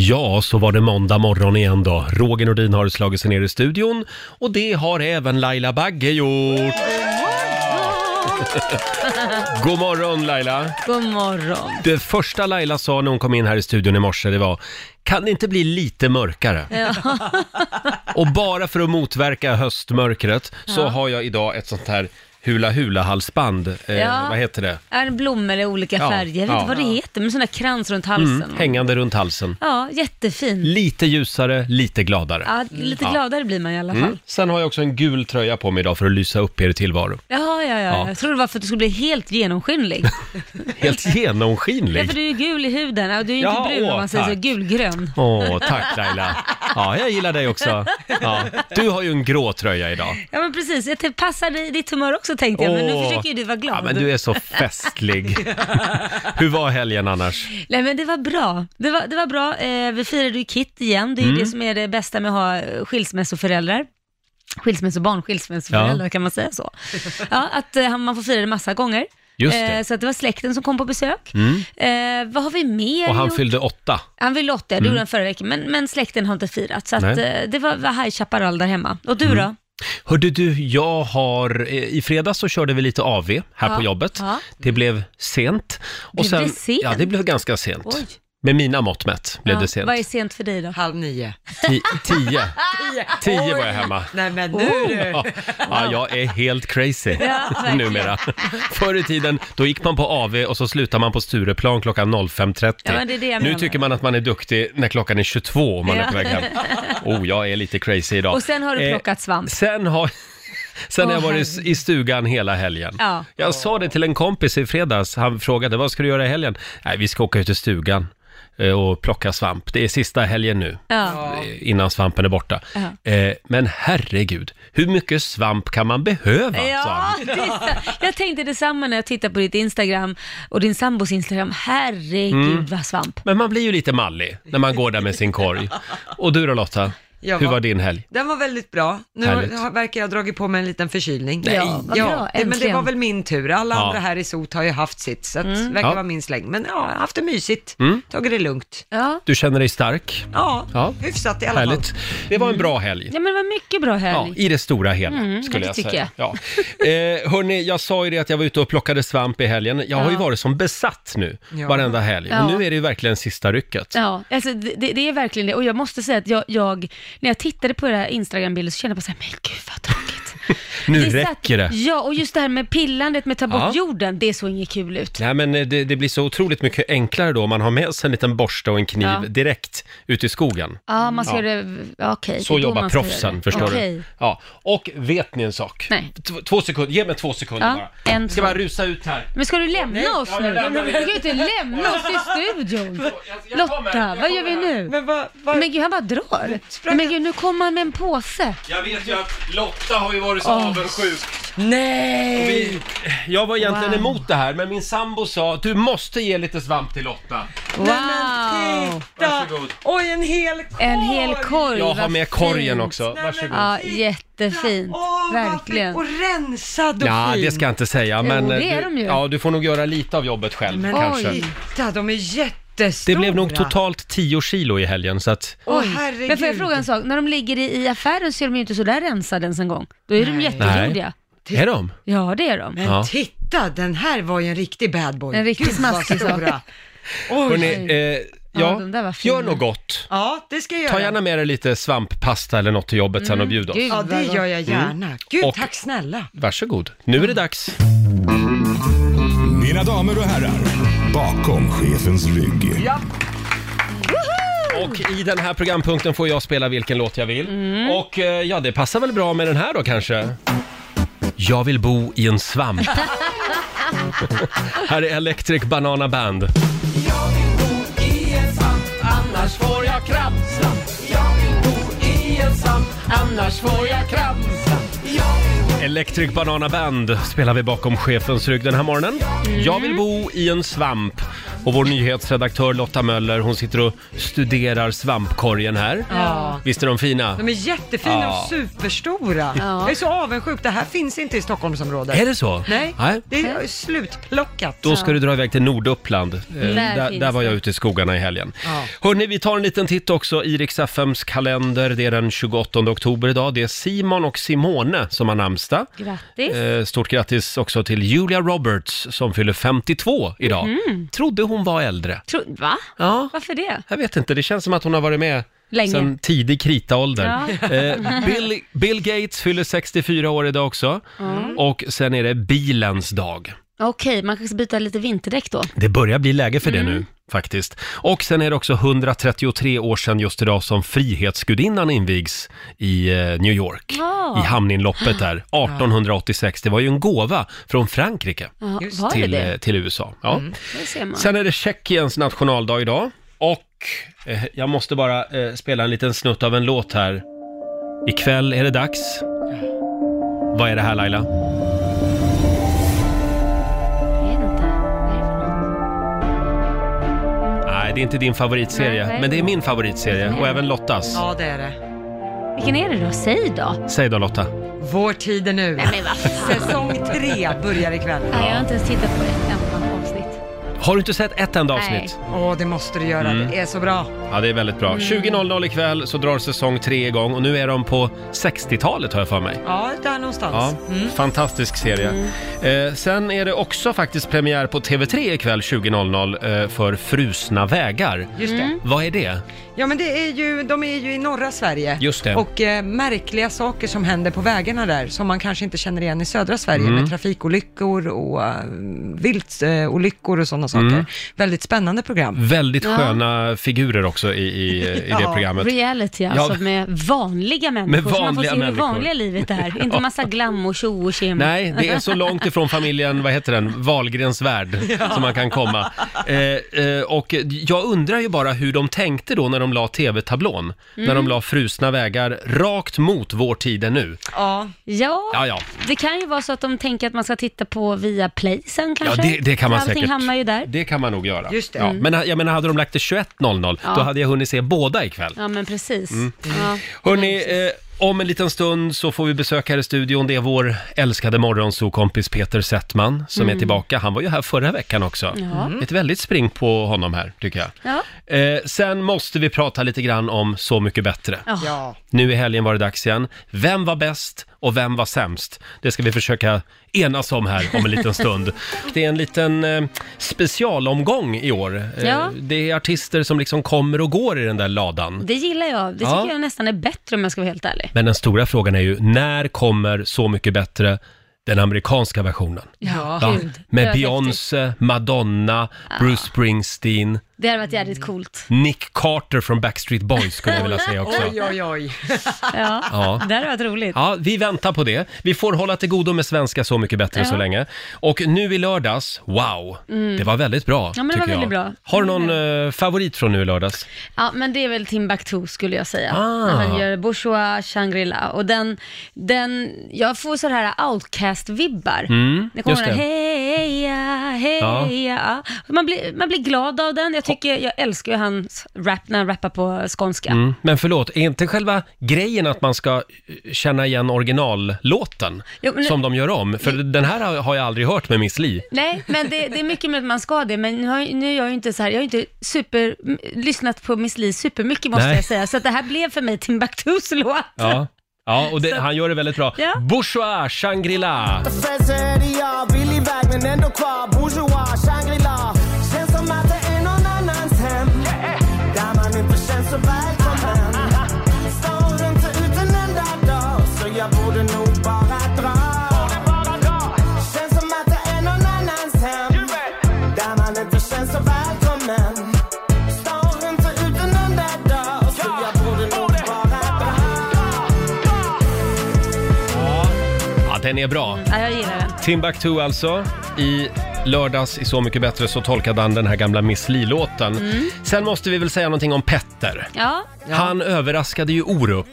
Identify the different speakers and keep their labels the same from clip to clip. Speaker 1: Ja, så var det måndag morgon igen då. Roger Nordin har slagit sig ner i studion och det har även Laila Bagge gjort. God morgon Laila!
Speaker 2: God morgon.
Speaker 1: Det första Laila sa när hon kom in här i studion i morse det var Kan det inte bli lite mörkare?
Speaker 2: Ja.
Speaker 1: Och bara för att motverka höstmörkret så
Speaker 2: Ja.
Speaker 1: har jag idag ett sånt här Hula Hula-halsband. Eh,
Speaker 2: Ja.
Speaker 1: Vad heter det?
Speaker 2: Är det blommor i olika
Speaker 1: Ja,
Speaker 2: färger? Jag vet
Speaker 1: ja.
Speaker 2: inte vad det heter, men sån där krans runt halsen.
Speaker 1: Mm, hängande runt halsen.
Speaker 2: Ja, jättefin.
Speaker 1: Lite ljusare, lite gladare.
Speaker 2: Ja, lite
Speaker 1: Ja.
Speaker 2: gladare blir man i alla fall.
Speaker 1: Mm. Sen har jag också en gul tröja på mig idag för att lysa upp er tillvaro.
Speaker 2: Ja, ja,
Speaker 1: Ja.
Speaker 2: ja. Jag trodde det var för att du skulle bli helt genomskinlig.
Speaker 1: Helt
Speaker 2: ja,
Speaker 1: genomskinlig.
Speaker 2: för du är ju gul i huden. Ja, Du är ju inte
Speaker 1: Ja,
Speaker 2: brun
Speaker 1: åh,
Speaker 2: om man säger så,
Speaker 1: tack.
Speaker 2: gulgrön.
Speaker 1: Åh, tack Laila. Ja, jag gillar dig också. Ja. Du har ju en grå tröja idag.
Speaker 2: Ja, men precis. Jag passar dig- ditt humör också tänkte jag, men nu
Speaker 1: Åh.
Speaker 2: försöker ju du vara glad.
Speaker 1: Ja, men du är så festlig. Hur var helgen annars?
Speaker 2: Nej men det var bra. Det var, det var bra. Eh, vi firade ju KIT igen. Det är ju
Speaker 1: Mm.
Speaker 2: det som är det bästa med att ha eh, skilsmässoföräldrar. Skilsmässobarn, skilsmässoföräldrar,
Speaker 1: Ja.
Speaker 2: kan man säga så? Ja, att eh, man får fira det massa gånger.
Speaker 1: Just det.
Speaker 2: Eh, så att det var släkten som kom på besök.
Speaker 1: Mm.
Speaker 2: Eh, vad har vi mer
Speaker 1: Och han
Speaker 2: gjort?
Speaker 1: fyllde åtta.
Speaker 2: han fyllde 80, det gjorde han förra veckan, men, men släkten har inte firat. Så att,
Speaker 1: Nej. Mm.
Speaker 2: eh, det var, var High Chaparral där hemma. Och du då?
Speaker 1: Hörde du, jag har... eh, I fredags så körde vi lite AV här
Speaker 2: Ja,
Speaker 1: på jobbet.
Speaker 2: ja.
Speaker 1: Det blev sent. Och
Speaker 2: Det blev sent?
Speaker 1: Ja, det blev ganska sent.
Speaker 2: Oj.
Speaker 1: Med mina mått mätt blev det sent.
Speaker 2: Vad är sent för dig då?
Speaker 3: Halv nio.
Speaker 1: Ti- tio. Tio var jag hemma.
Speaker 3: Nej men nu
Speaker 2: Oh.
Speaker 3: du.
Speaker 1: Ja, ja, jag är helt crazy
Speaker 2: verkligen.
Speaker 1: numera. Förr i tiden, då gick man på AV och så slutade man på Stureplan klockan
Speaker 2: Ja, men det är det
Speaker 1: 05.30.
Speaker 2: jag
Speaker 1: nu
Speaker 2: menar.
Speaker 1: tycker man att man är duktig när klockan är 22 om man är
Speaker 2: Ja.
Speaker 1: på väg hem. Oh, jag är lite crazy idag.
Speaker 2: Och sen har du
Speaker 1: Eh,
Speaker 2: plockat svamp.
Speaker 1: Sen har... Sen har jag
Speaker 2: Åh,
Speaker 1: varit i stugan hela helgen.
Speaker 2: Ja.
Speaker 1: Jag sa det till en kompis i fredags. Han frågade vad ska du göra i helgen? Nej, vi ska åka ut i stugan eh, och plocka svamp. Det är sista helgen nu
Speaker 2: Ja.
Speaker 1: eh, innan svampen är borta.
Speaker 2: Ja.
Speaker 1: Eh, men herregud, hur mycket svamp kan man behöva? sa
Speaker 2: Ja,
Speaker 1: han.
Speaker 2: det, jag tänkte detsamma när jag tittade på ditt Instagram och din sambos Instagram. Herregud
Speaker 1: Mm.
Speaker 2: vad svamp.
Speaker 1: Men man blir ju lite mallig när man går där med sin korg. Och du då Lotta,
Speaker 3: Jag
Speaker 1: hur
Speaker 3: var-
Speaker 1: var din helg?
Speaker 3: Den var väldigt bra. Nu
Speaker 1: Härligt.
Speaker 3: har, verkar jag ha dragit på mig en liten förkylning.
Speaker 2: Nej. Ja, vad bra,
Speaker 3: det, men det
Speaker 2: äntligen. Mm.
Speaker 3: var väl min tur. Alla
Speaker 1: Ja.
Speaker 3: andra här i SOT har ju haft sitt, så att verkar
Speaker 1: Ja.
Speaker 3: vara min släng. Men ja, jag har haft det mysigt. Tagit det lugnt.
Speaker 2: Ja.
Speaker 1: Du känner dig stark?
Speaker 3: Ja,
Speaker 1: Ja.
Speaker 3: hyfsat i alla
Speaker 1: Härligt.
Speaker 3: fall.
Speaker 1: Det var en bra helg.
Speaker 2: Mm. ja, men det var mycket bra
Speaker 1: Ja,
Speaker 2: helg.
Speaker 1: i det stora hela skulle
Speaker 2: det
Speaker 1: jag
Speaker 2: tycker
Speaker 1: säga. Ja. Eh, hörni, jag sa ju det att jag var ute och plockade svamp i helgen. Jag har ju
Speaker 2: Ja.
Speaker 1: varit som besatt nu,
Speaker 3: Ja.
Speaker 1: varenda helg.
Speaker 2: Ja.
Speaker 1: Och nu är det ju verkligen sista rycket.
Speaker 2: Ja, alltså det, det- det är verkligen det. Och jag måste säga att jag, jag när jag tittade på era Instagram-bilder så kände jag bara så här, men gud vad tråkigt.
Speaker 1: Nu
Speaker 2: Det satt-
Speaker 1: räcker det.
Speaker 2: Ja, och just det här med pillandet med att ta bort
Speaker 1: Ja.
Speaker 2: jorden, det såg inget kul ut.
Speaker 1: Nej, men eh, det, det blir så otroligt mycket enklare då om man har med sig en liten borste och en kniv
Speaker 2: Ja.
Speaker 1: direkt ut i skogen.
Speaker 2: Ja, man ska göra det, ja, okej. det
Speaker 1: Så
Speaker 2: är då
Speaker 1: jobbar
Speaker 2: man ska göra
Speaker 1: proffsen,
Speaker 2: det.
Speaker 1: förstår du.
Speaker 2: Okej.
Speaker 1: Ja. Och vet ni en sak?
Speaker 2: Nej.
Speaker 1: T- två sekunder, ge mig två sekunder
Speaker 2: Ja,
Speaker 1: bara.
Speaker 2: en,
Speaker 1: Ska
Speaker 2: två.
Speaker 1: bara rusa ut här.
Speaker 2: Men ska du lämna oss
Speaker 1: ja, jag
Speaker 2: nu?
Speaker 1: lämnar
Speaker 2: Du
Speaker 1: dig.
Speaker 2: kan ju inte lämna oss i studion.
Speaker 1: jag kommer,
Speaker 2: Lotta,
Speaker 1: jag
Speaker 2: vad gör vi
Speaker 1: kommer.
Speaker 2: nu?
Speaker 3: Men vad, vad,
Speaker 2: Men gud, han bara drar.
Speaker 3: Sprang-
Speaker 2: Men gud, nu kommer han med en påse.
Speaker 1: Jag vet ju att Lotta har ju varit så
Speaker 2: Åh.
Speaker 1: avundsjuk.
Speaker 3: Nej!
Speaker 1: Vi, jag var egentligen
Speaker 2: Wow.
Speaker 1: emot det här, men min sambo sa du måste ge lite svamp till Lotta.
Speaker 2: Wow!
Speaker 3: Titta!
Speaker 1: Varsågod.
Speaker 3: Oj, en hel korg!
Speaker 2: En hel korg.
Speaker 1: Jag har
Speaker 2: vad
Speaker 1: med korgen
Speaker 2: fint.
Speaker 1: också,
Speaker 3: men-
Speaker 1: varsågod.
Speaker 2: Ja,
Speaker 3: Titta,
Speaker 2: jättefint.
Speaker 3: Åh,
Speaker 2: Verkligen.
Speaker 3: vad fint. Och rensad och
Speaker 1: Ja,
Speaker 3: fin.
Speaker 1: det ska jag inte säga, men
Speaker 2: det
Speaker 1: eh,
Speaker 2: är
Speaker 1: du,
Speaker 2: de ju.
Speaker 1: Ja, du får nog göra lite av jobbet själv
Speaker 3: Men
Speaker 1: kanske.
Speaker 2: oj.
Speaker 3: titta, de är jättestora.
Speaker 1: Det blev nog totalt 10 kilo i helgen, så att
Speaker 3: Åh,
Speaker 2: Oj.
Speaker 3: herregud.
Speaker 2: Men får jag fråga en sak? När de ligger i, i affären så är de ju inte sådär rensade ens en gång. Då är de
Speaker 3: Nej.
Speaker 2: jätteblodiga.
Speaker 1: är de?
Speaker 2: Ja, det är de.
Speaker 3: Men
Speaker 1: Ja.
Speaker 3: titta, den här var ju en riktig bad boy.
Speaker 2: En riktigt
Speaker 3: Gud, vad
Speaker 2: smaskig sak.
Speaker 3: stora. Oj.
Speaker 1: Hörrni, eh,
Speaker 2: Ja,
Speaker 1: ja,
Speaker 2: de där var fina.
Speaker 1: gör något gott.
Speaker 3: Ja, det ska jag göra.
Speaker 1: Ta gärna med dig lite svamppasta eller något till jobbet sen och bjud oss.
Speaker 2: Gud,
Speaker 3: Ja, det
Speaker 2: vad gott.
Speaker 3: gör jag gärna. Gud,
Speaker 1: Mm. Och-
Speaker 3: tack snälla.
Speaker 1: Varsågod, nu är det dags.
Speaker 4: Mina damer och herrar, bakom chefens rygg.
Speaker 1: Och i den här programpunkten får jag spela vilken låt jag vill. Och eh, ja, det passar väl bra med den här då kanske. Jag vill bo i en svamp. här är Electric Banana Band.
Speaker 5: Jag vill bo i en svamp, annars får jag krampsvamp. Jag vill bo i en svamp, annars får jag krampsvamp. Jag vill bo
Speaker 1: Electric Banana Band spelar vi bakom chefens rygg den här morgonen. Jag vill bo i en svamp. Och vår nyhetsredaktör Lotta Möller, hon sitter och studerar svampkorgen här.
Speaker 3: Ja. Mm.
Speaker 1: Visst är de fina?
Speaker 3: De är jättefina
Speaker 1: Ja.
Speaker 3: och superstora.
Speaker 2: Ja.
Speaker 3: Jag är så avundsjuk. Det här finns inte i Stockholmsområdet.
Speaker 1: Är det så?
Speaker 3: Nej,
Speaker 1: Nej.
Speaker 3: det är slutplockat.
Speaker 1: Då ska du dra iväg till Norduppland. Eh,
Speaker 2: Där
Speaker 1: där,
Speaker 2: finns
Speaker 1: där var
Speaker 2: det.
Speaker 1: jag ute i skogarna i helgen.
Speaker 3: Ja.
Speaker 1: Hörni, vi tar en liten titt också i Rix FMs kalender. Det är den 28 oktober idag. Det är Simon och Simone som har namnsdag.
Speaker 2: Grattis.
Speaker 1: Eh, Stort grattis också till Julia Roberts som fyller 52 idag.
Speaker 2: Mhm.
Speaker 1: Trodde hon var äldre.
Speaker 2: Tro, va?
Speaker 1: Ja,
Speaker 2: Varför det?
Speaker 1: jag vet inte. Det känns som att hon har varit med
Speaker 2: Länge.
Speaker 1: sen tidig kritaålder. Eh, Bill, Bill Gates fyller 64 år idag också. Och sen är det bilens dag.
Speaker 2: Okej, man kanske ska byta lite vinterdäck då.
Speaker 1: Det börjar bli läge för det
Speaker 2: Mm.
Speaker 1: nu faktiskt. Och sen är det också 133 år sedan just idag som Frihetsgudinnan invigs i eh, New York.
Speaker 2: Ja.
Speaker 1: I hamninloppet där, 1886. Det var ju en gåva från Frankrike
Speaker 2: Ja,
Speaker 3: Just
Speaker 2: var
Speaker 1: till,
Speaker 2: det
Speaker 1: eh,
Speaker 2: det? Mm.
Speaker 1: till USA. Ja.
Speaker 2: Det ser man.
Speaker 1: Sen är det Tjeckiens nationaldag idag och eh, jag måste bara eh, spela en liten snutt av en låt här. Ikväll är det dags. Vad är det här Laila?
Speaker 2: Jag vet inte. Vad är det för något?
Speaker 1: Nej, det är inte din favoritserie,
Speaker 2: Nej, nej.
Speaker 1: men det är min favoritserie och även Lottas.
Speaker 3: Ja, det är det.
Speaker 2: Vilken är det då? Säg då.
Speaker 1: Säg då Lotta.
Speaker 3: Vår tid är nu.
Speaker 2: Men vad fan.
Speaker 3: Säsong tre börjar ikväll.
Speaker 2: Nej, jag har inte ens tittat på ett enda avsnitt.
Speaker 1: Har du inte sett ett enda
Speaker 2: Nej.
Speaker 1: avsnitt?
Speaker 3: Åh, det måste du göra.
Speaker 1: Mm.
Speaker 3: Det är så bra.
Speaker 1: Ja, det är väldigt bra. 20.00 ikväll så drar säsong tre igång och nu är de på 60-talet har jag för mig.
Speaker 3: Ja, där
Speaker 1: Ja,
Speaker 3: någonstans.
Speaker 1: fantastisk serie.
Speaker 3: Mm.
Speaker 1: Eh, sen är det också faktiskt premiär på TV3 ikväll 20.00 eh, för Frusna vägar. Mm.
Speaker 3: Just det.
Speaker 1: Vad är det?
Speaker 3: Ja, men det är ju, de är ju i norra Sverige.
Speaker 1: Just det.
Speaker 3: Och eh, märkliga saker som händer på vägarna där, som man kanske inte känner igen i södra Sverige,
Speaker 1: Mm.
Speaker 3: med trafikolyckor och eh, viltolyckor och sådana saker.
Speaker 1: Mm.
Speaker 3: Väldigt spännande program.
Speaker 1: Väldigt
Speaker 2: Ja.
Speaker 1: sköna figurer också i, i, i det
Speaker 3: Ja,
Speaker 1: programmet.
Speaker 2: Reality alltså med vanliga människor.
Speaker 1: Med
Speaker 2: så man får
Speaker 1: vanliga
Speaker 2: se det
Speaker 1: människor.
Speaker 2: vanliga livet där. Inte massa glam och tjo och tjim.
Speaker 1: Nej, det är så långt ifrån familjen, vad heter den, Wahlgrens värld som man kan komma. Eh, eh, och jag undrar ju bara hur de tänkte då när de la tv-tablån.
Speaker 3: Mm.
Speaker 1: När de la frusna vägar rakt mot vår tid är nu.
Speaker 3: Ja,
Speaker 2: Ja,
Speaker 1: Ja, ja.
Speaker 2: det kan ju vara så att de tänker att man ska titta på via Play sen kanske.
Speaker 1: Ja, det, det kan man
Speaker 2: Allting
Speaker 1: säkert.
Speaker 2: hamnar ju där.
Speaker 1: Det kan man nog göra.
Speaker 3: Just det.
Speaker 1: Ja, men jag menar, hade de lagt det 21.00, då
Speaker 2: Mm. Ja.
Speaker 1: hade jag hunnit se båda ikväll.
Speaker 2: Ja, men precis.
Speaker 1: Mm.
Speaker 2: Ja.
Speaker 1: Hörni, eh, om en liten stund så får vi besöka här i studion. Det är vår älskade morgonsokompis Peter Settman som är tillbaka. Han var ju här förra veckan också.
Speaker 2: Mm. Ja. Mm.
Speaker 1: Ett väldigt spring på honom här, tycker jag.
Speaker 2: Ja.
Speaker 1: Eh, sen måste vi prata lite grann om Så mycket bättre.
Speaker 2: Ja.
Speaker 3: ja.
Speaker 1: Nu i helgen var det dags igen. Vem var bäst och vem var sämst? Det ska vi försöka enas om här om en liten stund. Det är en liten eh, specialomgång i år. Eh,
Speaker 2: Ja.
Speaker 1: Det är artister som liksom kommer och går i den där ladan.
Speaker 2: Det gillar jag. Det tycker
Speaker 1: Ja.
Speaker 2: jag nästan är bättre om jag ska vara helt ärlig.
Speaker 1: Men den stora frågan är ju, när kommer Så mycket bättre den amerikanska versionen?
Speaker 2: Ja, gud. Det Ah.
Speaker 1: Med
Speaker 2: hade varit
Speaker 1: Beyoncé, Madonna, Bruce Springsteen,
Speaker 2: häftigt. Det hade varit jävligt coolt.
Speaker 1: Nick Carter från Backstreet Boys skulle jag vilja säga också.
Speaker 3: Oj, oj, oj.
Speaker 2: Ja.
Speaker 1: Ja.
Speaker 2: Det hade varit roligt.
Speaker 1: Ja, vi väntar på det. Vi får hålla till godo med svenska Så mycket bättre
Speaker 2: Ja. Mm.
Speaker 1: så länge. Och nu i lördags, wow! Det var väldigt bra,
Speaker 2: Ja, men det
Speaker 1: tycker
Speaker 2: var väldigt
Speaker 1: jag.
Speaker 2: bra.
Speaker 1: Har du någon eh, favorit från nu i lördags?
Speaker 2: Ja, men det är väl Timbuktu skulle jag säga.
Speaker 1: Ah.
Speaker 2: När han gör Bourgeois Shangri-La. Och den, den, jag får så här Outcast-vibbar.
Speaker 1: Mm,
Speaker 2: det kommer
Speaker 1: just
Speaker 2: den
Speaker 1: det.
Speaker 2: heja, heja. Man, blir, man blir glad av den. Jag tycker, jag älskar ju hans rap när han rappar på skånska.
Speaker 1: Mm. Men förlåt, är inte själva grejen att man ska eh, känna igen originallåten
Speaker 2: Jo, men-
Speaker 1: som de gör om? För den här har- har jag aldrig hört med Miss Li.
Speaker 2: Nej, men det, det är mycket med att man ska det, men nu, har, nu är jag ju inte så här, jag har ju inte super, m- lyssnat på Miss Li supermycket måste
Speaker 1: Nej.
Speaker 2: jag säga, så att det här blev för mig Timbuktus låt.
Speaker 1: Ja. Ja, och det, han gör det väldigt bra.
Speaker 2: Ja.
Speaker 1: Bourgeois, Shangri-La.
Speaker 6: Professor Eddie, Billy Wagner, Nando Quad, Bourgeois, Shangri-La. Känns som att det är någon annans hem. Där man inte känns så välkommen. Står inte ut en enda dag, så jag borde nog bara dra. Känns som att det är någon annans hem. Där man inte känns så välkommen. Står inte ut en enda dag, så jag borde nog bara dra.
Speaker 1: Ja, den är bra.
Speaker 2: Ja, jag gillar den.
Speaker 1: Timbuktu alltså, i lördags i Så mycket bättre så tolkade han den här gamla Miss Li-låten. Sen måste vi väl säga någonting om Petter.
Speaker 2: Mm. Ja,
Speaker 1: Han överraskade ju Orup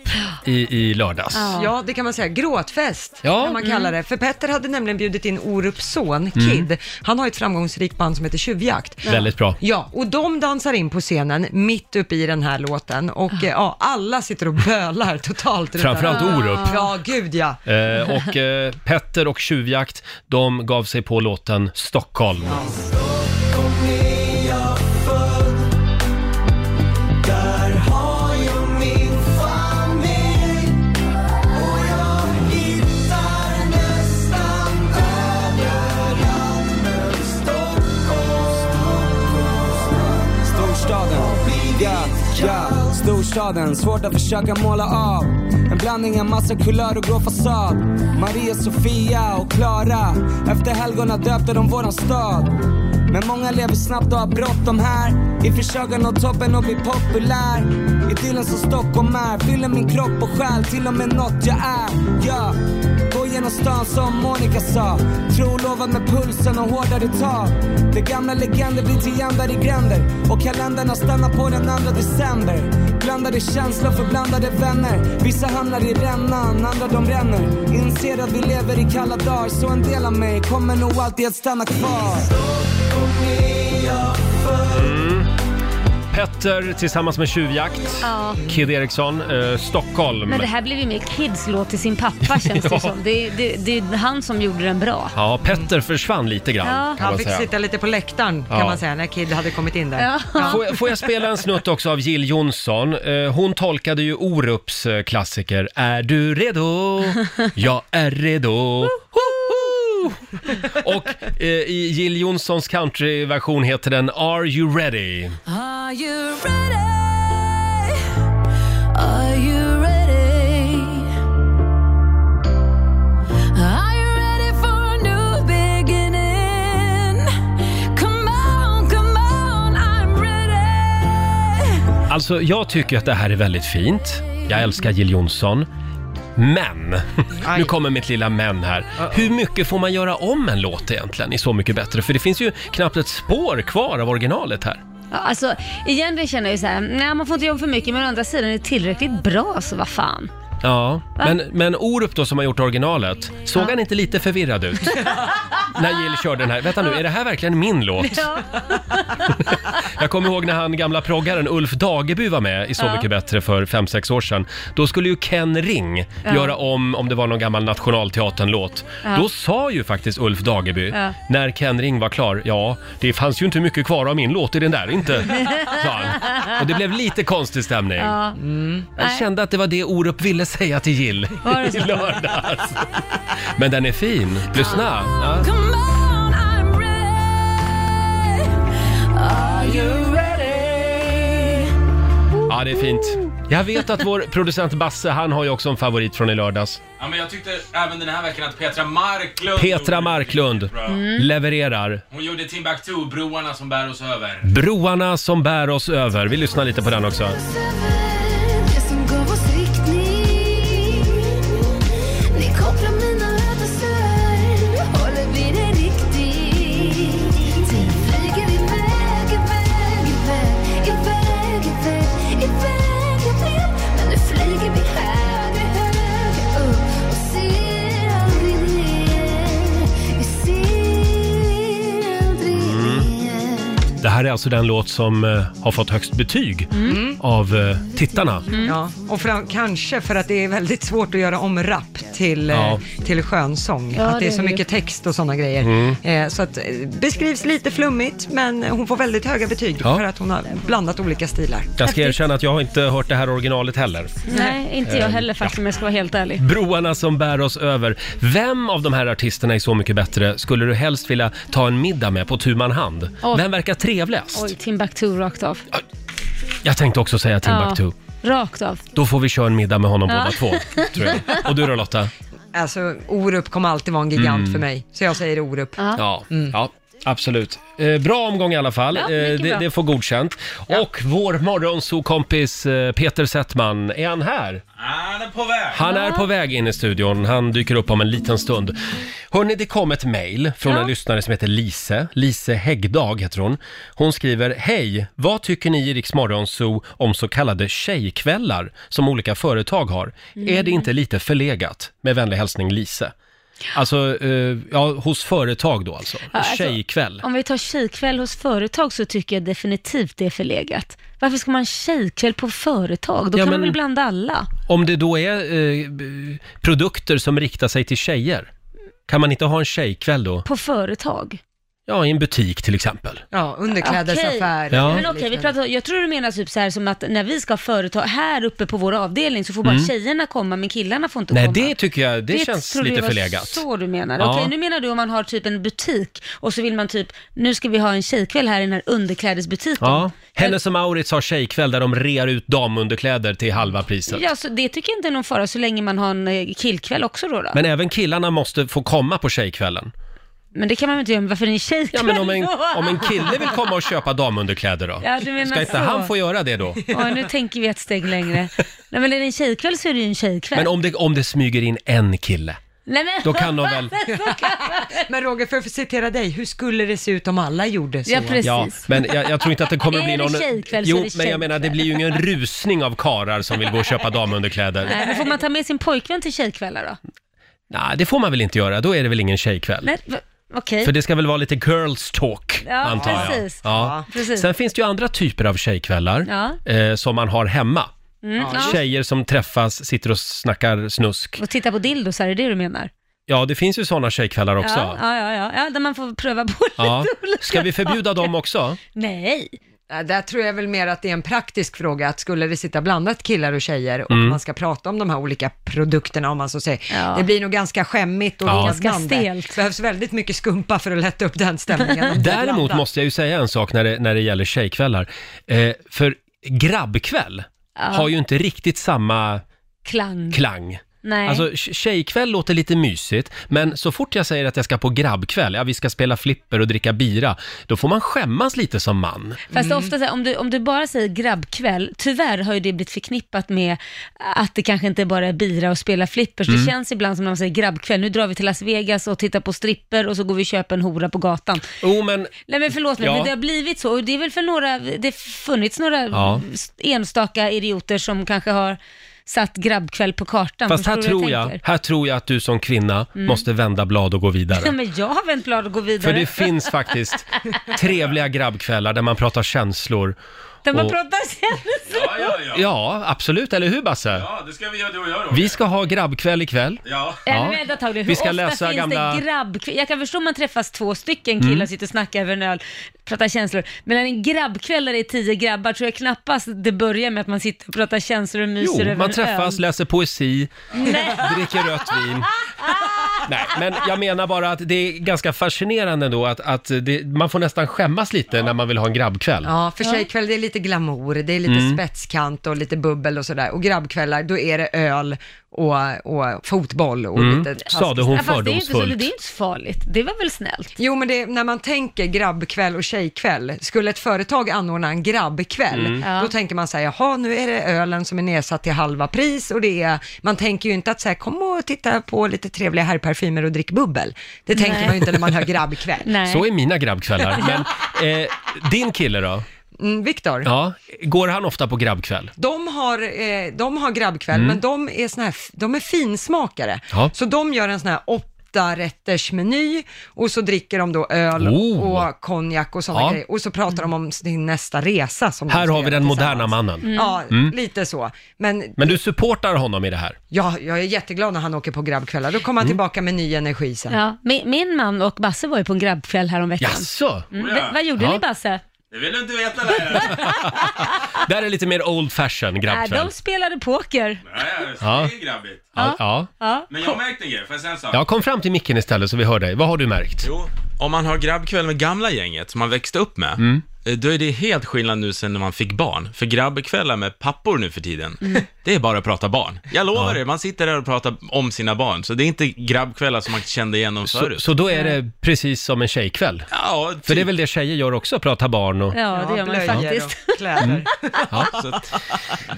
Speaker 1: i, i lördags.
Speaker 2: Ja.
Speaker 3: Ja, det kan man säga. Gråtfest
Speaker 1: Ja. Mm.
Speaker 3: kan man kalla det. För Petter hade nämligen bjudit in Orups son, Kid. Han har ett framgångsrikt band som heter Tjuvjakt.
Speaker 1: Väldigt bra.
Speaker 3: Ja, och de dansar in på scenen mitt uppe i den här låten och eh, ja, alla sitter och bölar totalt. runt
Speaker 1: Framförallt
Speaker 3: den.
Speaker 1: Orup.
Speaker 3: Ja, gud ja.
Speaker 1: Eh, och eh, Petter och Tjuvjakt, de gav sig på låten Stockholm.
Speaker 7: Storstaden, ja, ja, storstaden Svårt att försöka måla av En blandning av massa kulör och grå fasad Maria, Sofia och Klara Efter helgona döpte de våran stad Men många lever snabbt och har bråttom här I försök att nå toppen och bli populär Idyllen som Stockholm är Fyller min kropp och själ till och med något jag är Ja, gå genom stan som Monica sa Trolovad med pulsen och hårdare tag Det gamla legender blir till jämnare gränder Och kalendrarna stannar på den andra december Blandade känslor för blandade vänner Vissa hamnar i rännan, andra de bränner Inser att vi lever i kalla dagar Så en del av mig kommer nog alltid att stanna kvar
Speaker 1: Petter tillsammans med Tjuvjakt,
Speaker 2: Ja.
Speaker 1: Kid Eriksson, eh, Stockholm.
Speaker 2: men det här blev ju mer Kids-låt till sin pappa känns det
Speaker 1: Ja.
Speaker 2: som. Det, det, det är han som gjorde den bra.
Speaker 1: Ja, Petter försvann lite grann
Speaker 2: Ja.
Speaker 1: kan
Speaker 3: Han
Speaker 1: man
Speaker 3: fick
Speaker 1: säga.
Speaker 3: sitta lite på läktaren
Speaker 1: Ja.
Speaker 3: kan man säga när Kid hade kommit in där.
Speaker 2: Ja.
Speaker 1: Får jag, får jag spela en snutt också av Jill Johnson? Eh, Hon tolkade ju Orups eh, klassiker Är du redo? Jag är redo. Hoho! Och eh, i Jill Johnsons countryversion heter den Are You Ready?
Speaker 8: Are you ready? Are you ready? Are you ready for a new beginning? Come on, come on, I'm ready.
Speaker 1: Alltså, jag tycker att det här är väldigt fint. Jag älskar Jill Johnson. Men, nu kommer mitt lilla men här. Hur mycket får man göra om en låt egentligen i Så mycket bättre? För det finns ju knappt ett spår kvar av originalet här.
Speaker 2: Ja, alltså, egentligen känner jag ju så här, nej man får inte jobba för mycket men å andra sidan är det tillräckligt bra så vad fan.
Speaker 1: Ja, men, men Orup då som har gjort originalet, såg han inte lite förvirrad ut? när Jill körde den här. Vänta nu, är det här verkligen min låt?
Speaker 2: Ja.
Speaker 1: Jag kommer ihåg när han gamla proggaren Ulf Dageby var med i Så mycket bättre för 5-6 år sedan. Då skulle ju Ken Ring göra om, om det var någon gammal Nationalteatern-låt. Då sa ju faktiskt Ulf Dageby,
Speaker 2: Ja.
Speaker 1: när Ken Ring var klar, ja, det fanns ju inte mycket kvar av min låt i den där, inte? sa han. Och det blev lite konstig stämning.
Speaker 2: Ja.
Speaker 1: Jag
Speaker 2: Nej.
Speaker 1: kände att det var det Orup ville säga till Jill
Speaker 2: Var det
Speaker 1: i
Speaker 2: så?
Speaker 1: lördags. Men den är fin. Lyssna. Ja.
Speaker 8: Come on, I'm ready. Are you ready?
Speaker 1: ja, det är fint. Jag vet att vår producent Basse, han har ju också en favorit från i lördags.
Speaker 9: Ja, men jag tyckte även den här veckan att Petra Marklund...
Speaker 1: Petra Marklund levererar
Speaker 9: Hon gjorde Timbuktu, Broarna som bär oss över.
Speaker 1: Broarna som bär oss över. Vi lyssnar lite på den också.
Speaker 8: Det som gav oss riktning Ni kopplar mina rörelser Håller vi det riktigt Sen flyger iväg, iväg, iväg Iväg, iväg, iväg jag vet Men nu flyger vi högre, högre upp Och ser aldrig ner Vi ser aldrig ner
Speaker 1: Det här är alltså den låt som eh, har fått högst betyg av eh, tittarna.
Speaker 3: Ja.
Speaker 2: Mm.
Speaker 3: Och fram, kanske för att det är väldigt svårt att göra om rap till, eh,
Speaker 1: Ja.
Speaker 3: till skönsång.
Speaker 2: Ja,
Speaker 3: att det är
Speaker 2: det
Speaker 3: så
Speaker 2: är det.
Speaker 3: mycket text och sådana grejer.
Speaker 1: Mm.
Speaker 3: Eh, så att, eh, beskrivs lite flummigt, men hon får väldigt höga betyg
Speaker 1: Ja.
Speaker 3: för att hon har blandat olika stilar.
Speaker 1: Jag ska erkänna att jag har inte hört det här originalet heller.
Speaker 2: Nej, inte
Speaker 1: Eh,
Speaker 2: jag heller faktiskt om jag ska vara helt ärlig.
Speaker 1: Broarna som bär oss över. Vem av de här artisterna är Så mycket bättre skulle du helst vilja ta en middag med på tu man hand?
Speaker 2: Oj.
Speaker 1: Vem verkar trevligast?
Speaker 2: Oj, Timbuktu rakt av.
Speaker 1: Jag tänkte också säga Timbuktu.
Speaker 2: Ja, rakt av.
Speaker 1: Då får vi köra en middag med honom båda två. Tror jag. Och du då Lotta?
Speaker 3: Alltså, Orup kommer alltid vara en gigant
Speaker 1: Mm.
Speaker 3: för mig, så jag säger Orup.
Speaker 1: Ja. ja. Absolut. Eh, bra omgång i alla fall.
Speaker 2: Ja, mycket
Speaker 1: eh, det,
Speaker 2: bra.
Speaker 1: det får godkänt. Och vår morgonsokompis eh, Peter Settman, är han här?
Speaker 9: Ah, det är på väg.
Speaker 1: Han är på väg in i studion, han dyker upp om en liten stund. Hörni, det kom ett mejl från en lyssnare som heter Lise. Lise Häggdag heter hon. Hon skriver, hej, vad tycker ni i Rix Morgon Zoo om så kallade tjejkvällar som olika företag har? Är
Speaker 2: Mm.
Speaker 1: det inte lite förlegat? Med vänlig hälsning Lise. Alltså, eh, ja, hos företag då alltså.
Speaker 2: Ja, alltså,
Speaker 1: Tjejkväll.
Speaker 2: Om vi tar tjejkväll hos företag så tycker jag definitivt det är förlegat. Varför ska man ha tjejkväll på företag? Då
Speaker 1: Ja,
Speaker 2: kan
Speaker 1: men-
Speaker 2: man väl blanda alla?
Speaker 1: Om det då är eh, b- produkter som riktar sig till tjejer, kan man inte ha en tjejkväll då?
Speaker 2: På företag?
Speaker 1: Ja, i en butik till exempel.
Speaker 3: Ja, underklädesaffär.
Speaker 2: Okej.
Speaker 1: Ja.
Speaker 2: Men okej, vi pratar, jag tror du menar typ så här som att när vi ska ha företag här uppe på vår avdelning så får bara
Speaker 1: Mm.
Speaker 2: tjejerna komma men killarna får inte
Speaker 1: Nej,
Speaker 2: komma.
Speaker 1: det tycker jag, det, känns
Speaker 2: trodde
Speaker 1: lite
Speaker 2: jag var
Speaker 1: förlegat.
Speaker 2: så du menar.
Speaker 1: Ja.
Speaker 2: Okej, nu menar du om man har typ en butik och så vill man typ, nu ska vi ha en tjejkväll här i den här underklädesbutiken.
Speaker 1: Ja. Hennes och Mauritz har tjejkväll där de rear ut damunderkläder till halva priset.
Speaker 2: Ja, så det tycker jag inte är någon fara så länge man har en eh, killkväll också då. då. Men,
Speaker 1: Men även killarna måste få komma på tjejkvällen.
Speaker 2: det kan man väl inte göra, men varför är det en
Speaker 1: Ja,
Speaker 2: tjejkväll
Speaker 1: men om en,
Speaker 2: då?
Speaker 1: om en kille vill komma och köpa damunderkläder då?
Speaker 2: Ja, du menar
Speaker 1: Ska inte
Speaker 2: så.
Speaker 1: han få göra det då?
Speaker 2: Ja, nu tänker vi ett steg längre. Nej, men är det en tjejkväll så är det ju en tjejkväll.
Speaker 1: Men om det, om det smyger in en kille,
Speaker 2: Nej, men...
Speaker 1: då kan de väl...
Speaker 3: Men Roger, för att citera dig, hur skulle det se ut om alla gjorde så?
Speaker 2: Ja, precis.
Speaker 1: Ja, men jag, jag tror inte att det kommer
Speaker 2: Är
Speaker 1: bli
Speaker 2: det
Speaker 1: någon...
Speaker 2: tjejkväll så är
Speaker 1: Jo,
Speaker 2: det
Speaker 1: men jag menar det
Speaker 2: tjejkväll.
Speaker 1: blir ju ingen rusning av karar som vill gå och köpa damunderkläder.
Speaker 2: Nej, men får man ta med sin pojkvän till tjejkvällar då?
Speaker 1: Nej, det får man väl inte göra. Då är det väl ingen tjejkväll.
Speaker 2: Nej, va- okej.
Speaker 1: För det ska väl vara lite girls talk,
Speaker 2: Ja,
Speaker 1: antar jag.
Speaker 2: precis.
Speaker 1: Ja.
Speaker 2: Precis.
Speaker 1: Sen finns det ju andra typer av tjejkvällar
Speaker 2: Ja.
Speaker 1: eh, som man har hemma.
Speaker 2: Mm, ja.
Speaker 1: Tjejer som träffas, sitter och snackar snusk.
Speaker 2: Och titta på dildos, är det det du menar?
Speaker 1: Ja, det finns ju sådana tjejkvällar också.
Speaker 2: Ja, ja, ja, ja. ja, där man får pröva på lite
Speaker 1: Ja.
Speaker 2: olika
Speaker 1: Ska vi förbjuda dem också?
Speaker 2: Nej,
Speaker 3: Ja, Äh, Där tror jag väl mer att det är en praktisk fråga, att skulle det sitta blandat killar och tjejer och
Speaker 1: Mm.
Speaker 3: man ska prata om de här olika produkterna om man så säger,
Speaker 2: Ja.
Speaker 3: det blir nog ganska skämmigt och
Speaker 1: Ja.
Speaker 3: rodnande.
Speaker 2: Ganska stelt.
Speaker 3: behövs väldigt mycket skumpa för att lätta upp den stämningen.
Speaker 1: Däremot måste jag ju säga en sak när det, när det gäller tjejkvällar. Eh, för grabbkväll har ju inte riktigt samma
Speaker 2: klang.
Speaker 1: klang.
Speaker 2: Nej.
Speaker 1: Alltså tj- tjejkväll låter lite mysigt, men så fort jag säger att jag ska på grabbkväll, ja vi ska spela flipper och dricka bira, då får man skämmas lite som man.
Speaker 2: Fast det är ofta så här, om du, om du bara säger grabbkväll, tyvärr har ju det blivit förknippat med att det kanske inte bara är bira och spela flippers.
Speaker 1: Mm.
Speaker 2: Det känns ibland som när man säger grabbkväll, nu drar vi till Las Vegas och tittar på stripper och så går vi och köper en hora på gatan.
Speaker 1: Jo, men
Speaker 2: Nej men förlåt mig,
Speaker 1: Ja.
Speaker 2: men det har blivit så. Och det är väl för några, det har funnits några
Speaker 1: Ja.
Speaker 2: enstaka idioter som kanske har satt grabbkväll på kartan.
Speaker 1: Fast här
Speaker 2: Förstår du vad
Speaker 1: tror, jag,
Speaker 2: tänker? Mm.
Speaker 1: här tror jag att du som kvinna måste vända blad och gå
Speaker 2: Ja,
Speaker 1: vidare.
Speaker 2: men jag har vänt blad och gå
Speaker 1: För
Speaker 2: vidare.
Speaker 1: det finns faktiskt trevliga grabbkvällar där man pratar känslor.
Speaker 2: Där man
Speaker 1: och-
Speaker 2: pratar sen.
Speaker 9: Ja, ja, ja.
Speaker 1: Ja, absolut, eller hur Basse?
Speaker 9: Ja, det ska vi göra du och jag då.
Speaker 1: Vi ska ha grabbkväll ikväll.
Speaker 9: Ja.
Speaker 2: Nej,
Speaker 1: Ja.
Speaker 2: men vänta ett tag nu. Hur
Speaker 1: Vi ska
Speaker 2: ofta
Speaker 1: läsa
Speaker 2: finns
Speaker 1: gamla- Mm.
Speaker 2: det grabbkväll? Jag kan förstå om man träffas två stycken killar, sitter och snackar över en öl, pratar känslor. Men en grabbkväll där det är tio grabbar tror jag knappast det börjar med att man sitter och pratar känslor och myser över
Speaker 1: Jo, man
Speaker 2: en
Speaker 1: träffas,
Speaker 2: öl.
Speaker 1: läser poesi,
Speaker 2: Nej.
Speaker 1: dricker rött vin. Nej, men jag menar bara att det är ganska fascinerande ändå att, att det, man får nästan skämmas lite när man vill ha en grabbkväll.
Speaker 3: Ja, för tjejkväll det är lite glamour, det är lite
Speaker 1: Mm.
Speaker 3: spetskant och lite bubbel och sådär. Och grabbkvällar, då är det öl och, och fotboll och
Speaker 1: Mm.
Speaker 3: lite...
Speaker 1: Sade hon
Speaker 2: Ja, fast det är ju inte så, det är
Speaker 1: fördomsfullt.
Speaker 2: ju inte så farligt. Det var väl snällt?
Speaker 3: Jo, men det, när man tänker grabbkväll och tjejkväll, skulle ett företag anordna en grabbkväll,
Speaker 2: Ja.
Speaker 3: då tänker man så här, jaha, nu är det ölen som är nedsatt till halva pris och det är, man tänker ju inte att så här, kom och titta på lite trevliga herrparfymer och drick bubbel. Det tänker man ju inte när man hör grabbkväll.
Speaker 2: Nej.
Speaker 1: Så är mina grabbkvällar. Men eh, din kille då?
Speaker 3: Mm, Viktor?
Speaker 1: Ja, går han ofta på grabbkväll?
Speaker 3: De har, eh, de har grabbkväll, men de är, såna här, de är finsmakare.
Speaker 1: Mm. Ja.
Speaker 3: Så de gör en sån här åtta rätters meny och så dricker de då öl
Speaker 1: Oh.
Speaker 3: och konjak och sådana
Speaker 1: Ja.
Speaker 3: grejer. Och så pratar de om sin nästa resa. Som de
Speaker 1: Här
Speaker 3: ska
Speaker 1: har vi
Speaker 3: göra
Speaker 1: den moderna
Speaker 3: tillsammans. Mm.
Speaker 1: mannen. Mm.
Speaker 3: Ja, lite så. Men,
Speaker 1: Men du supportar honom i det här?
Speaker 3: ja, jag är jätteglad när han åker på grabbkvällar. Då
Speaker 1: Mm.
Speaker 3: kommer han tillbaka med ny energi sen.
Speaker 2: Ja, min, min man och Basse var ju på en grabbkväll häromveckan.
Speaker 1: Jaså?
Speaker 2: Mm, v- vad gjorde
Speaker 1: Ja.
Speaker 2: ni Basse?
Speaker 9: Det vill du inte veta längre.
Speaker 1: Där är lite mer old fashion
Speaker 2: Nej,
Speaker 1: grabbkväll.
Speaker 2: de spelade poker.
Speaker 9: Nej, det
Speaker 1: Ja.
Speaker 9: är ju grabbigt.
Speaker 1: Ja, ja.
Speaker 2: Ja.
Speaker 9: Men jag märkte en grej, får jag säga en sak?
Speaker 1: ja, kom fram till micken istället så vi hör dig. Vad har du märkt? Mm.
Speaker 9: Jo, om man har grabbkväll med gamla gänget som man växte upp med,
Speaker 10: eh, då är det helt skillnad nu sen när man fick barn. För grabbkvällar med pappor nu för tiden,
Speaker 1: Mm.
Speaker 10: det är bara att prata barn. Jag lovar er, man sitter där och pratar om sina barn. Så det är inte grabbkvällar som man kände igen dem
Speaker 1: Så,
Speaker 10: förut. Typ.
Speaker 1: så då är det precis som en tjejkväll.
Speaker 10: Ja,
Speaker 1: För det är väl det tjejer gör också, prata barn och...
Speaker 2: Ja, det gör man
Speaker 3: blöjor
Speaker 2: faktiskt.
Speaker 3: och
Speaker 1: Mm.
Speaker 3: kläder.
Speaker 10: typ. så att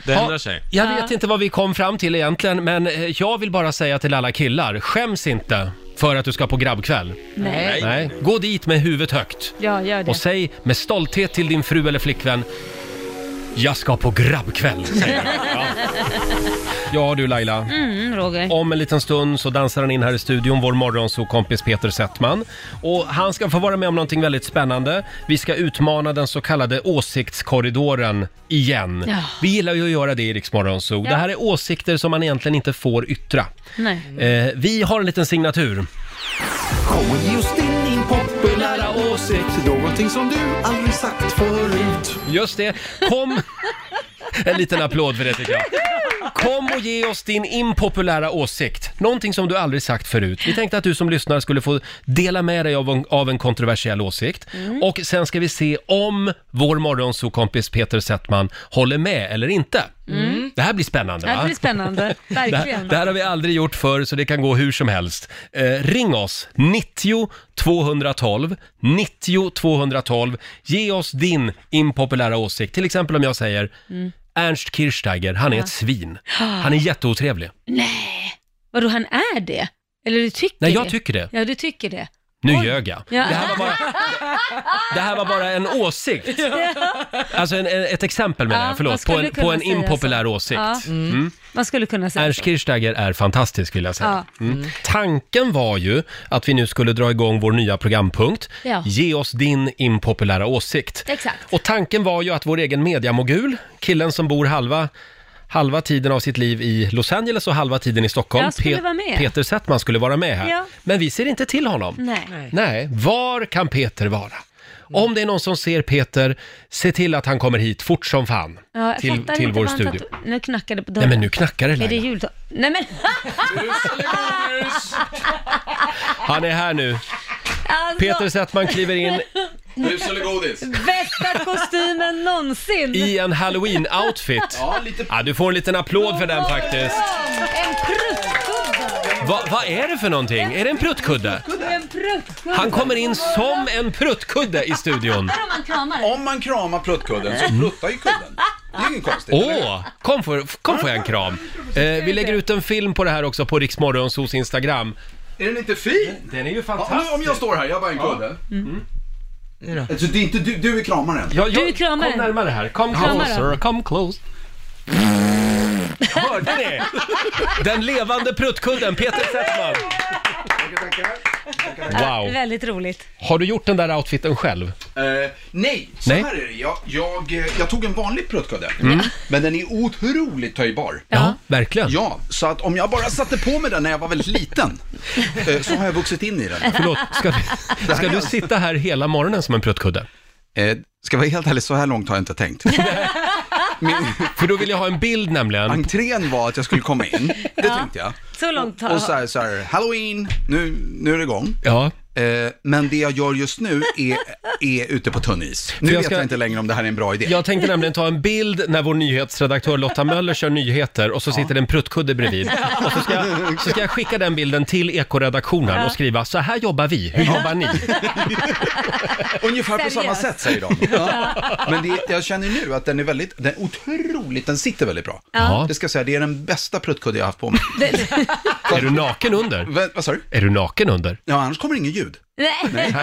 Speaker 10: det ändrar sig.
Speaker 1: Jag vet inte vad vi kom fram till egentligen, men eh, jag vill bara säga till alla killar, skäms inte för att du ska på grabbkväll.
Speaker 2: Nej.
Speaker 10: Nej.
Speaker 1: Nej, gå dit med huvudet högt
Speaker 2: Ja, gör det.
Speaker 1: Mm. och säg med stolthet till din fru eller flickvän, jag ska på grabbkväll, säger jag. ja. ja du Laila,
Speaker 2: Mm, Roger.
Speaker 1: om en liten stund så dansar han in här i studion, vår morgonsokompis Peter Settman. Och han ska få vara med om någonting väldigt spännande. Vi ska utmana den så kallade åsiktskorridoren igen.
Speaker 2: Ja.
Speaker 1: Vi gillar ju att göra det i Rix Morgonzoo. Det här är åsikter som man egentligen inte får yttra.
Speaker 2: Nej.
Speaker 1: Eh, vi har en liten signatur.
Speaker 11: Kommer just in din populära åsikt Någonting som du aldrig sagt förut
Speaker 1: Just det, kom... En liten applåd för det tycker jag. Kom och ge oss din impopulära åsikt. Någonting som du aldrig sagt förut. Vi tänkte att du som lyssnar skulle få dela med dig av en, av en kontroversiell åsikt.
Speaker 2: Mm.
Speaker 1: Och sen ska vi se om vår morgonsokompis Peter Settman håller med eller inte. Det här blir spännande va?
Speaker 2: Mm. Det blir spännande,
Speaker 1: Det här,
Speaker 2: verkligen.
Speaker 1: det här har vi aldrig gjort förr så det kan gå hur som helst. Eh, ring oss, 90 212, 90 212. Ge oss din impopulära åsikt. Till exempel om jag säger
Speaker 2: Mm.
Speaker 1: Ernst Kirchsteiger, han är ett svin. Han är jätteotrevlig.
Speaker 2: Nej, vadå han är det? Eller du tycker
Speaker 1: Nej, jag
Speaker 2: det?
Speaker 1: tycker det.
Speaker 2: Ja, du tycker det.
Speaker 1: Nu ljög jag.
Speaker 2: Ja.
Speaker 1: Det, här var bara, det här var bara en åsikt. Alltså en, en, ett exempel menar
Speaker 2: Ja,
Speaker 1: jag,
Speaker 2: vad
Speaker 1: förlåt.
Speaker 2: skulle
Speaker 1: På en,
Speaker 2: du kunna
Speaker 1: på en
Speaker 2: säga så?
Speaker 1: impopulär åsikt.
Speaker 2: Ja. Man skulle kunna säga
Speaker 1: Ernst
Speaker 2: så.
Speaker 1: Kirchsteiger är fantastisk vill jag säga. Mm. Tanken var ju att vi nu skulle dra igång vår nya programpunkt.
Speaker 2: Ja.
Speaker 1: Ge oss din impopulära åsikt.
Speaker 2: Exakt.
Speaker 1: Och tanken var ju att vår egen mediamogul, killen som bor halva halva tiden av sitt liv i Los Angeles och halva tiden i Stockholm,
Speaker 2: Jag skulle vara med.
Speaker 1: Peter Settman skulle vara med här.
Speaker 2: Ja.
Speaker 1: Men vi ser inte till honom.
Speaker 2: Nej. Mm.
Speaker 1: Nej, var kan Peter vara? Om det är någon som ser Peter, se till att han kommer hit fort som fan.
Speaker 2: Ja, jag
Speaker 1: till
Speaker 2: fattar
Speaker 1: till
Speaker 2: inte
Speaker 1: vår
Speaker 2: vad han
Speaker 1: studio.
Speaker 2: pratar- Nu knackade det på
Speaker 1: Nej
Speaker 2: dörren.
Speaker 1: men nu knackar det
Speaker 2: Är det
Speaker 1: Laila.
Speaker 2: jul? Nej men
Speaker 1: Han är här nu.
Speaker 2: alltså,
Speaker 1: Peter Settman kliver in
Speaker 8: Bus eller godis?
Speaker 2: bästa kostymen någonsin!
Speaker 1: i en halloween-outfit.
Speaker 8: Ja, lite...
Speaker 1: Ja, du får en liten applåd för den faktiskt.
Speaker 2: En pruttkudde!
Speaker 1: Va, vad är det för någonting? Är det en pruttkudde?
Speaker 2: En pruttkudde!
Speaker 1: Han kommer in som en pruttkudde i studion.
Speaker 2: Här har man kramar.
Speaker 11: Om man kramar pruttkudden så pruttar ju kudden. Det är ju inget konstigt.
Speaker 1: Åh,
Speaker 11: eller hur?
Speaker 1: kom, får, kom får jag en kram. Eh, vi lägger ut en film på det här också på Riksmorgonsos Instagram.
Speaker 11: Är den inte fin?
Speaker 1: Den är ju
Speaker 11: Ja, om, jag- om jag står här, jag är bara en kudde.
Speaker 10: Mm.
Speaker 11: Alltså, det är inte du, du är kramaren.
Speaker 1: Ja, ja,
Speaker 2: Du kramar
Speaker 1: kom
Speaker 2: den.
Speaker 1: närmare här. Come
Speaker 2: Kramar
Speaker 1: closer,
Speaker 2: den.
Speaker 1: come close. Hörde ni? Den levande pruttkudden, Peter Settman. Wow.
Speaker 2: Väldigt roligt.
Speaker 1: Har du gjort den där outfiten själv?
Speaker 11: Eh, nej, Mm. så
Speaker 1: Nej.
Speaker 11: här är det. Jag, jag, eh, jag tog en vanlig pruttkudde, men den är otroligt töjbar.
Speaker 1: Ja, verkligen.
Speaker 11: Ja, så att om jag bara satte på mig den när jag var väldigt liten, eh, så har jag vuxit in i den.
Speaker 1: Förlåt, ska, du- ska du sitta här hela morgonen som en pruttkudde?
Speaker 11: Eh, ska jag vara helt ärlig, så här långt har jag inte tänkt. Min
Speaker 1: För då vill jag ha en bild nämligen.
Speaker 11: entrén var att jag skulle komma in, det tänkte jag.
Speaker 2: Så långt har
Speaker 11: Och så här, så här halloween, nu, nu är det igång.
Speaker 1: Ja,
Speaker 11: Eh, men det jag gör just nu är, är ute på tunn is. Nu
Speaker 1: jag
Speaker 11: vet
Speaker 1: ska-
Speaker 11: jag inte längre om det här är en bra idé.
Speaker 1: jag tänkte nämligen ta en bild när vår nyhetsredaktör Lotta Möller kör nyheter och så sitter det en pruttkudde bredvid. Och så ska, jag, så ska jag skicka den bilden till ekoredaktionen och skriva så här jobbar vi, hur jobbar ni?
Speaker 11: Ungefär på
Speaker 2: Seriöst.
Speaker 11: samma sätt säger de. Men det, jag känner nu att den är väldigt, den är otroligt, den sitter väldigt bra.
Speaker 1: Ja.
Speaker 11: Det ska jag säga, det är den bästa pruttkudde jag haft på mig.
Speaker 1: Är du naken under?
Speaker 11: Vä- Vad sa du?
Speaker 1: Är du naken under?
Speaker 11: Ja, annars kommer det ingen ljud.
Speaker 2: Nej,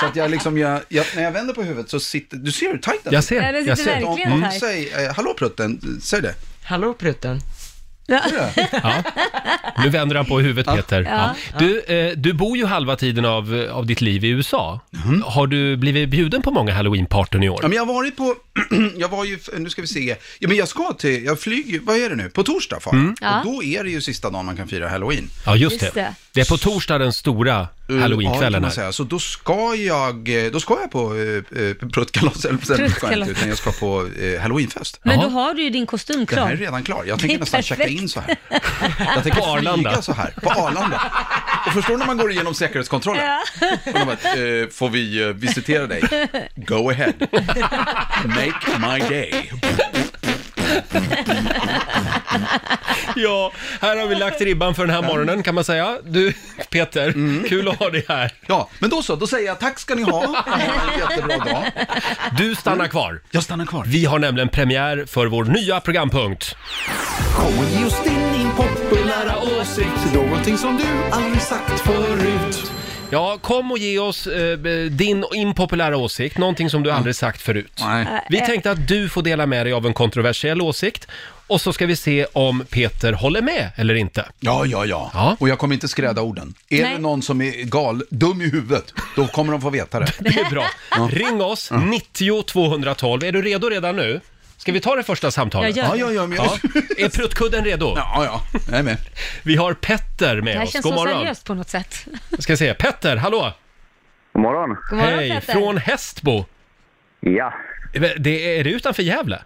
Speaker 11: Så att jag liksom, jag, jag, när jag vänder på huvudet så sitter, du ser hur tajt den
Speaker 1: Jag
Speaker 11: sitter.
Speaker 2: Ja,
Speaker 1: ser,
Speaker 2: det
Speaker 1: jag
Speaker 2: sitter
Speaker 1: ser.
Speaker 2: verkligen.
Speaker 11: Om, om,
Speaker 2: tajt.
Speaker 11: säg, eh, hallå prutten, säg det.
Speaker 3: Hallå prutten.
Speaker 1: Nu vänder han på huvudet Peter. Ja. Du, eh, du bor ju halva tiden av, eh, av ditt liv i USA. Har du blivit bjuden på många halloween-partyn i
Speaker 11: Mhm. Ja,
Speaker 1: år?
Speaker 11: men jag har varit på, jag var ju, nu ska vi se, ja, men jag ska till, jag flyger, ju- vad är det nu, på
Speaker 1: Mm.
Speaker 11: torsdag far.
Speaker 2: Ja.
Speaker 11: Och då är det ju sista dagen man kan fira halloween.
Speaker 1: Ja, just
Speaker 2: Just
Speaker 1: det.
Speaker 2: det.
Speaker 1: Det är på torsdag den stora halloweenkvällen
Speaker 11: Ja, det kan man
Speaker 1: här.
Speaker 11: säga. Så då ska jag, eh, då ska jag på eh, eh, pruttkalas, eller sen
Speaker 2: Pruttkalas.
Speaker 11: skämt, utan jag ska på eh, halloweenfest.
Speaker 2: Men då har du ju din kostym klar.
Speaker 11: Den här är redan klar. Jag tänker
Speaker 2: Det är
Speaker 11: nästan checka
Speaker 2: perfekt.
Speaker 11: in så här. Jag tänker
Speaker 1: På Arlanda.
Speaker 11: flyga så här, på Arlanda. Och förstår när man går igenom säkerhetskontrollen? Och de bara, eh, får vi eh, visitera dig? Go ahead. Make my day.
Speaker 1: Ja, här har vi lagt ribban för den här morgonen kan man säga. Du, Peter,
Speaker 11: Mm.
Speaker 1: kul att ha dig här.
Speaker 11: Ja, men då så, då säger jag tack ska ni ha. Ha en jättebra dag.
Speaker 1: Du stannar kvar.
Speaker 11: Jag stannar kvar.
Speaker 1: Vi har nämligen premiär för vår nya programpunkt.
Speaker 5: Kommer just in din populära åsikt Någonting som du aldrig sagt förut
Speaker 1: Ja, kom och ge oss eh, b- din impopulära åsikt, någonting som du aldrig sagt förut.
Speaker 11: Mm.
Speaker 2: Äh,
Speaker 11: Nej.
Speaker 1: Vi
Speaker 2: eh.
Speaker 1: tänkte att du får dela med dig av en kontroversiell åsikt och så ska vi se om Peter håller med eller inte.
Speaker 11: Ja, ja, ja,
Speaker 1: Ja.
Speaker 11: Och jag kommer inte skräda orden. Är
Speaker 2: Nej.
Speaker 11: det någon som är gal, dum i huvudet, då kommer de få veta det.
Speaker 1: Det är bra. Ring oss, 90 212. Är du redo redan nu? Ska vi ta det första samtalet?
Speaker 2: Jag
Speaker 11: Ja,
Speaker 2: gör
Speaker 11: ja, ja, men jag...
Speaker 1: Ja. Är pruttkudden redo?
Speaker 11: Ja, ja, jag är med.
Speaker 1: Vi har Petter
Speaker 2: det
Speaker 1: med
Speaker 2: här
Speaker 1: oss.
Speaker 2: känns
Speaker 1: God
Speaker 2: så
Speaker 1: morgon.
Speaker 2: seriöst på något sätt.
Speaker 1: Ska se. Petter, hallå!
Speaker 12: God morgon.
Speaker 2: God morgon,
Speaker 1: Hej,
Speaker 2: Petter.
Speaker 1: från Hästbo.
Speaker 12: Ja,
Speaker 1: Det är, är det utanför Gävle?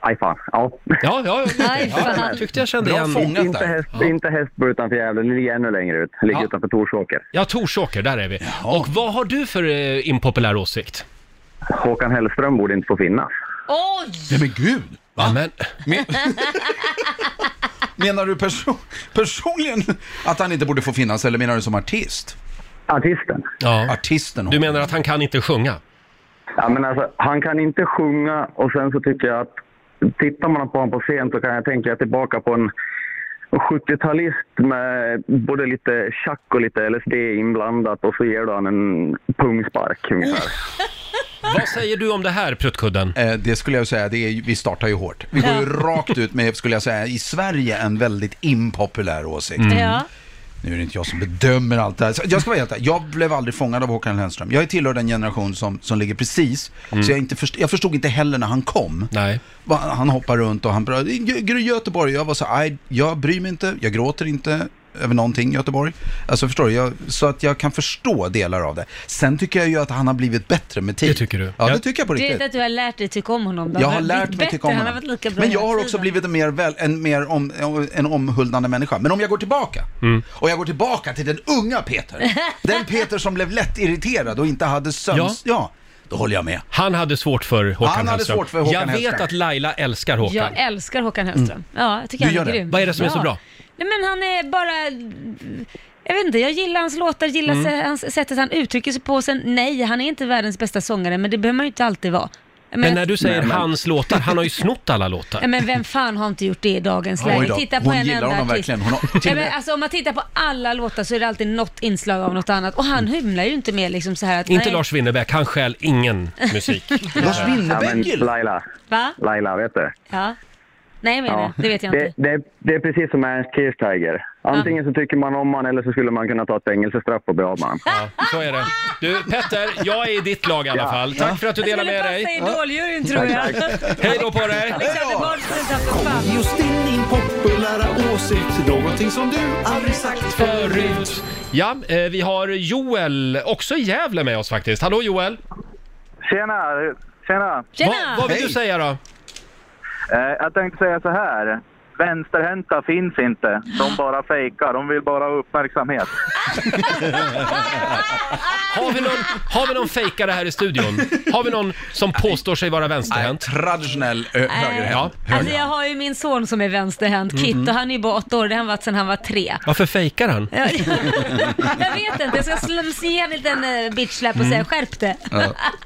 Speaker 12: aj fan. Ja.
Speaker 1: Ja, ja, ja.
Speaker 2: Aj, fan.
Speaker 1: Tyckte jag kände
Speaker 11: Bra
Speaker 1: igen.
Speaker 11: fångat
Speaker 12: Inte,
Speaker 11: där.
Speaker 12: häst, inte Hästbo utanför Gävle, ni ligger ännu längre ut. Ligger
Speaker 1: Ja.
Speaker 12: utanför Torsåker.
Speaker 1: Ja, Torsåker, där är vi.
Speaker 11: Jaha.
Speaker 1: Och vad har du för eh, impopulär åsikt?
Speaker 12: Håkan Hellström borde inte få finnas.
Speaker 2: Oj!
Speaker 11: Nej men gud!
Speaker 1: Ja, men,
Speaker 11: Men... menar du perso- personligen att han inte borde få finnas, eller menar du som artist?
Speaker 12: Artisten.
Speaker 1: ja.
Speaker 11: Artisten
Speaker 1: Du menar att han kan inte sjunga?
Speaker 12: Ja, men alltså, han kan inte sjunga och sen så tycker jag att tittar man på honom på scen så kan jag tänka tillbaka på en 70-talist med både lite tjack och lite LSD inblandat och så ger du han en pungspark ungefär.
Speaker 1: Vad säger du om det här, pruttkudden?
Speaker 11: Eh, Det skulle jag säga, det är, ju- vi startar ju hårt. Vi går ju rakt ut med, skulle jag säga, i Sverige en väldigt impopulär åsikt.
Speaker 1: Mm.
Speaker 2: Ja.
Speaker 11: Nu är det inte jag som bedömer allt det här. Så Jag ska vara helt ärlig, jag blev aldrig fångad av Håkan Hellström. Jag är tillhör den generation som, som ligger precis, så jag, inte först, jag förstod inte heller när han kom.
Speaker 1: Nej.
Speaker 11: Va- Han hoppar runt och han pratar, Gö- Gö- Göteborg, jag var så "Aj, jag bryr mig inte, jag gråter inte över någonting i Göteborg. Alltså förstår du, jag, så att jag kan förstå delar av det. Sen tycker jag ju att han har blivit bättre med tid.
Speaker 1: Det tycker du?
Speaker 11: Ja, det
Speaker 1: Ja.
Speaker 11: tycker jag på
Speaker 2: Du
Speaker 11: riktigt.
Speaker 2: vet att du har lärt dig tycka om honom då?
Speaker 11: Jag
Speaker 2: Han
Speaker 11: har lärt
Speaker 2: blivit
Speaker 11: mig tycka om
Speaker 2: bättre, Han har
Speaker 11: honom.
Speaker 2: varit lika bra
Speaker 11: Men jag
Speaker 2: hela
Speaker 11: har också
Speaker 2: tiden.
Speaker 11: blivit en mer, väl, en mer om, en omhuldande människa. Men om jag går tillbaka, och jag går tillbaka till den unga Peter, den Peter som blev lätt irriterad och inte hade sömns... Ja. då håller jag med.
Speaker 1: Han hade svårt för Håkan
Speaker 11: Han hade
Speaker 1: Hellström.
Speaker 11: svårt för Håkan
Speaker 1: Jag vet
Speaker 11: Hellström.
Speaker 1: att Laila älskar Håkan.
Speaker 2: Jag älskar Håkan Hellström. Ja, jag tycker
Speaker 11: Mm. Du
Speaker 2: han
Speaker 11: gör
Speaker 2: är
Speaker 11: det?
Speaker 2: grym.
Speaker 1: Vad är det som är så
Speaker 2: Ja.
Speaker 1: bra?
Speaker 2: Nej men han är bara... Jag vet inte, jag gillar hans låtar, gillar
Speaker 11: Mm.
Speaker 2: sä- hans, sättet han uttrycker sig på. Sen nej, han är inte världens bästa sångare, men det behöver man ju inte alltid vara. Men,
Speaker 1: Men när du säger hans låtar, han har ju snott alla låtar.
Speaker 2: Nej, men vem fan har inte gjort det i dagens
Speaker 11: Oj
Speaker 2: läge?
Speaker 11: då,
Speaker 2: Titta på
Speaker 11: hon
Speaker 2: en
Speaker 11: gillar
Speaker 2: enda
Speaker 11: honom
Speaker 2: artist.
Speaker 11: verkligen. Hon har, till
Speaker 2: Ja,
Speaker 11: och
Speaker 2: men
Speaker 11: med,
Speaker 2: alltså, om man tittar på alla låtar så är det alltid något inslag av något annat. Och han hymlar ju inte med liksom så här att...
Speaker 1: Inte
Speaker 2: nej,
Speaker 1: Lars Winnerbäck, han stjäl ingen musik.
Speaker 11: Lars
Speaker 12: Ja, men
Speaker 11: Winnerbäck gillar-
Speaker 12: Laila,
Speaker 2: Va?
Speaker 12: Laila, vet du?
Speaker 2: Ja. Nej menar jag, det vet jag
Speaker 12: det,
Speaker 2: inte.
Speaker 12: det, det är precis som Ernst Kirchsteiger. Antingen så tycker man om han eller så skulle man kunna ta ett fängelsestraff och bli av med han.
Speaker 1: Ja, så är det. Du, Petter, jag är i ditt lag i alla
Speaker 12: Ja.
Speaker 1: fall. Tack för att du delar med
Speaker 2: Det
Speaker 1: dig.
Speaker 2: skulle passa i idoljuryn tror jag.
Speaker 1: Hej då på dig!
Speaker 2: Alexander Bardström satt som fan.
Speaker 5: Just in din populära åsikt Någonting som du aldrig sagt förut
Speaker 1: Ja, eh, vi har Joel, också i Gävle med oss faktiskt. Hallå Joel!
Speaker 12: Tjena! Tjena!
Speaker 1: Va,
Speaker 2: Tjena!
Speaker 1: vad vill
Speaker 11: Hej.
Speaker 1: du säga då?
Speaker 12: Eh, jag tänkte säga så här. Vänsterhänta finns inte. De bara fejkar. De vill bara ha uppmärksamhet.
Speaker 1: Har vi någon, har vi någon fejkare här i studion? Har vi någon som påstår sig vara vänsterhänt?
Speaker 11: traditionell ö, högerhänt.
Speaker 2: Alltså jag har ju min son som är vänsterhänt, Kit, och han är ju bara åtta år, det har han varit sedan han var tre.
Speaker 1: Varför fejkar han?
Speaker 2: jag vet inte, jag ska slå- ge en liten eh, bitch-slap och säga skärp dig.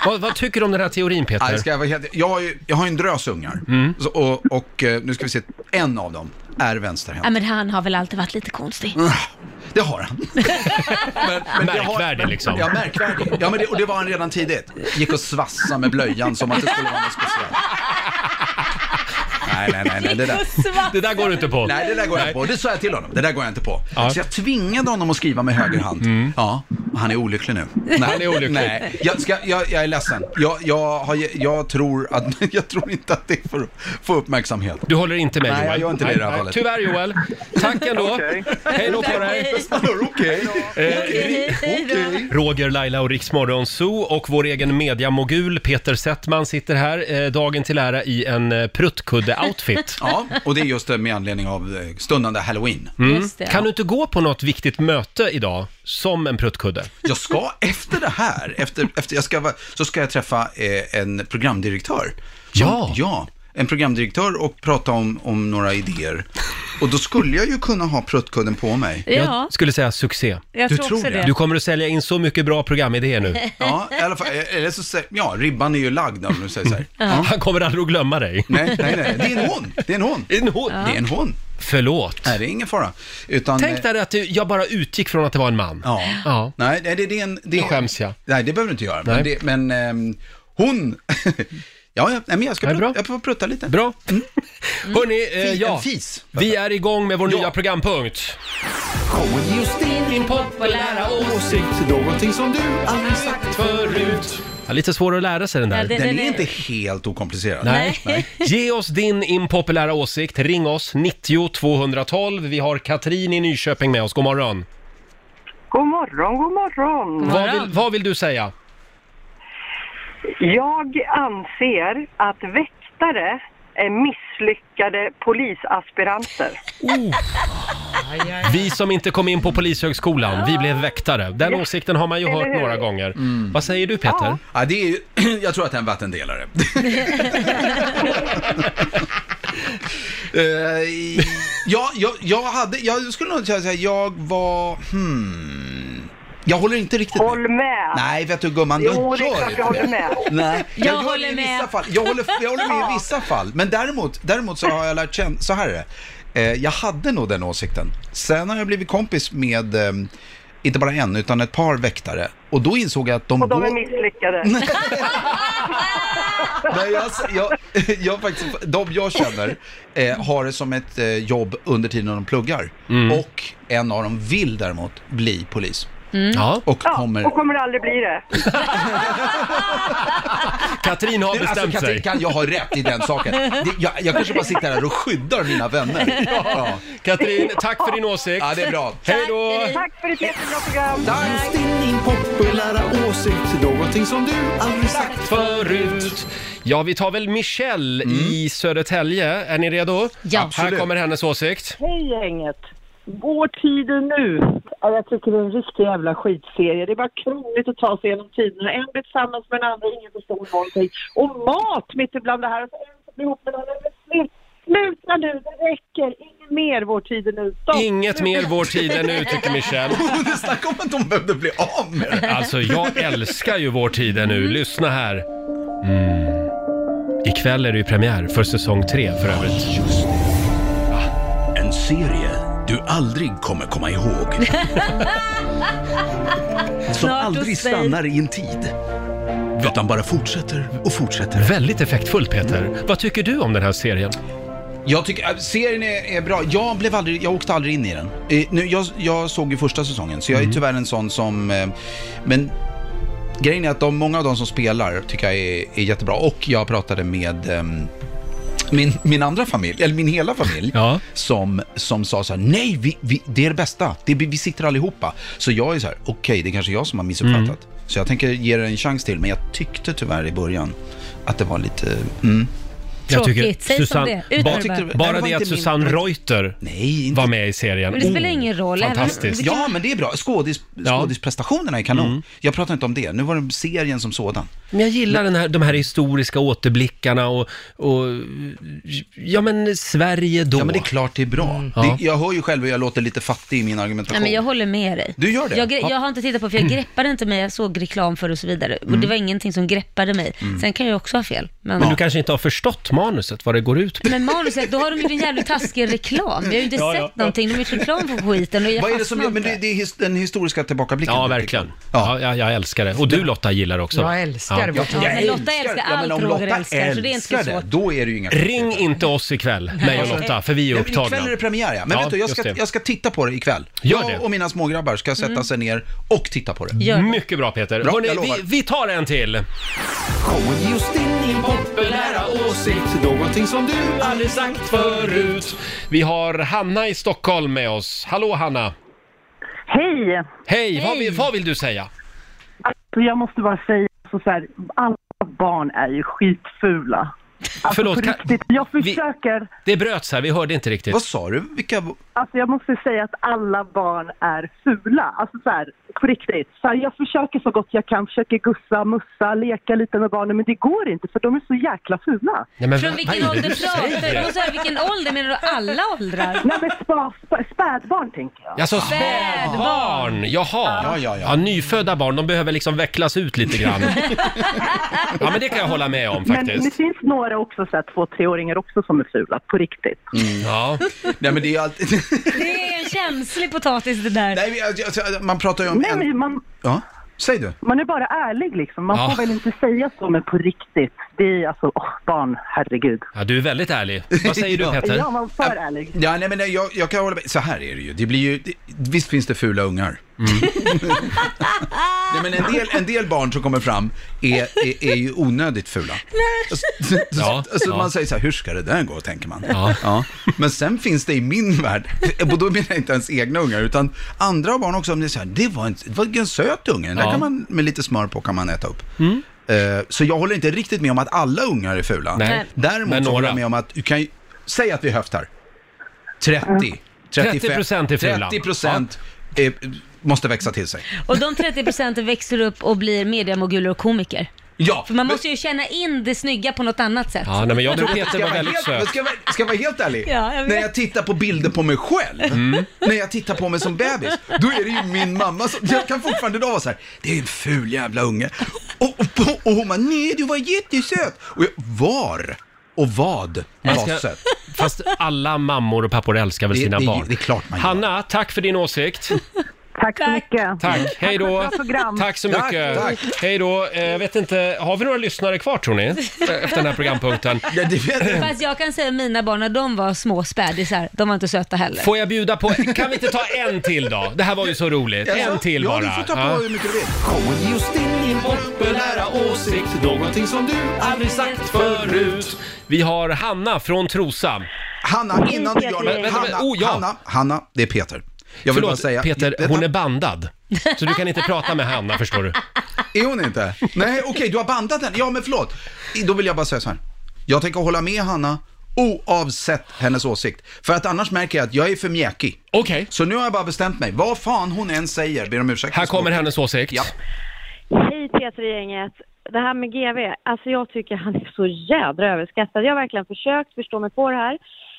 Speaker 1: Vad, vad tycker du om den här teorin Peter?
Speaker 11: Nej, ska jag, vara helt, jag, har ju, jag har ju en drös ungar. Så, och, och eh, nu ska vi se, en av dem är vänsterhänt.
Speaker 2: Ja men han har väl alltid varit lite konstig.
Speaker 11: Det har han. men, men det har-
Speaker 1: Märkvärdig, liksom.
Speaker 11: Ja, märkvärdig. Ja, men det, och det var han redan tidigt. Gick och svassa med blöjan som att det skulle vara något speciellt. Nej, nej, nej, nej, det där.
Speaker 1: Det där går du inte på.
Speaker 11: Nej, det där går jag inte på. Det sa jag till honom. Det där går jag inte på.
Speaker 1: Ja. Mm.
Speaker 11: Så jag tvingade honom att skriva med höger hand. Ja. Han är olycklig nu.
Speaker 1: Han är olycklig.
Speaker 11: Nej. Jag, ska, jag, jag är ledsen. Jag, jag, har, jag, tror att, jag tror inte att det får, får uppmärksamhet.
Speaker 1: Du håller inte med
Speaker 11: Nej,
Speaker 1: Joel?
Speaker 11: jag gör inte det i det här
Speaker 1: Nej,
Speaker 11: fallet.
Speaker 1: Tyvärr Joel. Tack ändå. Hej då på dig.
Speaker 11: Okej.
Speaker 1: Roger, Laila och Riksmorgon Zoo och vår egen mediamogul Peter Settman sitter här, eh, dagen till ära i en eh, pruttkudde-outfit.
Speaker 11: Ja, och det är just det med anledning av eh, stundande halloween.
Speaker 1: Mm. Kan du inte gå på något viktigt möte idag som en pruttkudde?
Speaker 11: Jag ska efter det här, efter, efter jag ska, vara- så ska jag träffa eh, en programdirektör. Som,
Speaker 1: Ja.
Speaker 11: Ja, en programdirektör och prata om, om några idéer. Och då skulle jag ju kunna ha pruttkudden på mig.
Speaker 2: Ja.
Speaker 1: Jag skulle säga succé.
Speaker 2: Jag Du tror tror också det? det.
Speaker 1: Du kommer att sälja in så mycket bra programidéer nu.
Speaker 11: Ja, i alla fall, eh, eller så säger, ja, ribban är ju lagd om du säger så här. Ja.
Speaker 1: Han kommer aldrig att glömma dig.
Speaker 11: Nej, nej, nej, det är en hon, det är en hon.
Speaker 1: En hon?
Speaker 11: Det är en hon.
Speaker 1: Förlåt.
Speaker 11: Nej, det är ingen fara. Utan, eh,
Speaker 1: Tänk där att du, jag bara utgick från att det var en man.
Speaker 11: Ja.
Speaker 1: ja.
Speaker 11: Nej, nej, det, det är en... Det,
Speaker 1: Då skäms jag.
Speaker 11: Nej, det behöver du inte göra.
Speaker 1: Nej.
Speaker 11: Men, det, men ehm, hon... ja, ja, nej, men jag ska prut, jag får prutta lite.
Speaker 1: Bra. Hörni, eh,
Speaker 11: Mm. Fi-
Speaker 1: ja.
Speaker 11: en fis.
Speaker 1: Vi är igång med vår nya programpunkt.
Speaker 5: Kom just in din populära åsikt, någonting som du
Speaker 11: Ah,
Speaker 5: aldrig sagt förut.
Speaker 1: Ja, lite svår att lära sig den där.
Speaker 5: Ja, den- Den är den är- inte
Speaker 11: helt okomplicerad.
Speaker 1: Nej. Ge oss din impopulära åsikt. Ring oss, 90 212. Vi har Katrin i Nyköping med oss. God morgon.
Speaker 13: God morgon, god morgon.
Speaker 1: Vad, vill, vad vill du säga?
Speaker 13: Jag anser att väktare är misslyckade polisaspiranter.
Speaker 1: Vi som inte kom in på Polishögskolan, vi blev väktare. Den åsikten har man ju hört
Speaker 13: Eller hur?
Speaker 1: några gånger.
Speaker 11: Mm.
Speaker 1: Vad säger du Peter?
Speaker 11: Ja, Ah, det är ju, jag tror att det är en vattendelare. Eh, i- ja, jag, jag hade, jag skulle nog säga så här, jag var, hmm. Jag håller inte riktigt med. Håll
Speaker 13: med.
Speaker 11: Nej, vet du gumman,
Speaker 13: Jo,
Speaker 11: jag
Speaker 13: det är
Speaker 11: gör
Speaker 13: klart
Speaker 11: inte
Speaker 13: jag håller med.
Speaker 11: Nej,
Speaker 13: Jag
Speaker 11: gör det
Speaker 13: håller
Speaker 11: i
Speaker 13: med.
Speaker 11: Vissa fall. Jag, håller, jag håller med i vissa fall. Men däremot, däremot så har jag lärt känna, så här är det. Eh, Jag hade nog den åsikten. Sen har jag blivit kompis med, eh, inte bara en, utan ett par väktare. Och då insåg jag att de
Speaker 13: Och de
Speaker 11: går-
Speaker 13: är misslyckade.
Speaker 11: Nej, jag, jag, jag faktiskt, de jag känner eh, har det som ett eh, jobb under tiden de pluggar. Och en av dem vill däremot bli polis.
Speaker 13: Mm.
Speaker 1: Ja.
Speaker 11: Och kommer...
Speaker 13: Och kommer aldrig bli det.
Speaker 1: Katrin har
Speaker 11: Nej,
Speaker 1: bestämt
Speaker 11: alltså, Katrin,
Speaker 1: sig.
Speaker 11: Kan jag har rätt i den saken. Det, jag, jag kanske bara sitter här och skyddar mina vänner.
Speaker 1: Ja. Katrin, tack för din åsikt.
Speaker 11: Ja, det är bra.
Speaker 1: Hej då!
Speaker 13: Tack för ett jättebra program.
Speaker 5: Just in din populära åsikt, någonting som du aldrig sagt
Speaker 1: förut. Ja, vi tar väl Michelle
Speaker 11: Mm.
Speaker 1: i Södertälje. Är ni redo?
Speaker 14: Ja.
Speaker 1: Här
Speaker 14: Absolut.
Speaker 1: kommer hennes åsikt.
Speaker 14: Hej gänget! Vår tid är nu. Ja, Jag tycker det är en riktig jävla skitserie. Det är bara krångligt att ta sig genom tiderna. En blir tillsammans med en annan, ingen förstår någonting. Och mat mitt ibland det här. Och så en som blir ihop med en annan. Men slut- Sluta nu, det räcker. Inget mer Vår tid är nu. Stopp.
Speaker 1: Inget
Speaker 14: Sluta.
Speaker 1: mer Vår tid är nu, tycker Michelle.
Speaker 11: Snacka om att de behövde bli av med det.
Speaker 1: Alltså, jag älskar ju Vår tid är nu. Lyssna här. Mm. Ikväll är det ju premiär för säsong tre, för övrigt.
Speaker 4: Ah, En serie du aldrig kommer komma ihåg. Som
Speaker 5: Snart
Speaker 4: aldrig
Speaker 5: hos dig.
Speaker 4: stannar i en tid. Utan bara fortsätter och fortsätter.
Speaker 1: Väldigt effektfullt, Peter. Vad tycker du om den här serien?
Speaker 11: Jag tycker, äh, serien är, är bra. Jag blev aldrig, jag åkte aldrig in i den. Eh, nu, jag, jag såg ju första säsongen, så jag är tyvärr en sån som, eh, men grejen är att de, många av de som spelar tycker jag är, är jättebra. Och jag pratade med ehm, min, min andra familj, eller min hela familj, som, som sa så här, nej, vi, vi, det är det bästa, det, vi sitter allihopa. Så jag är så här, okej, det är kanske jag som har missuppfattat.
Speaker 1: Mm.
Speaker 11: Så jag tänker ge det en chans till, men jag tyckte tyvärr i början att det var lite, mm.
Speaker 1: Jag tycker
Speaker 2: Tråkigt. Säg som det. Ut med det bara.
Speaker 1: bara, bara det
Speaker 11: Nej, det var
Speaker 1: att
Speaker 11: inte min-
Speaker 1: Susanne Reuter var med i serien.
Speaker 2: Men det spelar
Speaker 1: Oh,
Speaker 2: ingen roll. även om-
Speaker 1: Fantastiskt.
Speaker 2: det kan-
Speaker 11: Ja, men det är bra. Skådis, skådisprestationerna är kanon.
Speaker 1: Mm.
Speaker 11: Jag pratar inte om det. Nu var det serien som sådan.
Speaker 1: Men jag gillar den här, de här historiska återblickarna och, och ja men Sverige då. Ja men det är
Speaker 11: klart det är bra.
Speaker 1: Ja.
Speaker 11: Det, jag hör ju själv hur jag låter lite fattig i min argumentation.
Speaker 2: Nej, men jag håller med dig.
Speaker 11: Du gör det?
Speaker 2: Jag, gre-
Speaker 11: Ja.
Speaker 2: jag har inte tittat på för jag greppade inte mig. Jag såg reklam för och så vidare. Och
Speaker 11: Mm.
Speaker 2: det var ingenting som greppade mig.
Speaker 11: Mm.
Speaker 2: Sen kan jag också ha fel.
Speaker 1: Men, du kanske inte har förstått manuset, vad det går ut på.
Speaker 2: Men manuset, då har de gjort en jävligt taskig reklam. Vi har ju inte
Speaker 1: Ja,
Speaker 2: sett
Speaker 1: ja.
Speaker 2: någonting. De har gjort reklam för skiten. Och jag
Speaker 11: Vad är det som
Speaker 2: fastnar
Speaker 11: gör, men
Speaker 2: inte.
Speaker 11: det, det är his, den historiska tillbakablicken.
Speaker 1: Ja, verkligen. Ja. jag, jag älskar det. Och du Lotta gillar det också.
Speaker 11: Jag älskar
Speaker 1: Ja.
Speaker 11: det. Jag
Speaker 2: Ja, men Lotta
Speaker 11: älskar-
Speaker 2: älskar
Speaker 11: ja,
Speaker 2: allt
Speaker 11: men om
Speaker 2: Roger
Speaker 11: Lotta
Speaker 2: älskar, så det är inte så
Speaker 11: älskar det,
Speaker 2: svårt.
Speaker 11: Då är det ju inga
Speaker 1: Ring inte oss ikväll, mig och Lotta, för vi är
Speaker 11: Nej, men
Speaker 1: upptagna.
Speaker 11: Ikväll är det premiär, ja. Men vet du, jag ska,
Speaker 1: just det.
Speaker 11: jag ska titta på det ikväll.
Speaker 1: Gör det.
Speaker 11: jag och mina smågrabbar ska sätta
Speaker 1: Mm.
Speaker 11: sig ner och titta på det.
Speaker 1: Gör det. Mycket bra Peter.
Speaker 11: Bra,
Speaker 1: Hörrni,
Speaker 11: jag lovar.
Speaker 1: vi, vi tar en till.
Speaker 5: Kom just in din populära åsikt, någonting som du aldrig sagt förut.
Speaker 1: Vi har Hanna i Stockholm med oss. Hallå Hanna!
Speaker 15: Hej!
Speaker 1: Hej! Vad, vill, vad vill du säga?
Speaker 15: Så jag måste bara säga så, så här, alla barn är ju skitfula. Alltså,
Speaker 1: Förlåt,
Speaker 15: på
Speaker 1: kan-
Speaker 15: riktigt, jag försöker,
Speaker 1: Det bröts här, vi hörde inte riktigt.
Speaker 11: Vad sa du? Vilka...
Speaker 15: alltså jag måste säga att alla barn är fula. Alltså så här, på riktigt. Så här, jag försöker så gott jag kan, försöker gussa, mussa, leka lite med barnen, men det går inte för de är så jäkla fula.
Speaker 1: Nej, men
Speaker 2: Från vilken ålder pratar du? Och så här, vilken ålder? Menar du alla åldrar?
Speaker 15: Nej men spa, spa, spädbarn tänker jag.
Speaker 1: Alltså
Speaker 2: Spädbarn.
Speaker 1: spädbarn! Jaha! Ja, ja, ja. nyfödda barn, de behöver liksom vecklas ut lite grann. ja, men det kan jag hålla med om
Speaker 15: Men
Speaker 1: faktiskt.
Speaker 15: det finns några också, så här, två treåringar också som är fula, på riktigt.
Speaker 1: Mm. Ja.
Speaker 11: Nej, men det är ju alltid...
Speaker 2: Det är en känslig potatis det där.
Speaker 11: Nej, men jag- jag- jag- man pratar ju om...
Speaker 15: Nej, men man,
Speaker 11: Ja, säg du.
Speaker 15: Man är bara ärlig liksom. Man
Speaker 1: Ja.
Speaker 15: får väl inte säga så, men på riktigt. Det är alltså, åh, barn, herregud.
Speaker 1: Ja, du är väldigt ärlig. Vad säger du
Speaker 11: Ja.
Speaker 1: Peter?
Speaker 15: Jag var för ärlig.
Speaker 11: Ja, nej, men nej, jag, jag kan hålla med. Så här är det ju. Det blir ju det, visst finns det fula ungar. Mm. nej, men en del, en del barn som kommer fram är, är, är ju onödigt fula. Så,
Speaker 5: Ja,
Speaker 11: alltså,
Speaker 5: ja.
Speaker 11: Man säger så här, hur ska det där gå, tänker man.
Speaker 5: Ja.
Speaker 11: Men sen finns det i min värld, och då menar jag inte ens egna ungar, utan andra barn också, om det är så här, det var en, det var en söt unge, den där
Speaker 5: Ja. Mm.
Speaker 11: kan man, med lite smör på kan man äta upp. Eh, Så jag håller inte riktigt med om att alla ungar är fula.
Speaker 5: Nej.
Speaker 11: Däremot
Speaker 5: Men
Speaker 11: så håller
Speaker 5: några.
Speaker 11: jag med om att, du kan ju, säg att vi höftar. 30, 35,
Speaker 1: 30% är fula.
Speaker 11: 30 procent måste växa till sig.
Speaker 2: Och de 30 procenten växer upp och blir mediamoguler och komiker.
Speaker 11: Ja,
Speaker 2: För man måste ju känna in det snygga på något annat sätt.
Speaker 1: Ja, nej, men jag tror
Speaker 11: Ska
Speaker 1: Peter
Speaker 11: jag
Speaker 1: var
Speaker 11: vara
Speaker 1: väldigt
Speaker 11: helt-
Speaker 1: söt.
Speaker 11: men Ska jag, vara- ska jag vara helt ärlig?
Speaker 2: Ja, jag vet.
Speaker 11: när jag tittar på bilder på mig själv,
Speaker 1: Mm.
Speaker 11: när jag tittar på mig som bebis, då är det ju min mamma som, jag kan fortfarande idag vara så här, det är en ful jävla unge. Och, och, och hon bara, nej du var jättesöt. Och jag, var och vad
Speaker 1: Man
Speaker 11: var
Speaker 1: ska-
Speaker 11: söt?
Speaker 1: Fast alla mammor och pappor älskar väl
Speaker 11: Det-
Speaker 1: sina
Speaker 11: det-
Speaker 1: barn?
Speaker 11: det är klart man gör.
Speaker 1: Hanna, tack för din åsikt.
Speaker 15: Tack så mycket.
Speaker 1: Tack, hej då. Tack så mycket.
Speaker 5: Tack,
Speaker 1: Hej då. Eh, Jag vet inte, har vi några lyssnare kvar tror ni? Eh, Efter den här programpunkten.
Speaker 11: Ja, det vet
Speaker 2: Fast jag kan säga mina barn när de var små spädisar, de var inte söta heller.
Speaker 1: Får jag bjuda på, kan vi inte ta en till då? Det här var ju så roligt. En till bara. Ja.
Speaker 11: mycket Alltså, du vill.
Speaker 5: Kom just in din populära åsikt, någonting som du aldrig sagt förut.
Speaker 1: Vi har Hanna från Trosa.
Speaker 11: Hanna, innan du gör
Speaker 1: Men-
Speaker 11: det,
Speaker 1: vänta,
Speaker 11: Hanna,
Speaker 1: men- oh, ja.
Speaker 11: Hanna, Hanna, det är Peter. Jag vill
Speaker 1: Förlåt,
Speaker 11: bara säga,
Speaker 1: Peter,
Speaker 11: detta-
Speaker 1: hon är bandad. Så du kan inte prata med Hanna förstår du.
Speaker 11: Är hon inte? Nej, okej, du har bandat den. Ja, men förlåt. Då vill jag bara säga så här. Jag tänker hålla med Hanna oavsett hennes åsikt. För att annars märker jag att jag är för mjäkig.
Speaker 1: Okej.
Speaker 11: Så nu har jag bara bestämt mig. Vad fan hon än säger, ber om ursäkt. Här kommer
Speaker 1: hennes åsikt. Ja.
Speaker 16: Hej Peter-gänget. Det här med GV, alltså jag tycker han är så jädra överskattad. Jag har verkligen försökt förstå mig på det här.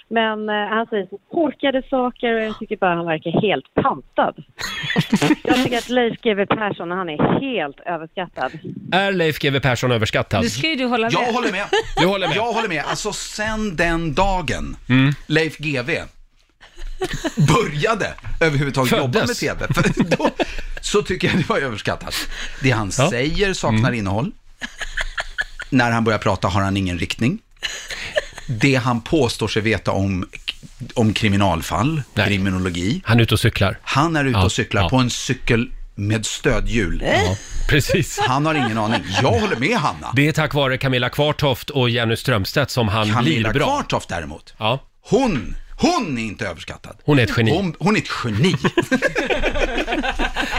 Speaker 16: Men eh, han säger så korkade saker och jag tycker bara han verkar helt pantad. jag tycker att Leif GW Persson, han är helt överskattad.
Speaker 1: Är Leif GW Persson överskattad?
Speaker 2: du hålla
Speaker 16: med.
Speaker 11: Jag håller med.
Speaker 1: Du håller med. Mm.
Speaker 11: Jag håller med. Alltså sen den dagen Leif GV började överhuvudtaget jobba med
Speaker 5: Föddes.
Speaker 11: TV, för då, så tycker jag det var överskattat. Det han säger saknar
Speaker 1: Mm.
Speaker 11: innehåll. När han börjar prata har han ingen riktning. Det han påstår sig veta om, om kriminalfall, kriminologi.
Speaker 1: Han är ute och cyklar.
Speaker 11: Han är ute
Speaker 1: Ja,
Speaker 11: och cyklar
Speaker 1: ja.
Speaker 11: på en cykel med stödhjul.
Speaker 1: Ja, precis.
Speaker 11: Han har ingen aning. Jag håller med Hanna.
Speaker 1: Det är tack vare Camilla Kvartoft och Jenny Strömstedt som han
Speaker 11: Camilla
Speaker 1: blir bra.
Speaker 11: Kvartoft däremot.
Speaker 1: Ja.
Speaker 11: Hon, hon är inte överskattad.
Speaker 1: Hon är ett geni.
Speaker 11: Hon, hon är ett geni.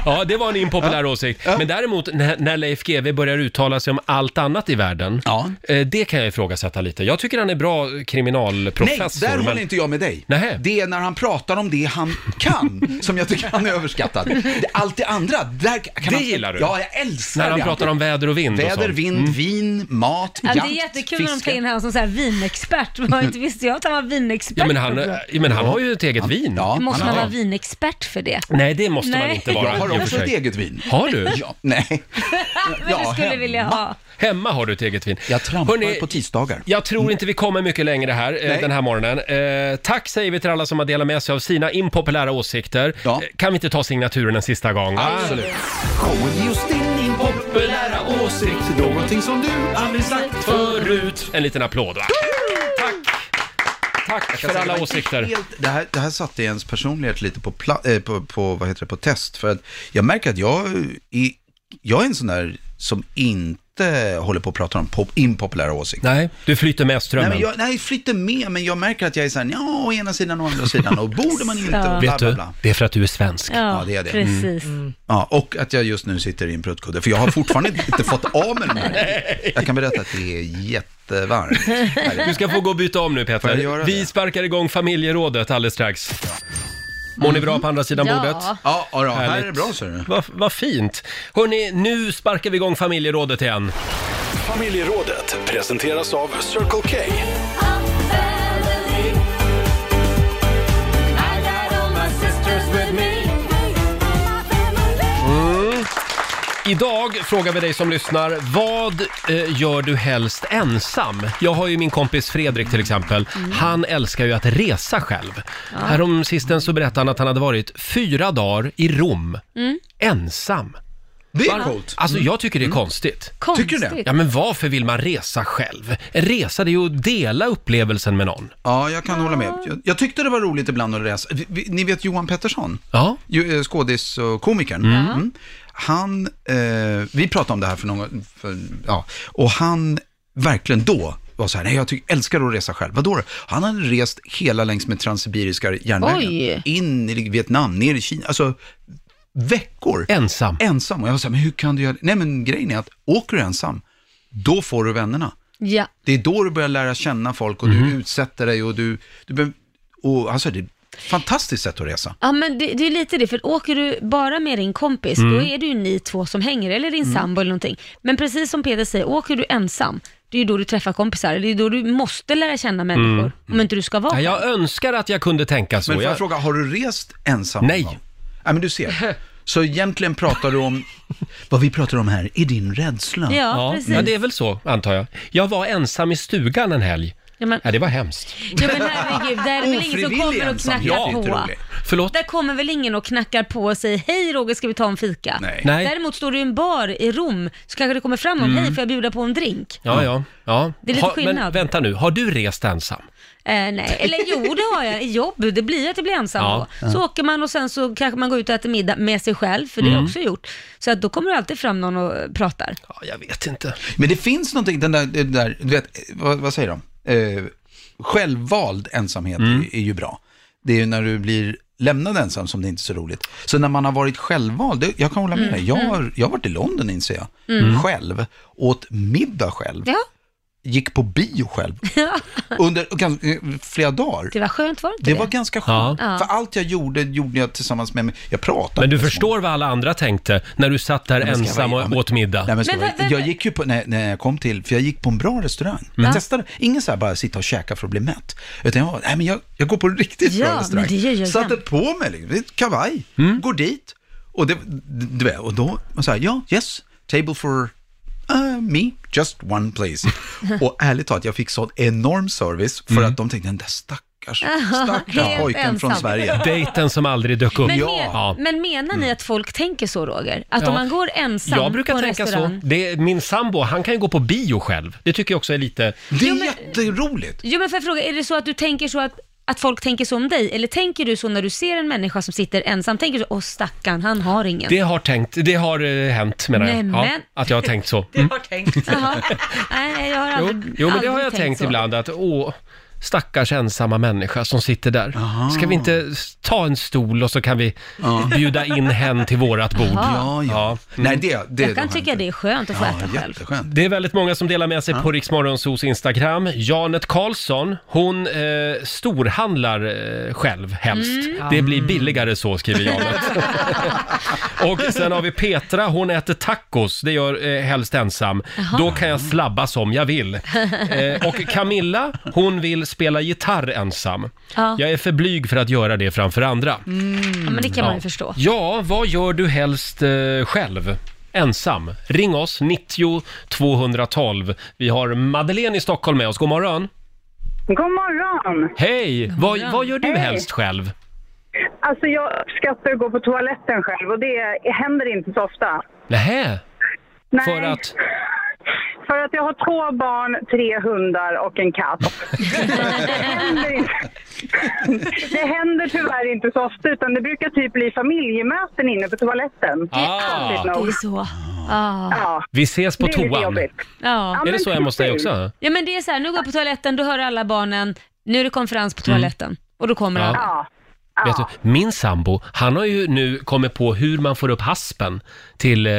Speaker 1: Ja, det var en impopulär åsikt. Men däremot när, när Leif GW börjar uttala sig om allt annat i världen, eh, det kan jag ifrågasätta lite. Jag tycker han är bra kriminalprofessor.
Speaker 11: Nej, där
Speaker 1: men-
Speaker 11: håller inte jag med dig. Det är när han pratar om det han kan som jag tycker han är överskattad. Det- Allt det andra, där kan
Speaker 1: Det
Speaker 11: han...
Speaker 1: gillar du?
Speaker 11: Ja, jag älskar
Speaker 1: När han
Speaker 11: det.
Speaker 1: pratar om väder och vind och
Speaker 11: Väder,
Speaker 1: sånt.
Speaker 11: vind,
Speaker 1: Mm.
Speaker 11: vin, mat,
Speaker 2: Ja,
Speaker 11: jakt,
Speaker 2: det är jättekul när de
Speaker 11: fiske.
Speaker 2: tar in honom som så här vinexpert. Man inte visste jag att han var vinexpert.
Speaker 1: Ja, men han,
Speaker 2: också.
Speaker 1: ja, men han har ju ett eget vin.
Speaker 2: Måste man vara vinexpert för det?
Speaker 1: Nej, det måste man
Speaker 2: Nej.
Speaker 1: inte vara.
Speaker 11: Jag har
Speaker 1: i och
Speaker 11: också
Speaker 1: för sig.
Speaker 11: ett eget vin.
Speaker 1: Har du?
Speaker 11: Ja, nej.
Speaker 2: Men du skulle vilja ha.
Speaker 1: Hemma har du ett eget vin.
Speaker 11: Jag trampar på tisdagar.
Speaker 1: Jag tror inte vi kommer mycket längre här eh,
Speaker 11: Nej.
Speaker 1: den här morgonen. Eh, tack säger vi till alla som har delat med sig av sina impopulära åsikter. Eh, Kan vi inte ta signaturen en sista gång? Ah,
Speaker 5: Absolut. Kom just din impopulära åsikt, någonting som du aldrig sagt förut.
Speaker 1: En liten applåd va? Tack! Tack
Speaker 11: kan
Speaker 1: för
Speaker 11: säga, Alltså, det
Speaker 1: alla
Speaker 11: var
Speaker 1: åsikter.
Speaker 11: helt- Det här, det här satte ens personlighet lite på, pla- eh, på, på, vad heter det, på test. För att jag märker att jag är, jag är en sån där som inte håller på att prata om pop, impopulära åsikter.
Speaker 1: Nej, du flyter med strömmen.
Speaker 11: Nej, men jag, nej, flyter med, men jag märker att jag är såhär, ja, å ena sidan och å andra sidan, och borde man inte,
Speaker 2: Ja.
Speaker 11: bla,
Speaker 1: Vet
Speaker 11: bla,
Speaker 1: du,
Speaker 11: bla.
Speaker 1: det är för att du är Mm. svensk.
Speaker 2: Ja,
Speaker 11: Ja, det är det.
Speaker 2: precis.
Speaker 11: Ja, och att jag just nu sitter i en pruttkudde, för jag har fortfarande inte fått av mig den här. Jag kan berätta att det är jättevarmt.
Speaker 1: Du ska få gå och byta om nu
Speaker 11: Får jag göra
Speaker 1: Peter. Vi sparkar igång familjerådet alldeles strax. Mår ni bra på andra sidan
Speaker 11: Ja.
Speaker 1: bordet?
Speaker 11: Ja, ja, här är
Speaker 1: Härligt.
Speaker 11: det bra, ser du.
Speaker 1: Vad vad fint. Hörni, nu sparkar vi igång familjerådet igen.
Speaker 4: Familjerådet presenteras av Circle K.
Speaker 1: Mm. Idag frågar vi dig som lyssnar, vad eh, gör du helst ensam? Jag har ju min kompis Fredrik till exempel. Han älskar ju att resa själv.
Speaker 2: Mm. Ja.
Speaker 1: Härom sisten så berättade han att han hade varit fyra dagar i Rom,
Speaker 2: Mm.
Speaker 1: ensam.
Speaker 11: Det
Speaker 2: är coolt.
Speaker 1: Alltså
Speaker 2: Mm.
Speaker 1: jag tycker det är konstigt.
Speaker 2: Konstigt. Tycker du det?
Speaker 1: Ja men varför vill man resa själv? En resa det är ju att dela upplevelsen med någon.
Speaker 11: Ja, jag kan hålla med. Jag, jag tyckte det var roligt ibland att läsa. Vi- vi- Ni vet Johan Pettersson?
Speaker 1: Ja.
Speaker 11: Ju- eh, Skådis och komikern.
Speaker 1: Mm.
Speaker 11: Mm. Han, eh, vi pratade om det här för någon, för, ja, och han verkligen då var så här, nej jag tycker, älskar att resa själv. Vadå då? Han hade rest hela längs med Transsibiriska järnvägen.
Speaker 2: Oj.
Speaker 11: In i Vietnam, ner i Kina, alltså veckor.
Speaker 1: Ensam.
Speaker 11: Ensam. Och jag var så här, men hur kan du göra det? Nej men grejen är att åker du ensam, då får du vännerna.
Speaker 2: Ja.
Speaker 11: Det är då du börjar lära känna folk och du utsätter dig och du... du behöver- och alltså, det är ett fantastiskt sätt att resa.
Speaker 2: Ja men det, det är lite det, för åker du bara med din kompis,
Speaker 11: Mm.
Speaker 2: då är det ju ni två som hänger, eller din
Speaker 11: Mm.
Speaker 2: sambo eller någonting. Men precis som Peder säger, åker du ensam, det är ju då du träffar kompisar, det är då du måste lära känna människor,
Speaker 1: Mm.
Speaker 2: om inte du ska vara
Speaker 1: Ja, jag önskar att jag kunde tänka så.
Speaker 11: Men får jag
Speaker 1: Jag-
Speaker 11: fråga, har du rest ensam? Nej. Nej, men du ser. Så egentligen pratar du om... Vad vi pratar om här är din rädsla.
Speaker 1: ja, det är väl så, antar jag. Jag var ensam i stugan en helg.
Speaker 2: Ja, men-
Speaker 1: Ja, det var hemskt.
Speaker 2: Ja men herregud, där är det väl ingen som
Speaker 1: Ofrivillig
Speaker 2: kommer och
Speaker 1: ensam.
Speaker 2: knackar
Speaker 1: Ja, det är
Speaker 2: på.
Speaker 1: inte roligt. Förlåt?
Speaker 2: Där kommer väl ingen och knackar på och säger hej Roger, ska vi ta en fika?
Speaker 1: Nej. Nej.
Speaker 2: Däremot står du i en bar i Rom, så kanske det kommer fram och
Speaker 1: Mm.
Speaker 2: hej, får jag bjuda på en drink?
Speaker 1: Ja, ja. ja.
Speaker 2: Det är lite
Speaker 1: Men
Speaker 2: skillnad.
Speaker 1: vänta nu, har du rest ensam?
Speaker 2: Eh, nej, eller jo det har jag, i jobb, det blir att jag blir ensam
Speaker 1: Ja.
Speaker 2: då. Så
Speaker 1: Ja.
Speaker 2: åker man och sen så kanske man går ut och äter middag med sig själv, för det har jag
Speaker 11: Mm.
Speaker 2: också gjort. Så att då kommer det alltid fram någon och eh, pratar.
Speaker 1: Ja, jag vet inte.
Speaker 11: Men det finns någonting, den där, den där du vet, vad, vad säger de? Eh, självvald ensamhet
Speaker 2: Mm.
Speaker 11: är, är ju bra. Det är ju när du blir lämnad ensam som det inte är så roligt. Så när man har varit självvald, det- jag kan hålla med
Speaker 2: Mm.
Speaker 11: dig, jag har, jag har varit i London inser jag,
Speaker 2: Mm.
Speaker 11: själv, åt middag själv,
Speaker 2: Ja.
Speaker 11: gick på bio själv, under ganska- eh, flera dagar.
Speaker 2: Det var skönt var Typ det inte
Speaker 11: Det var ganska skönt,
Speaker 2: Ja.
Speaker 11: för allt jag gjorde, gjorde jag tillsammans med mig. Jag pratade
Speaker 1: Men du
Speaker 11: inte så
Speaker 1: förstår vad alla andra tänkte när du satt där
Speaker 11: Nej, men ska jag
Speaker 1: ensam
Speaker 11: vara-
Speaker 1: och åt middag?
Speaker 11: Nej, men ska jag, vara- jag gick ju på, när, när jag kom till, för jag gick på en bra restaurang.
Speaker 1: Mm.
Speaker 11: Jag
Speaker 1: Ja.
Speaker 11: testade, ingen så här bara sitta och käka för att bli mätt. Utan jag, var, nej men jag, jag går på en riktigt
Speaker 2: Ja,
Speaker 11: bra restaurang.
Speaker 2: men det gör jag
Speaker 11: Satte
Speaker 2: jämt. Mm.
Speaker 11: på mig, liksom, det är ett kavaj, går dit. Och, det, du vet, och då, man säger ja, yes, table for uh, me, just one place. och ärligt talat, jag fick sån enorm service för att de tänkte, den där stackars, stackars
Speaker 2: Mm. Helt
Speaker 11: pojken från
Speaker 2: ensam.
Speaker 11: Sverige.
Speaker 1: Dejten som aldrig dök upp.
Speaker 2: Men, men, men menar ni att folk tänker så Roger?
Speaker 1: Mm.
Speaker 2: Att
Speaker 1: Ja.
Speaker 2: om man går ensam
Speaker 1: jag brukar
Speaker 2: på en
Speaker 1: tänka
Speaker 2: restaurang?
Speaker 1: så. Det är, min sambo, han kan ju gå på bio själv. Det tycker jag också är lite...
Speaker 11: Det är jätteroligt!
Speaker 2: Jo men för fråga, är det så att du tänker så att, att folk tänker så om dig? Eller tänker du så när du ser en människa som sitter ensam? Tänker du så, åh stackarn, han har ingen.
Speaker 1: Det har, tänkt, det har eh, hänt menar jag.
Speaker 2: Nämen.
Speaker 1: att jag har tänkt så. Mm.
Speaker 2: Jaha. Nej, jag har
Speaker 1: Jo,
Speaker 2: aldrig,
Speaker 1: jo men det
Speaker 2: aldrig
Speaker 1: har jag tänkt
Speaker 2: så.
Speaker 1: ibland att åh, stackars ensamma människa som sitter där. Ska vi inte s- ta en stol och så kan vi bjuda in hen till vårat bord?
Speaker 2: Aha. Ja,
Speaker 11: Nej, det,
Speaker 2: jag kan tycka det är skönt att få äta själv.
Speaker 1: Det är väldigt många som delar med sig på Riksmorgonsos Instagram. Janet Karlsson, hon eh, storhandlar eh, själv helst.
Speaker 2: Mm.
Speaker 1: Det blir billigare så, skriver Janet. Och sen har vi Petra, hon äter tacos, det gör eh, helst ensam.
Speaker 2: Jaha.
Speaker 1: Då kan jag slabba som jag vill. Eh, och Camilla, hon vill spela gitarr ensam.
Speaker 2: Ja.
Speaker 1: Jag är för blyg för att göra det framför före andra.
Speaker 2: Ja, men det kan man
Speaker 1: Ja.
Speaker 2: ju förstå.
Speaker 1: Ja, vad gör du helst eh, själv? Ensam. Ring oss, 90 212. Vi har Madeleine i Stockholm med oss. God morgon!
Speaker 17: God morgon!
Speaker 1: Hej! Vad,
Speaker 17: morgon.
Speaker 1: vad gör du
Speaker 17: Hej.
Speaker 1: helst själv?
Speaker 17: Alltså jag uppskattar att gå på toaletten själv och det händer inte så ofta.
Speaker 1: Nähä?
Speaker 17: Nej.
Speaker 1: För att?
Speaker 17: För att jag har två barn, tre hundar och en katt. det, händer inte. det händer tyvärr inte så ofta utan det brukar typ bli familjemöten inne på toaletten.
Speaker 1: Ah.
Speaker 17: Konstigt nog.
Speaker 2: Det är så. Ah.
Speaker 17: Ja.
Speaker 1: Vi ses på
Speaker 17: Det är lite
Speaker 1: toan.
Speaker 17: jobbigt.
Speaker 2: Ja.
Speaker 1: Är det så hemma hos dig också?
Speaker 2: Ja, men det är så här, nu går jag på toaletten, då hör alla barnen, nu är det konferens på
Speaker 1: Mm.
Speaker 2: toaletten. Och då kommer
Speaker 1: Ja.
Speaker 2: alla.
Speaker 1: Ja. Vet du, min sambo, han har ju nu kommit på hur man får upp haspen till eh,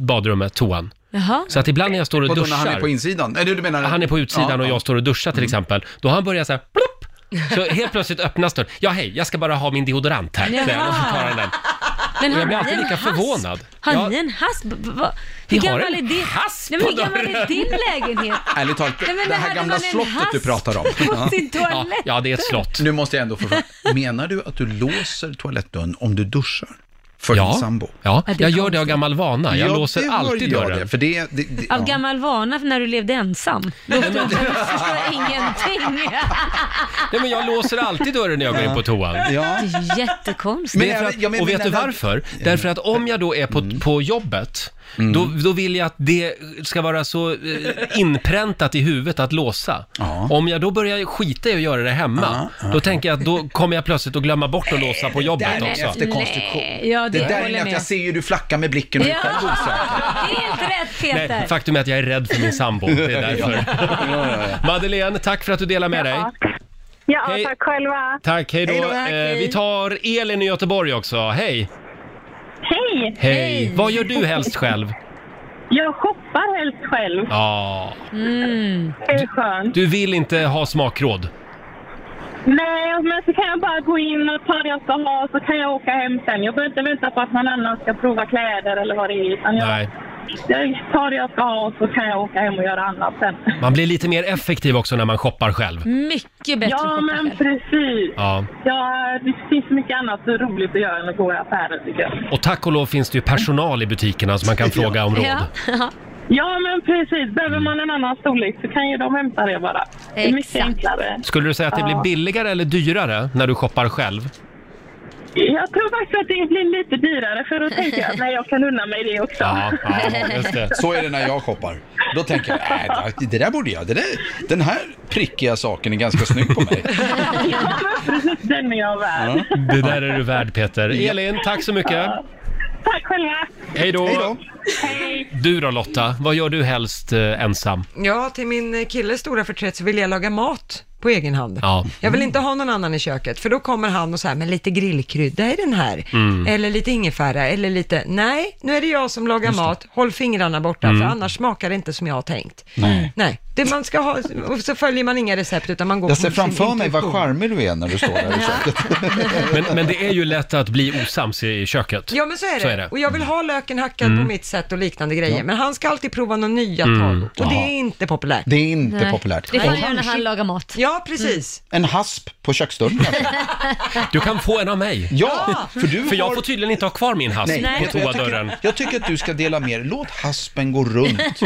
Speaker 1: badrummet, toan.
Speaker 2: Jaha.
Speaker 1: Så att ibland när jag står och
Speaker 11: Vadå,
Speaker 1: duschar...
Speaker 11: när han är på insidan? Eller du menar...
Speaker 1: Han är på utsidan
Speaker 11: Ja,
Speaker 1: och
Speaker 11: ja.
Speaker 1: jag står och duschar till exempel. Då har han börjat så här, plopp! Så helt plötsligt öppnas dörren. Ja, hej, jag ska bara ha min deodorant här. säger han, Och så tar han den.
Speaker 2: Men
Speaker 1: Och jag
Speaker 2: har
Speaker 1: blir
Speaker 2: ni
Speaker 1: alltid
Speaker 2: en
Speaker 1: lika
Speaker 2: hasp?
Speaker 1: förvånad.
Speaker 2: Har
Speaker 1: Ja.
Speaker 2: ni en hasp? B- b- vad-
Speaker 1: Vi
Speaker 2: Hur
Speaker 1: har
Speaker 2: gammal är
Speaker 1: en
Speaker 2: din?
Speaker 1: hasp
Speaker 2: Nej, men
Speaker 1: på
Speaker 2: hur gammal är
Speaker 1: dörren.
Speaker 2: din lägenhet?
Speaker 11: Ärligt talat,
Speaker 2: Nej, men
Speaker 11: det
Speaker 2: det
Speaker 11: här
Speaker 2: hade
Speaker 11: gamla
Speaker 2: man en
Speaker 11: slottet du
Speaker 2: hasp
Speaker 11: pratar om.
Speaker 2: på sin toalett.
Speaker 11: ja.
Speaker 1: det är ett slott.
Speaker 11: Nu måste jag ändå få fråga. Menar du att du låser toalettdörren om du duschar? För
Speaker 1: Ja.
Speaker 11: din sambo?
Speaker 1: Ja, jag gör det av gammal vana. Jag låser alltid dörren.
Speaker 11: Det, för det, det, det,
Speaker 2: Av gammal vana när du levde ensam. Då förstår jag ingenting.
Speaker 1: Nej, men jag låser alltid dörren när jag går in på toan.
Speaker 2: Det är ju jättekonstigt.
Speaker 1: Men det är för att, och vet du varför? Därför att om jag då är på, på jobbet, då, då vill jag att det ska vara så eh, inpräntat i huvudet att låsa. Om jag då börjar skita i att göra det hemma, då tänker jag att då kommer jag plötsligt att glömma bort att låsa på jobbet
Speaker 11: där är en
Speaker 1: också.
Speaker 11: efterkonstruktion.
Speaker 2: Nej, ja, det,
Speaker 11: det där är
Speaker 2: håller
Speaker 11: inget att jag
Speaker 2: med.
Speaker 11: ser ju du flackar med blicken och
Speaker 2: Ja,
Speaker 11: utan
Speaker 2: det är inte rätt Peter.
Speaker 1: Nej, faktum är att jag är rädd för min sambo. Det är därför. Madeleine, tack för att du delar med dig.
Speaker 17: Ja,
Speaker 1: Hej.
Speaker 17: tack själva.
Speaker 1: Tack, hej då.
Speaker 17: Hej då, tack,
Speaker 1: eh,
Speaker 17: hej.
Speaker 1: vi tar Elin i Göteborg också. Hej!
Speaker 18: Hej!
Speaker 1: Hej! Vad gör du helst själv?
Speaker 18: Jag shoppar helst själv.
Speaker 1: Ja,
Speaker 18: Det är skönt.
Speaker 1: du vill inte ha smakråd.
Speaker 18: Nej, alltså, men så kan jag bara gå in och ta det jag ska ha så kan jag åka hem sen. Jag behöver inte vänta på att någon annan ska prova kläder eller vad det är. Utan jag,
Speaker 1: Nej.
Speaker 18: jag tar det jag ska ha och så kan jag åka hem och göra annat sen.
Speaker 1: Man blir lite mer effektiv också när man shoppar själv.
Speaker 2: Mycket
Speaker 18: bättre Ja, men precis.
Speaker 1: Ja.
Speaker 18: Ja, det finns mycket annat roligt att göra än att gå i affären tycker jag.
Speaker 1: Och tack och lov finns det ju personal i butikerna som man kan fråga om råd.
Speaker 18: Ja. ja, men precis. Behöver man en annan storlek så kan ju de hämta det bara. Det är mycket enklare.
Speaker 1: Skulle du säga att det blir
Speaker 18: Ja.
Speaker 1: billigare eller dyrare när du shoppar själv?
Speaker 18: Jag tror faktiskt att det blir lite dyrare för då tänker jag att nej, jag kan unna mig det också.
Speaker 1: Ja, ja, just det.
Speaker 11: Så är det när jag shoppar. Då tänker jag, nej, det- det där borde jag. Det där, den här prickiga saken är ganska snygg på mig.
Speaker 18: Ja, men precis. Den är jag värd.
Speaker 1: Det där är du värd Peter. Elin, tack så mycket.
Speaker 18: Tack själva.
Speaker 1: Hej
Speaker 11: Hej
Speaker 1: då.
Speaker 11: då.
Speaker 1: Du då Lotta, vad gör du helst eh, ensam?
Speaker 3: Ja, till min killes stora förtret så vill jag laga mat på egen hand.
Speaker 1: Ja.
Speaker 3: Jag
Speaker 11: Mm.
Speaker 3: vill inte ha någon annan i köket, för då kommer han och så här, men lite grillkrydda i den här,
Speaker 1: Mm.
Speaker 3: eller lite ingefära, eller lite, nej, nu är det jag som lagar mat, håll fingrarna borta,
Speaker 11: Mm.
Speaker 3: för annars smakar det inte som jag har tänkt.
Speaker 11: Nej.
Speaker 3: Nej, det man ska ha, och så följer man inga recept, utan man går
Speaker 11: Jag
Speaker 3: på
Speaker 11: ser
Speaker 3: sin
Speaker 11: framför mig vad
Speaker 3: intuition.
Speaker 11: charmig du är när du står där.
Speaker 1: Men, men det är ju lätt att bli osams i köket.
Speaker 3: Ja men så är, det. Och jag vill ha löken hackad
Speaker 1: Mm.
Speaker 3: på mitt sätt och liknande grejer.
Speaker 1: Ja.
Speaker 3: Men han ska alltid prova några nya
Speaker 1: Mm.
Speaker 3: tag. Och det
Speaker 11: Jaha.
Speaker 3: är inte populärt.
Speaker 11: Det är inte Nej. populärt.
Speaker 2: Det får
Speaker 11: Och
Speaker 2: man göra när han
Speaker 11: kanske-
Speaker 2: lagar mat.
Speaker 3: Ja, precis.
Speaker 11: En hasp på köksdörren kanske?
Speaker 1: Du kan få en av mig.
Speaker 11: Ja, för du
Speaker 1: jag
Speaker 11: har-
Speaker 1: får tydligen inte ha kvar min hasp på
Speaker 11: vet du, jag
Speaker 1: toadörren.
Speaker 11: tycker, jag tycker att du ska dela med dig. Låt haspen gå runt.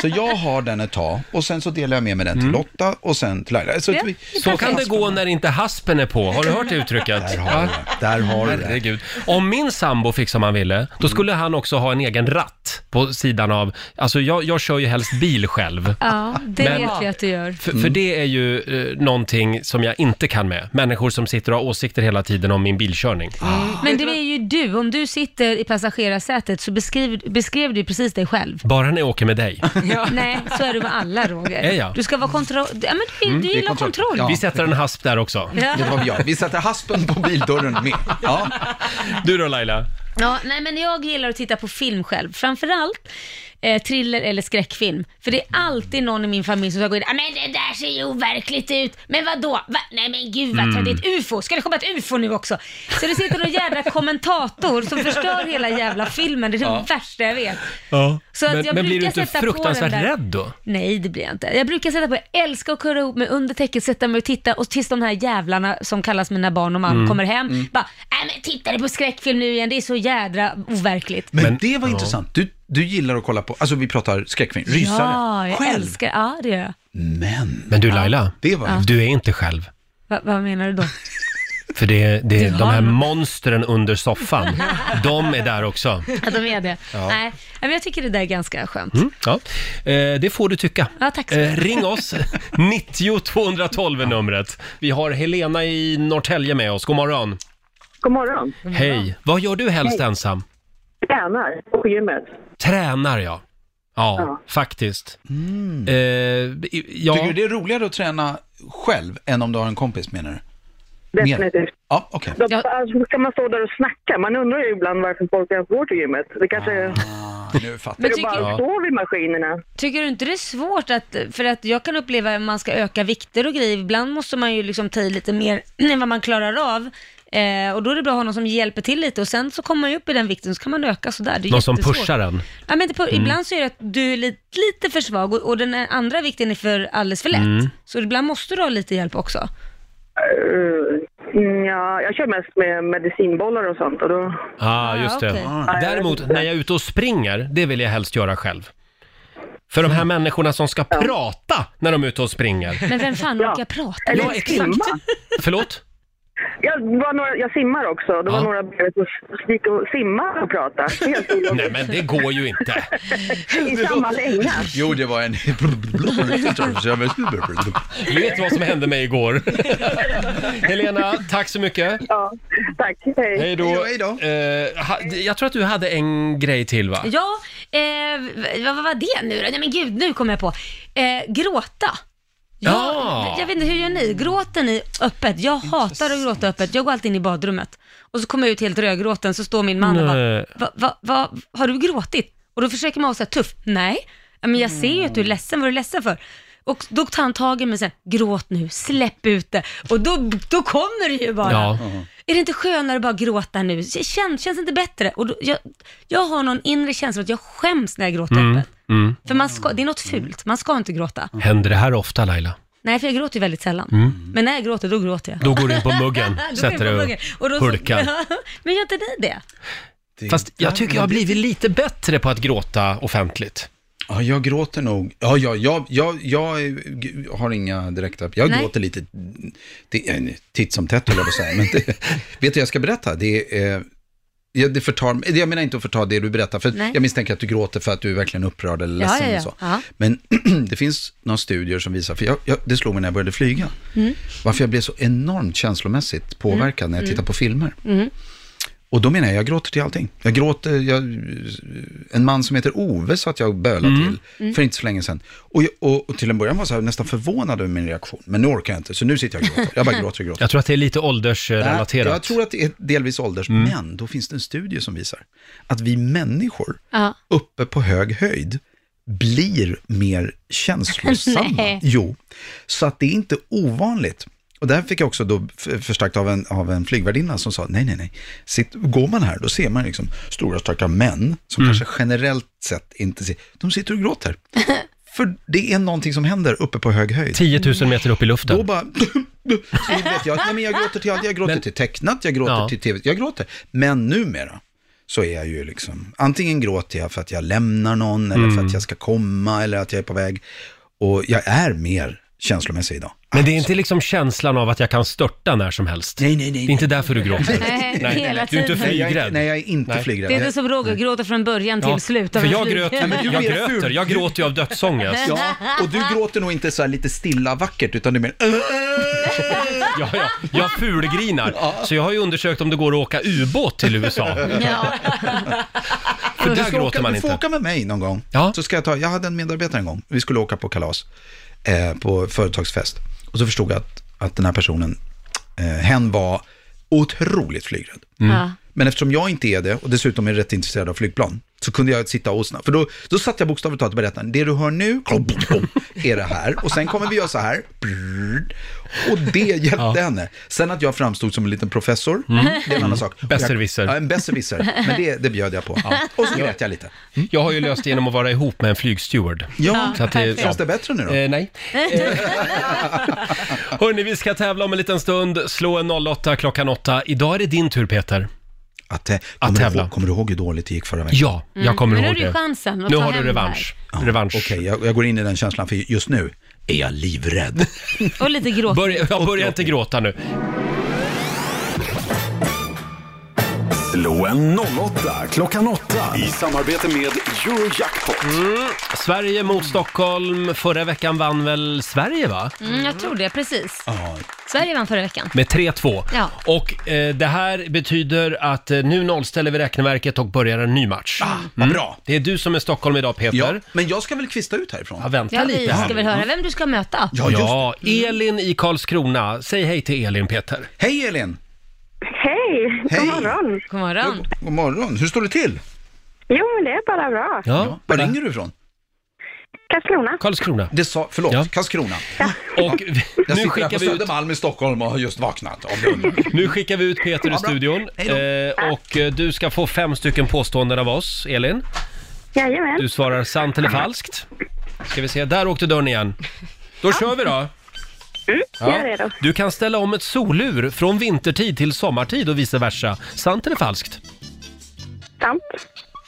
Speaker 11: Så jag har den ett tag och sen så delar jag med mig den
Speaker 1: Mm.
Speaker 11: till Lotta och sen till Laila. Så, att vi-
Speaker 1: Så kan det gå när inte haspen är på. Har du hört det uttrycket? Där har du
Speaker 11: det. Där har du det. Mm.
Speaker 1: Herregud. Om min sambo fick som han ville, då skulle han också ha en egen ratt på sidan av... Alltså jag, jag kör ju helst bil själv.
Speaker 2: Ja, det
Speaker 1: Men-
Speaker 2: vet vi att du gör.
Speaker 1: För,
Speaker 11: Mm.
Speaker 1: för det är ju eh, någonting som jag inte kan med. Människor som sitter och har åsikter hela tiden om min bilkörning.
Speaker 11: Ah.
Speaker 2: Men det är ju du, om du sitter i passagerarsätet så beskriv, beskrev du precis dig själv.
Speaker 1: Bara när jag åker med dig.
Speaker 2: Nej, så är du med alla Roger.
Speaker 1: Är jag?
Speaker 2: Du ska vara kontroll... Ja, men du, du
Speaker 1: det är
Speaker 2: gillar kontroll.
Speaker 1: kontroll. Vi sätter en hasp där också.
Speaker 2: Ja. Det var
Speaker 11: vi Vi sätter haspen på bildörren med. Du
Speaker 1: då Laila?
Speaker 2: Ja, nej men jag gillar att titta på film själv. Framförallt eh, thriller eller skräckfilm. För det är alltid någon i min familj som ska gå in, "Ah, men det där ser ju overkligt ut, men vadå? Va? Nej men gud vad
Speaker 5: Mm.
Speaker 2: mm. ett UFO, ska det komma ett UFO nu också? Så det sitter någon jävla kommentator som förstör hela jävla filmen, det är det
Speaker 1: Ja.
Speaker 2: värsta jag vet.
Speaker 1: Ja.
Speaker 2: Så att
Speaker 1: men,
Speaker 2: jag
Speaker 1: men blir du
Speaker 2: brukar
Speaker 1: inte
Speaker 2: sätta på den
Speaker 1: fruktansvärt
Speaker 2: där.
Speaker 1: rädd då?
Speaker 2: Nej, det blir jag inte. Jag brukar sätta på, jag älskar att kurra ihop mig under täcket, sätta mig och titta och tills de här jävlarna som kallas mina barn och man
Speaker 11: Mm.
Speaker 2: kommer hem,
Speaker 11: Mm.
Speaker 2: bara, nej men tittar du på skräckfilm nu igen, det är så jädra overkligt.
Speaker 11: Men, det var intressant. Du, du gillar att kolla på, alltså vi pratar skräckfilm, rysare.
Speaker 2: Ja, jag
Speaker 11: Själv.
Speaker 2: älskar, ja det gör jag.
Speaker 11: Men.
Speaker 1: Men du Laila,
Speaker 11: det var
Speaker 2: Ja.
Speaker 1: du är inte själv.
Speaker 2: Va, vad menar du då?
Speaker 1: För det, det,
Speaker 2: Du
Speaker 1: de
Speaker 2: har
Speaker 1: här
Speaker 2: något.
Speaker 1: monstren under soffan, de är där också.
Speaker 2: Att de är det?
Speaker 1: Ja.
Speaker 2: Nej, men jag tycker det där är ganska skönt.
Speaker 1: Mm, ja. eh, det får du tycka.
Speaker 2: Ja, tack så mycket.
Speaker 1: Eh, ring oss, 90 212 är numret. Vi har Helena i Norrtälje med oss, god morgon.
Speaker 19: God morgon.
Speaker 1: Hej, vad gör du helst
Speaker 19: Hej.
Speaker 1: ensam?
Speaker 19: Tränar på gymmet.
Speaker 1: Tränar jag. Ja,
Speaker 19: Ja.
Speaker 1: faktiskt. Eh, i-
Speaker 11: Tycker
Speaker 1: ja.
Speaker 11: du det är roligare att träna själv än om du har en kompis menar du? Mer.
Speaker 19: Definitivt.
Speaker 11: Ja, okej.
Speaker 19: Då, alltså, ska man stå där och snacka? Man undrar ju ibland varför folk ens går till gymmet. Det kanske är...
Speaker 11: Ah, Nu fattar
Speaker 19: Men
Speaker 2: Men
Speaker 19: det bara
Speaker 2: tycker-
Speaker 19: att stå vid maskinerna.
Speaker 2: Tycker du inte det är svårt att, för att jag kan uppleva att man ska öka vikter och grejer, ibland måste man ju liksom ta i lite mer än vad man klarar av. Eh, och då är det bra att ha någon som hjälper till lite och sen så kommer man ju upp i den vikten så kan man öka sådär. Det är
Speaker 1: Någon som
Speaker 2: jättesvårt.
Speaker 1: pushar en.
Speaker 2: Ja, men det, pu-
Speaker 1: Mm.
Speaker 2: Ibland så är det att du är lite, lite för svag och, och den andra vikten är för alldeles för lätt.
Speaker 1: Mm.
Speaker 2: Så ibland måste du ha lite hjälp också.
Speaker 19: Uh, ja, jag kör mest med medicinbollar och sånt. Och då...
Speaker 1: ah, just det.
Speaker 19: okej.
Speaker 1: Ah. Däremot, när jag är ute och springer, det vill jag helst göra själv. För de här människorna som ska prata när de är ute och springer.
Speaker 2: Men vem fan orkar prata?
Speaker 19: Eller
Speaker 2: Ja,
Speaker 19: simma.
Speaker 1: Förlåt?
Speaker 19: Jag, var några, jag simmar också. Det var
Speaker 1: Ja.
Speaker 19: några bredvid som gick och simmade och pratade. Helt olagligt.
Speaker 1: Nej, men det går ju inte.
Speaker 19: I samma länga.
Speaker 11: Jo, det var en...
Speaker 1: Vet vad som hände mig igår? Helena, tack så mycket.
Speaker 19: Ja, tack. Hej.
Speaker 1: Hej då. Eh, ha- jag tror att du hade en grej till va?
Speaker 2: Ja, eh, v- vad var det nu då? Nej men gud, nu kommer jag på. Eh, gråta. Jag,
Speaker 1: Ja.
Speaker 2: jag vet inte, hur gör ni? Gråter ni öppet? Jag hatar att gråta öppet. Jag går alltid in i badrummet och så kommer jag ut helt rödgråten, så står min man och bara,
Speaker 1: Nej.
Speaker 2: va, va, va, har du gråtit? Och då försöker man vara så här tuff. Nej, Ja, men jag ser ju att du är
Speaker 1: Mm.
Speaker 2: ledsen, vad är du ledsen för? Och då tar han tag i mig och säger, gråt nu, släpp ut det. Och då, då kommer det ju bara.
Speaker 5: Ja.
Speaker 2: Är det inte skönare att bara gråta nu? Känns, känns det inte bättre? Och då, jag, jag har någon inre känsla att jag skäms när jag gråter
Speaker 1: Mm,
Speaker 2: öppet.
Speaker 1: mm.
Speaker 2: För man ska, det är något fult, man ska inte gråta.
Speaker 1: Händer det här ofta Laila?
Speaker 2: Nej, för jag gråter ju väldigt sällan.
Speaker 1: Mm.
Speaker 2: Men när jag gråter, då gråter jag.
Speaker 1: Då går du in på muggen,
Speaker 2: Då går jag
Speaker 1: sätter
Speaker 2: in på
Speaker 1: dig och
Speaker 2: muggen. då så-
Speaker 1: hulkar.
Speaker 2: Men gör inte ni det?
Speaker 1: Fast jag tycker jag har blivit lite bättre på att gråta offentligt.
Speaker 11: Ja, jag gråter nog. Ja, ja, jag, jag, jag är- har inga direkta... Jag
Speaker 2: Nej.
Speaker 11: gråter lite det är en titt som tätt, höll jag på att säga. Men det, vet du, jag ska berätta. Det är... eh, Ja, det förtar, jag menar inte att förta det du berättar, för
Speaker 2: Nej.
Speaker 11: jag misstänker att du gråter för att du är verkligen upprörd eller
Speaker 2: Ja,
Speaker 11: ledsen.
Speaker 2: ja,
Speaker 11: Och
Speaker 2: ja.
Speaker 11: så.
Speaker 2: ja.
Speaker 11: Men det finns några studier som visar, för jag, jag, det slog mig när jag började flyga,
Speaker 2: Mm.
Speaker 11: varför jag blev så enormt känslomässigt påverkad när jag
Speaker 2: Mm.
Speaker 11: tittar på filmer.
Speaker 2: Mm.
Speaker 11: Och då menar jag, jag gråter till allting. Jag gråter, jag, en man som heter Ove sa att jag bölade till
Speaker 5: Mm.
Speaker 11: för inte så länge sedan. Och, jag, och, och till en början var jag så här, nästan förvånad över min reaktion, men nu orkar jag inte, så nu sitter jag och gråter. Jag bara gråter och gråter.
Speaker 1: Jag tror att det är lite
Speaker 11: Nej,
Speaker 1: åldersrelaterat.
Speaker 11: Jag tror att det är delvis ålders,
Speaker 1: Mm.
Speaker 11: men då finns det en studie som visar att vi människor
Speaker 2: Ja.
Speaker 11: uppe på hög höjd blir mer
Speaker 5: Nej.
Speaker 11: känslosamma. jo, så att det är inte ovanligt. Och där fick jag också då f- förstärkt av en, av en flygvärdinna som sa, nej, nej, nej, Sitt, går man här, då ser man liksom stora starka män, som kanske generellt sett inte ser, de sitter och gråter. För det är någonting som händer uppe på hög höjd.
Speaker 1: 10 000 meter upp i luften.
Speaker 11: Då bara, så vet jag, att, nej, men jag gråter till allt, jag gråter till tecknat, jag gråter till tv, jag gråter. Men numera så är jag ju liksom, antingen gråter jag för att jag lämnar någon, eller för
Speaker 1: Mm.
Speaker 11: att jag ska komma, eller att jag är på väg. Och jag är mer känslomässig idag.
Speaker 1: Men det är inte liksom känslan av att jag kan störta när som helst.
Speaker 11: Nej, nej, nej.
Speaker 1: Det är inte därför du gråter.
Speaker 2: Nej, hela
Speaker 1: Du är inte
Speaker 2: tiden. Nej, jag är
Speaker 1: flygrädd.
Speaker 11: Nej, jag är inte flygrädd.
Speaker 2: Det är inte som Roger, gråta från början till
Speaker 11: Ja,
Speaker 2: slut. av
Speaker 1: Mm. För
Speaker 2: en
Speaker 1: jag
Speaker 2: flyg.
Speaker 1: gröt, jag gröter, jag gråter ju av dödsångest.
Speaker 11: Ja, och du gråter nog inte så här lite stilla vackert, utan du är mer...
Speaker 1: Ja, ja, jag fulgrinar. Så jag har ju undersökt om det går att åka ubåt till USA. För
Speaker 11: Men du
Speaker 1: där
Speaker 11: ska
Speaker 1: gråter
Speaker 11: åka,
Speaker 1: man
Speaker 11: Du får
Speaker 1: inte.
Speaker 11: åka med mig någon gång. Så ska jag, ta, jag hade en medarbetare en gång, vi skulle åka på kalas, eh, på företagsfest. Och så förstod jag att, att den här personen, eh, hen var otroligt flygrädd.
Speaker 5: Mm. Ja.
Speaker 11: Men eftersom jag inte är det och dessutom är rätt intresserad av flygplan så kunde jag sitta och snabbt, för då, då satt jag bokstavligt talat och berättade, det du hör nu klom, klom, klom, är det här och sen kommer vi göra så här. Brrrr. Och det hjälpte henne. Sen att jag framstod som en liten professor,
Speaker 1: Mm.
Speaker 11: det är en annan sak. Och jag-
Speaker 1: Besserwisser.
Speaker 11: Ja, en besserwisser. Men det, det bjöd jag på. Och så grät jag lite.
Speaker 1: Jag har ju löst det genom att vara ihop med en flygsteward.
Speaker 11: Ja,
Speaker 1: Så att
Speaker 11: perfekt. Känns det bättre nu då?
Speaker 1: Eh, nej. Hörni, vi ska tävla om en liten stund. Slå en 08 klockan 8. Idag är det din tur Peter.
Speaker 11: Att, eh,
Speaker 1: att
Speaker 11: kommer du
Speaker 1: tävla.
Speaker 11: ihåg- kommer du ihåg hur dåligt det gick förra veckan?
Speaker 1: Ja, jag Mm. kommer Men nu ihåg har du det.
Speaker 2: chansen.
Speaker 1: Nu har du revansch.
Speaker 11: revansch. Okej, jag, jag går in i den känslan, för just nu är jag livrädd.
Speaker 2: Och lite gråt.
Speaker 1: Börja, jag börjar inte gråta nu.
Speaker 4: Slå en 08 klockan 8. I samarbete med Eurojackpot.
Speaker 1: Mm. Sverige mot Stockholm. Förra veckan vann väl Sverige va?
Speaker 2: Mm, jag tror det, precis.
Speaker 1: Ja.
Speaker 2: Sverige vann förra veckan.
Speaker 1: Med 3-2.
Speaker 2: Ja.
Speaker 1: Och eh, det här betyder att eh, nu nollställer vi räkneverket och börjar en ny match. Ah,
Speaker 11: vad bra.
Speaker 1: Det är du som är Stockholm idag Peter. Ja,
Speaker 11: men jag ska väl kvista ut härifrån?
Speaker 1: Ja, vänta
Speaker 2: Ja, vi
Speaker 1: lite här.
Speaker 2: ska väl höra vem du ska möta.
Speaker 1: Ja, ja
Speaker 11: Mm.
Speaker 1: Elin i Karlskrona. Säg hej till Elin, Peter.
Speaker 11: Hej Elin!
Speaker 20: Hej,
Speaker 11: Hej.
Speaker 20: god morgon.
Speaker 2: God morgon.
Speaker 11: God morgon, hur står det till?
Speaker 20: Jo, men det är bara bra.
Speaker 11: Var ringer du ifrån?
Speaker 20: Karlskrona.
Speaker 1: Karlskrona.
Speaker 11: Det sa, förlåt, Karlskrona.
Speaker 1: Och
Speaker 11: jag sitter
Speaker 1: skickar
Speaker 11: här på
Speaker 1: vi ut-
Speaker 11: Södermalm i Stockholm och har just vaknat. av det.
Speaker 1: Nu skickar vi ut Peter
Speaker 11: Ja,
Speaker 1: i
Speaker 11: bra.
Speaker 1: studion. Eh, och eh, du ska få fem stycken påståenden av oss, Elin.
Speaker 20: Jajamän.
Speaker 1: Du svarar sant eller falskt. Ska vi se, där åkte dörren igen. Då kör vi då!
Speaker 20: jag är redo.
Speaker 1: Du kan ställa om ett solur från vintertid till sommartid och vice versa. Sant eller falskt?
Speaker 20: Sant.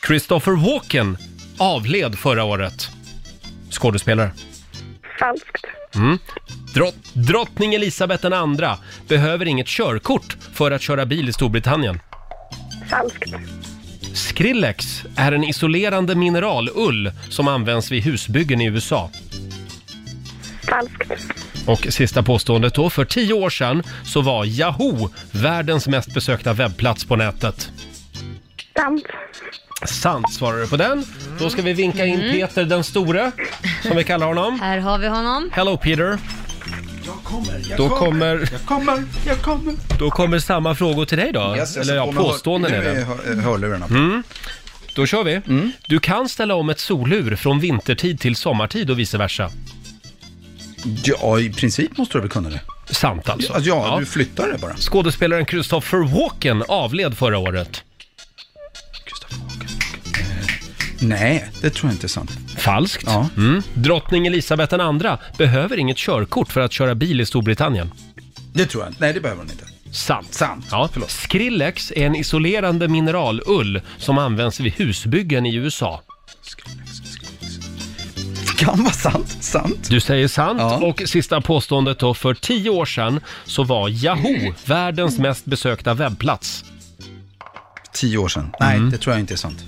Speaker 1: Christopher Walken avled förra året. Skådespelare.
Speaker 20: Falskt.
Speaker 1: Mm. Drott, drottning Elisabeth II behöver inget körkort för att köra bil i Storbritannien.
Speaker 20: Falskt.
Speaker 1: Skrillex är en isolerande mineralull som används vid husbyggen i USA.
Speaker 20: Falskt.
Speaker 1: Och sista påståendet då. För tio år sedan så var Yahoo världens mest besökta webbplats på nätet.
Speaker 20: Sant.
Speaker 1: Sant svarar du på den. Då ska vi vinka in
Speaker 2: Mm.
Speaker 1: Peter den store, som vi kallar honom.
Speaker 2: Här har vi honom.
Speaker 1: Hello Peter.
Speaker 11: Jag kommer, jag
Speaker 1: Då kommer,
Speaker 11: Jag kommer, jag kommer.
Speaker 1: då kommer samma frågor till dig då.
Speaker 11: Yes, jag
Speaker 1: Eller
Speaker 11: ska
Speaker 1: ja,
Speaker 11: på med hör-
Speaker 1: påståenden
Speaker 11: nu
Speaker 1: är det.
Speaker 11: är hör- hörlurarna på.
Speaker 1: Mm. Då kör vi.
Speaker 11: Mm.
Speaker 1: Du kan ställa om ett solur från vintertid till sommartid och vice versa.
Speaker 11: Ja, i princip måste du väl kunna det.
Speaker 1: Sant alltså.
Speaker 11: Ja, ja, du flyttar det bara.
Speaker 1: Skådespelaren Christopher Walken avled förra året.
Speaker 11: Nej, det tror jag inte är sant.
Speaker 1: Falskt. Mm. Drottning Elisabeth II behöver inget körkort för att köra bil i Storbritannien.
Speaker 11: Det tror jag inte. Nej, det behöver hon inte.
Speaker 1: Sant.
Speaker 11: Sant.
Speaker 1: Ja. Skrillex är en isolerande mineralull som används vid husbyggen i USA.
Speaker 11: Kan vara sant. Sant.
Speaker 1: Du säger sant. Och sista påståendet då. För tio år sedan så var Yahoo världens mest besökta webbplats.
Speaker 11: Tio år sedan. Nej,
Speaker 1: Mm.
Speaker 11: det tror jag inte är sant.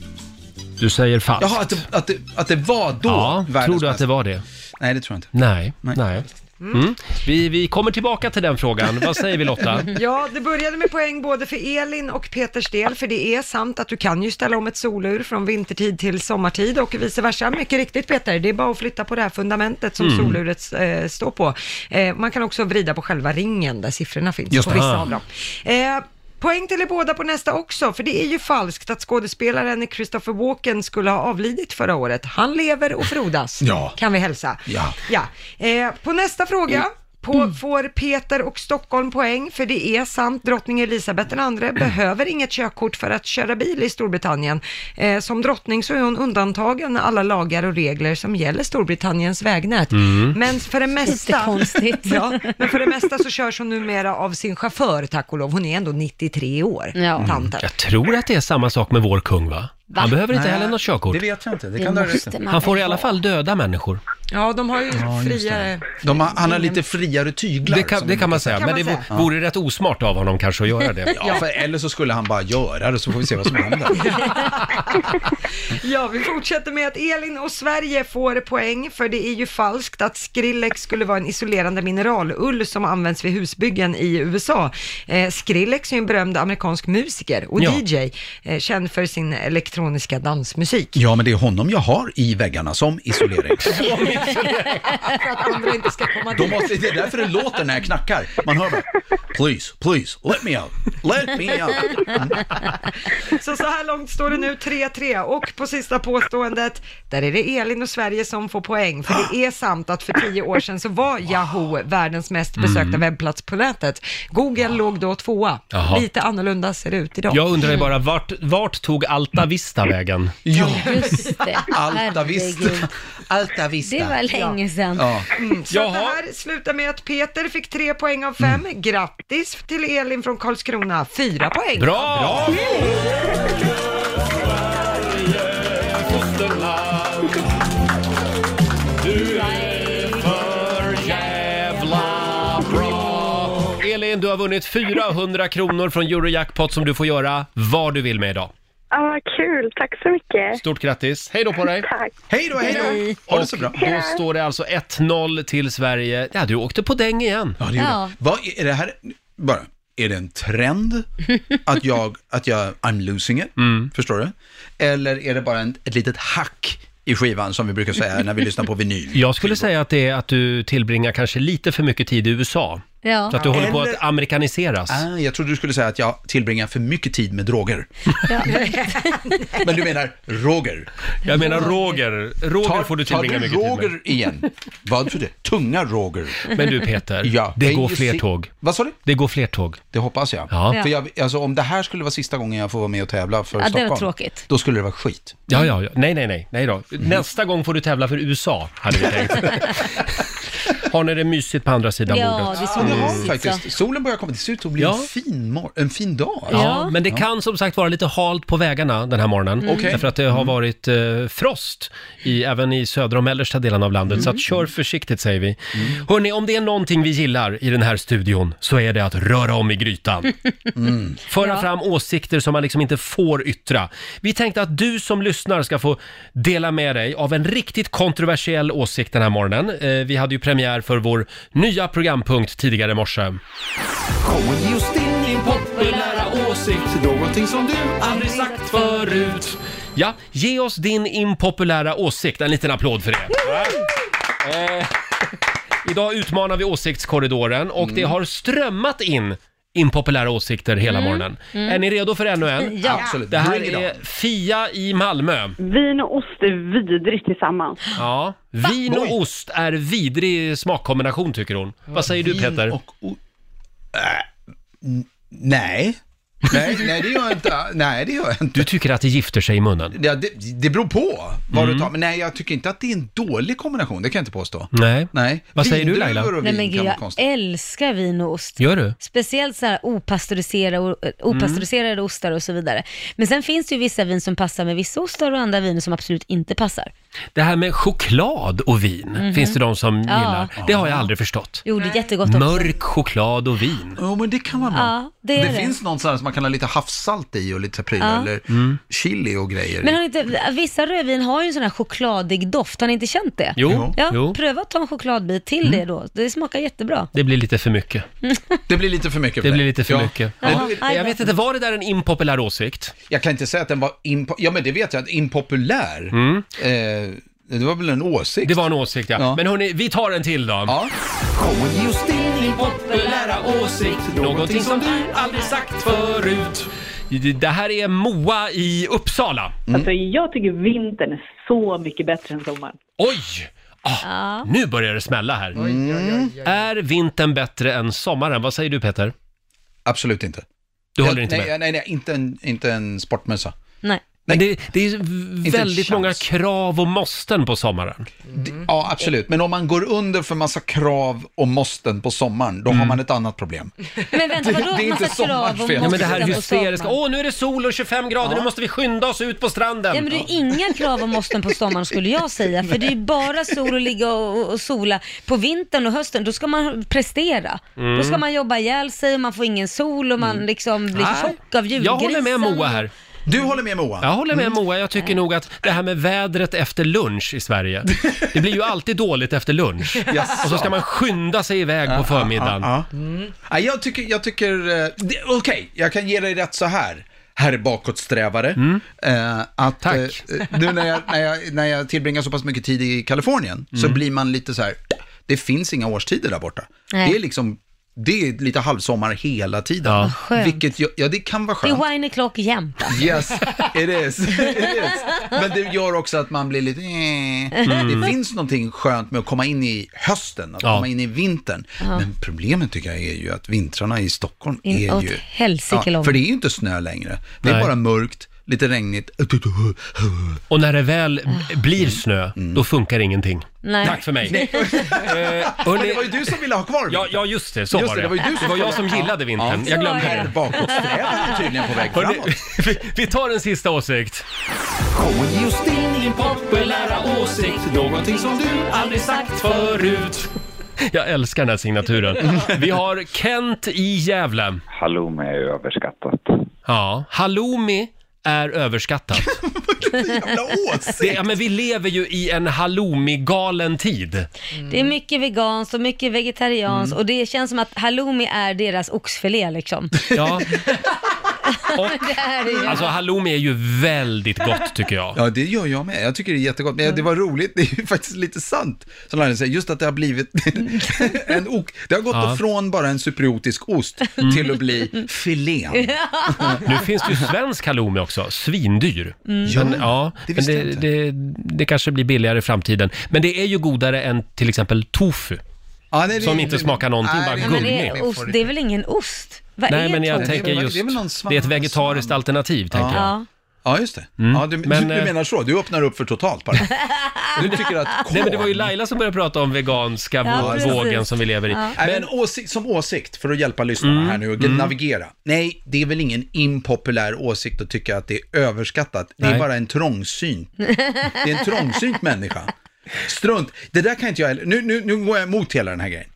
Speaker 1: Du säger falskt.
Speaker 11: Jaha, att det, att det, att det var då
Speaker 1: Ja,
Speaker 11: världens
Speaker 1: tror du att
Speaker 11: bästa.
Speaker 1: det var det?
Speaker 11: Nej, det tror jag inte.
Speaker 1: Nej. Nej. Mm. Vi, vi kommer tillbaka till den frågan. Vad säger vi Lotta?
Speaker 3: Ja, det började med poäng både för Elin och Peters del, för det är sant att du kan ju ställa om ett solur från vintertid till sommartid och vice versa. Mycket riktigt Peter, det är bara att flytta på det här fundamentet som
Speaker 5: Mm.
Speaker 3: soluret eh, står på. Eh, man kan också vrida på själva ringen där siffrorna finns
Speaker 5: Just
Speaker 3: på
Speaker 5: det.
Speaker 3: vissa
Speaker 5: Ah.
Speaker 3: av dem. Eh, Poäng till er båda på nästa också, för det är ju falskt att skådespelaren Christopher Walken skulle ha avlidit förra året. Han lever och frodas,
Speaker 11: Ja.
Speaker 3: kan vi hälsa.
Speaker 11: Ja.
Speaker 3: Ja, eh, på nästa fråga på, får Peter och Stockholm poäng, för det är sant, drottning Elisabeth II behöver inget körkort för att köra bil i Storbritannien. Eh, som drottning så är hon undantagen alla lagar och regler som gäller Storbritanniens vägnät.
Speaker 5: Mm.
Speaker 3: Men för det mesta...
Speaker 2: konstigt.
Speaker 3: ja, men för det mesta så körs hon numera av sin chaufför, tack och lov. Hon är ändå 93 år, tanten.
Speaker 1: Jag tror att det är samma sak med vår kung va?
Speaker 3: Va?
Speaker 1: Han behöver inte
Speaker 3: Nej,
Speaker 1: heller något körkort.
Speaker 11: det vet jag inte. Det
Speaker 3: kan Det du ha rätt måste i. man
Speaker 1: Han får i
Speaker 3: väl
Speaker 1: alla
Speaker 3: ha.
Speaker 1: fall döda människor.
Speaker 3: Ja, de har ju
Speaker 11: just
Speaker 3: friare...
Speaker 11: De har, han har lite friare tyglar.
Speaker 1: Det kan-
Speaker 11: som
Speaker 1: det
Speaker 11: vi
Speaker 1: kan man
Speaker 11: brukar
Speaker 1: säga, men det vo- vore rätt osmart av honom kanske att göra det.
Speaker 11: Ja, för, eller så skulle han bara göra det så får vi se vad som händer.
Speaker 3: Ja, vi fortsätter med att Elin och Sverige får poäng, för det är ju falskt att Skrillex skulle vara en isolerande mineralull som används vid husbyggen i USA. Eh, Skrillex är ju en berömd amerikansk musiker och
Speaker 11: Ja.
Speaker 3: DJ, eh, känd för sin elektroniska dansmusik.
Speaker 11: Ja, men det är honom jag har i väggarna som isolering.
Speaker 3: för att andra inte ska komma
Speaker 11: Då
Speaker 3: dit.
Speaker 11: måste, det är därför det låter när jag knackar. Man hör bara... Please, please, let me out. Let me out.
Speaker 3: Så så här långt står det nu 3-3 och på sista påståendet, där är det Elin och Sverige som får poäng. För det är sant att för tio år sedan så var Yahoo världens mest besökta
Speaker 1: Mm.
Speaker 3: webbplats på nätet. Google låg då tvåa.
Speaker 1: Jaha.
Speaker 3: Lite annorlunda ser det ut idag.
Speaker 1: Jag undrar ju bara, vart, vart tog Alta Vista vägen? Ja.
Speaker 2: Just det.
Speaker 11: Alta Vista.
Speaker 2: Herregud.
Speaker 11: Alta Vista.
Speaker 2: Det var länge sedan.
Speaker 11: Ja.
Speaker 3: Mm, så att det här slutar med att Peter fick tre poäng av fem.
Speaker 1: Mm.
Speaker 3: Grattis till Elin från Karlskrona, fyra poäng.
Speaker 5: Bra! Bra!
Speaker 1: Du är för jävla bra. Elin, du har vunnit 400 kronor från Eurojackpot som du får göra vad du vill med idag.
Speaker 20: Ja, vad kul. Tack så mycket.
Speaker 1: Stort grattis! Hej då på dig!
Speaker 20: Tack.
Speaker 11: Hej då, hej då! Ha det så bra.
Speaker 1: Och då står det alltså 1-0 till Sverige. Ja, du åkte på däng igen.
Speaker 11: Ja, det gjorde jag. Vad är det här, bara, är det en trend att jag, att jag, I'm losing it,
Speaker 1: Mm.
Speaker 11: förstår du? Eller är det bara en, ett litet hack i skivan som vi brukar säga när vi lyssnar på vinyl?
Speaker 1: Jag skulle säga att det är att du tillbringar kanske lite för mycket tid i USA.
Speaker 2: Ja.
Speaker 1: Så att du håller på
Speaker 11: Eller-
Speaker 1: att amerikaniseras.
Speaker 11: Ah, jag trodde du skulle säga att jag tillbringar för mycket tid med droger. Men du menar Roger?
Speaker 1: Jag menar Roger. Roger
Speaker 11: tar,
Speaker 1: får du
Speaker 11: tar
Speaker 1: tillbringa
Speaker 11: du
Speaker 1: mycket tid med.
Speaker 11: Roger igen? Vad för det? Tunga Roger.
Speaker 1: Men du Peter,
Speaker 11: Ja,
Speaker 1: det
Speaker 11: jag är
Speaker 1: går
Speaker 11: ju
Speaker 1: fler
Speaker 11: si-
Speaker 1: tåg.
Speaker 11: Vad sa du?
Speaker 1: Det går fler tåg.
Speaker 11: Det hoppas jag.
Speaker 1: Ja.
Speaker 11: För jag, alltså, om det här skulle vara sista gången jag får vara med och tävla för
Speaker 2: Ja, det var
Speaker 11: Stockholm,
Speaker 2: tråkigt.
Speaker 11: då skulle det vara skit.
Speaker 1: Ja, ja, ja. Nej, nej, nej. nej
Speaker 11: Mm.
Speaker 1: då. Nästa gång får du tävla för USA, hade vi tänkt. har ni det mysigt på andra sidan
Speaker 11: Ja,
Speaker 1: bordet?
Speaker 11: det är så Ja, det har vi mysigt, Eh, faktiskt. så.
Speaker 1: Solen börjar komma. Det ser ut att
Speaker 11: bli en fin, mor- en fin dag.
Speaker 1: Ja, men det kan som sagt vara lite halt på vägarna den här morgonen.
Speaker 11: Mm. Okej.
Speaker 1: Därför att det har varit eh, frost i, även i södra och mellersta delen av landet.
Speaker 11: Mm.
Speaker 1: Så att kör försiktigt säger vi. Hörni, om det är någonting vi gillar i den här studion så är det att röra om i grytan. Föra fram åsikter som man liksom inte får yttra. Vi tänkte att du som lyssnar ska få dela med dig av en riktigt kontroversiell åsikt den här morgonen. Eh, vi hade ju premiär för vår nya programpunkt tidigare i morse.
Speaker 5: Kommer just in din populära åsikt, någonting som du aldrig sagt förut.
Speaker 1: Ja, ge oss din impopulära åsikt. En liten applåd för det. Eh, idag utmanar vi åsiktskorridoren och det har strömmat in impopulära åsikter hela
Speaker 16: Mm,
Speaker 1: morgonen.
Speaker 16: mm.
Speaker 1: Är ni redo för ännu en?
Speaker 16: Ja. Absolut.
Speaker 1: Det här
Speaker 16: Bring it on.
Speaker 1: är Fia i Malmö.
Speaker 16: Vin och ost är vidrigt tillsammans.
Speaker 1: Ja, vin och ost är vidrig smakkombination tycker hon. Vad säger du
Speaker 11: Vin
Speaker 1: Peter?
Speaker 11: Äh, Nej. Nej, nej, det gör jag inte. Nej, det gör jag inte.
Speaker 1: Du tycker att det gifter sig i munnen?
Speaker 11: Ja, det, det beror på vad
Speaker 1: Mm.
Speaker 11: du tar. Men nej, jag tycker inte att det är en dålig kombination. Det kan jag inte påstå.
Speaker 1: Nej.
Speaker 11: Nej.
Speaker 1: Vad säger du, Laila?
Speaker 11: Vindruvor och
Speaker 2: Nej
Speaker 11: vin
Speaker 2: men
Speaker 11: kan
Speaker 2: gud,
Speaker 11: vara
Speaker 2: jag
Speaker 11: konstigt.
Speaker 2: älskar vin och ost.
Speaker 1: Gör du?
Speaker 2: Speciellt så här opastöriserade, eh,
Speaker 1: Mm.
Speaker 2: opastöriserade ostar och så vidare. Men sen finns det ju vissa vin som passar med vissa ostar och andra viner som absolut inte passar.
Speaker 1: Det här med choklad och vin
Speaker 2: Mhm.
Speaker 1: finns det de som
Speaker 2: Ja.
Speaker 1: gillar. Det har jag aldrig förstått.
Speaker 2: Jo, det är jättegott också.
Speaker 1: Mörk choklad och vin.
Speaker 11: Jo, men det kan man vara.
Speaker 2: Ja, det är det.
Speaker 11: finns någon sån här som man kan ha lite havssalt i och lite prylar,
Speaker 2: Ja.
Speaker 11: eller
Speaker 1: Mm.
Speaker 11: chili och grejer.
Speaker 2: Men har ni inte, vissa rödvin har ju en sån här chokladig doft, har ni inte känt det?
Speaker 1: Jo,
Speaker 2: Ja,
Speaker 1: jo. Mm.
Speaker 2: pröva att ta en chokladbit till det då. Det smakar jättebra.
Speaker 1: Det blir lite för mycket.
Speaker 11: Det blir lite för mycket.
Speaker 1: Det blir lite för
Speaker 11: Ja.
Speaker 1: mycket.
Speaker 2: Jaha,
Speaker 1: Ja. Jag vet inte, var det där en impopulär åsikt?
Speaker 11: Jag kan inte säga att den var impo- ja men det vet jag, att impopulär. Eh, det var väl en åsikt?
Speaker 1: Mm. Det var en åsikt ja. Men hörni, vi tar en till då.
Speaker 11: Ja.
Speaker 5: Kommer just in din populära åsikt, någonting som du aldrig sagt förut.
Speaker 1: Det här är Moa i Uppsala.
Speaker 21: Alltså jag tycker vintern är så mycket bättre än sommaren.
Speaker 1: Oj! Ah,
Speaker 2: Ja.
Speaker 1: Nu börjar det smälla här. Är vintern bättre än sommaren? Vad säger du Peter?
Speaker 11: Absolut inte.
Speaker 1: Du håller inte
Speaker 11: nej,
Speaker 1: med?
Speaker 11: Nej, nej, inte en, inte en sportmössa.
Speaker 2: Nej.
Speaker 1: Men det, det är
Speaker 11: en
Speaker 1: väldigt
Speaker 11: chans.
Speaker 1: många krav och måsten på sommaren.
Speaker 2: Mm.
Speaker 11: Ja, absolut. Men om man går under för massa krav och måsten på sommaren,
Speaker 1: Mm.
Speaker 11: då har man ett annat problem.
Speaker 2: Men vänta, vadå?
Speaker 11: Det är inte
Speaker 2: Massa krav och
Speaker 11: sommarfel.
Speaker 1: Ja, men det här
Speaker 2: måsten på
Speaker 1: hysteriska,
Speaker 2: sommaren?
Speaker 1: åh nu är det sol och 25 grader, nu måste vi skynda oss ut på stranden.
Speaker 2: Ja, men det är inga krav och måsten på sommaren skulle jag säga, för det är ju bara sol och ligga och, och- och sola. På vintern och hösten, då ska man prestera.
Speaker 1: Mm.
Speaker 2: Då ska man jobba ihjäl sig och man får ingen sol och man liksom blir
Speaker 1: Nej.
Speaker 2: tjock av julgrisen.
Speaker 1: Jag håller med Moa här.
Speaker 11: Du håller med Moa?
Speaker 1: Jag håller
Speaker 11: Mm.
Speaker 1: med Moa. Jag tycker nog att det här med vädret efter lunch i Sverige, det blir ju alltid dåligt efter lunch.
Speaker 11: Jaså.
Speaker 1: Och så ska man skynda sig iväg på förmiddagen.
Speaker 11: Ja, ja. Mm. Ja, jag tycker, jag tycker, eh, det- okej, jag kan ge dig rätt så här, herr bakåtsträvare. Eh, att, Tack. nu när jag, när, jag, när jag tillbringar så pass mycket tid i Kalifornien så
Speaker 1: Mm.
Speaker 11: blir man lite så här, det finns inga årstider där borta.
Speaker 1: Nej.
Speaker 11: Det är liksom det är lite halvsommar hela tiden.
Speaker 2: skönt.
Speaker 11: Vilket, jag- ja det kan vara
Speaker 2: Det
Speaker 11: skönt.
Speaker 2: är wine o'clock jämt.
Speaker 11: Yes, it is. It is. Men det gör också att man blir lite... eh.
Speaker 2: Mm.
Speaker 11: Det finns någonting skönt med att komma in i hösten, att
Speaker 2: Ja.
Speaker 11: komma in i vintern.
Speaker 2: Ja.
Speaker 11: Men problemet tycker jag är ju att vintrarna i Stockholm
Speaker 2: In-
Speaker 11: är
Speaker 2: åt
Speaker 11: ju...
Speaker 2: helsike långt.
Speaker 11: För det är ju inte snö längre. Det är
Speaker 1: Nej.
Speaker 11: bara mörkt, lite regnigt.
Speaker 1: Och när det väl blir snö,
Speaker 11: Mm.
Speaker 1: då funkar ingenting.
Speaker 2: Nej.
Speaker 1: Tack för mig. Eh,
Speaker 2: Nej.
Speaker 1: hörni-
Speaker 11: Men det var ju du som ville ha kvar vintern.
Speaker 1: Ja, ja just det, så
Speaker 11: Just
Speaker 1: var det.
Speaker 11: det,
Speaker 1: Det
Speaker 11: det
Speaker 1: var,
Speaker 11: var ju du som
Speaker 1: jag
Speaker 11: kollade.
Speaker 1: som gillade
Speaker 11: Ja.
Speaker 1: vintern.
Speaker 11: Ja,
Speaker 1: jag
Speaker 11: så
Speaker 1: glömde
Speaker 11: var det.
Speaker 1: det.
Speaker 11: Bakåtsträvaren är tydligen på väg
Speaker 1: Hörni,
Speaker 11: framåt.
Speaker 1: vi, vi tar en sista åsikt.
Speaker 5: Ge oss din impopulära åsikt, någonting som du aldrig sagt förut.
Speaker 1: Jag älskar den här signaturen. Vi har Kent i Gävle.
Speaker 6: Halloumi är ju överskattat.
Speaker 1: Ja, halloumi är överskattat. Det, ja, men vi lever ju i en halloumi-galen tid.
Speaker 2: Det är mycket veganskt och mycket
Speaker 1: Mm.
Speaker 2: vegetarianskt och det känns som att halloumi är deras oxfilé liksom.
Speaker 1: Ja,
Speaker 2: det är det ju.
Speaker 1: alltså halloumi är ju väldigt gott tycker jag.
Speaker 11: Ja, det gör jag med. Jag tycker det är jättegott. Men det var roligt, det är ju faktiskt lite sant, som Laila säger, just att det har blivit en ok... Det har gått
Speaker 1: Ja. Mm.
Speaker 11: ifrån bara en cypriotisk ost till att bli filén.
Speaker 1: Nu finns det ju svensk halloumi också, svindyr.
Speaker 11: Mm.
Speaker 1: Men,
Speaker 11: Ja,
Speaker 1: ja,
Speaker 11: det
Speaker 1: men
Speaker 11: visste
Speaker 1: det,
Speaker 11: jag inte.
Speaker 1: det, det kanske blir billigare i framtiden. Men det är ju godare än till exempel tofu.
Speaker 11: nej, det-
Speaker 1: som inte
Speaker 11: det-
Speaker 1: smakar någonting,
Speaker 11: nej,
Speaker 1: bara
Speaker 11: det-
Speaker 2: Ja, men det,
Speaker 1: gummi.
Speaker 2: är ost, det är väl ingen ost? Vad
Speaker 1: Nej,
Speaker 2: är
Speaker 1: men jag
Speaker 2: tofu?
Speaker 1: tänker just, det är, ett vegetariskt alternativ, tänker jag.
Speaker 2: Ja.
Speaker 11: Ja, just det. Ja, du, du,
Speaker 1: Men,
Speaker 11: du
Speaker 1: eh,
Speaker 11: menar så, du öppnar upp för totalt bara. Du tycker att
Speaker 1: Nej, men det var ju Laila som började prata om veganska
Speaker 11: Ja,
Speaker 1: vå-
Speaker 11: precis.
Speaker 1: vågen som vi lever i.
Speaker 11: Ja. Nej, men åsikt, som åsikt, för att hjälpa lyssnarna
Speaker 1: Mm.
Speaker 11: här nu och navigera. Nej, det är väl ingen impopulär åsikt att tycka att det är överskattat. Det
Speaker 5: Nej.
Speaker 11: är bara en trångsynt. Det är en trångsynt människa. Strunt, det där kan inte jag heller- nu, nu, nu går jag emot hela den här grejen.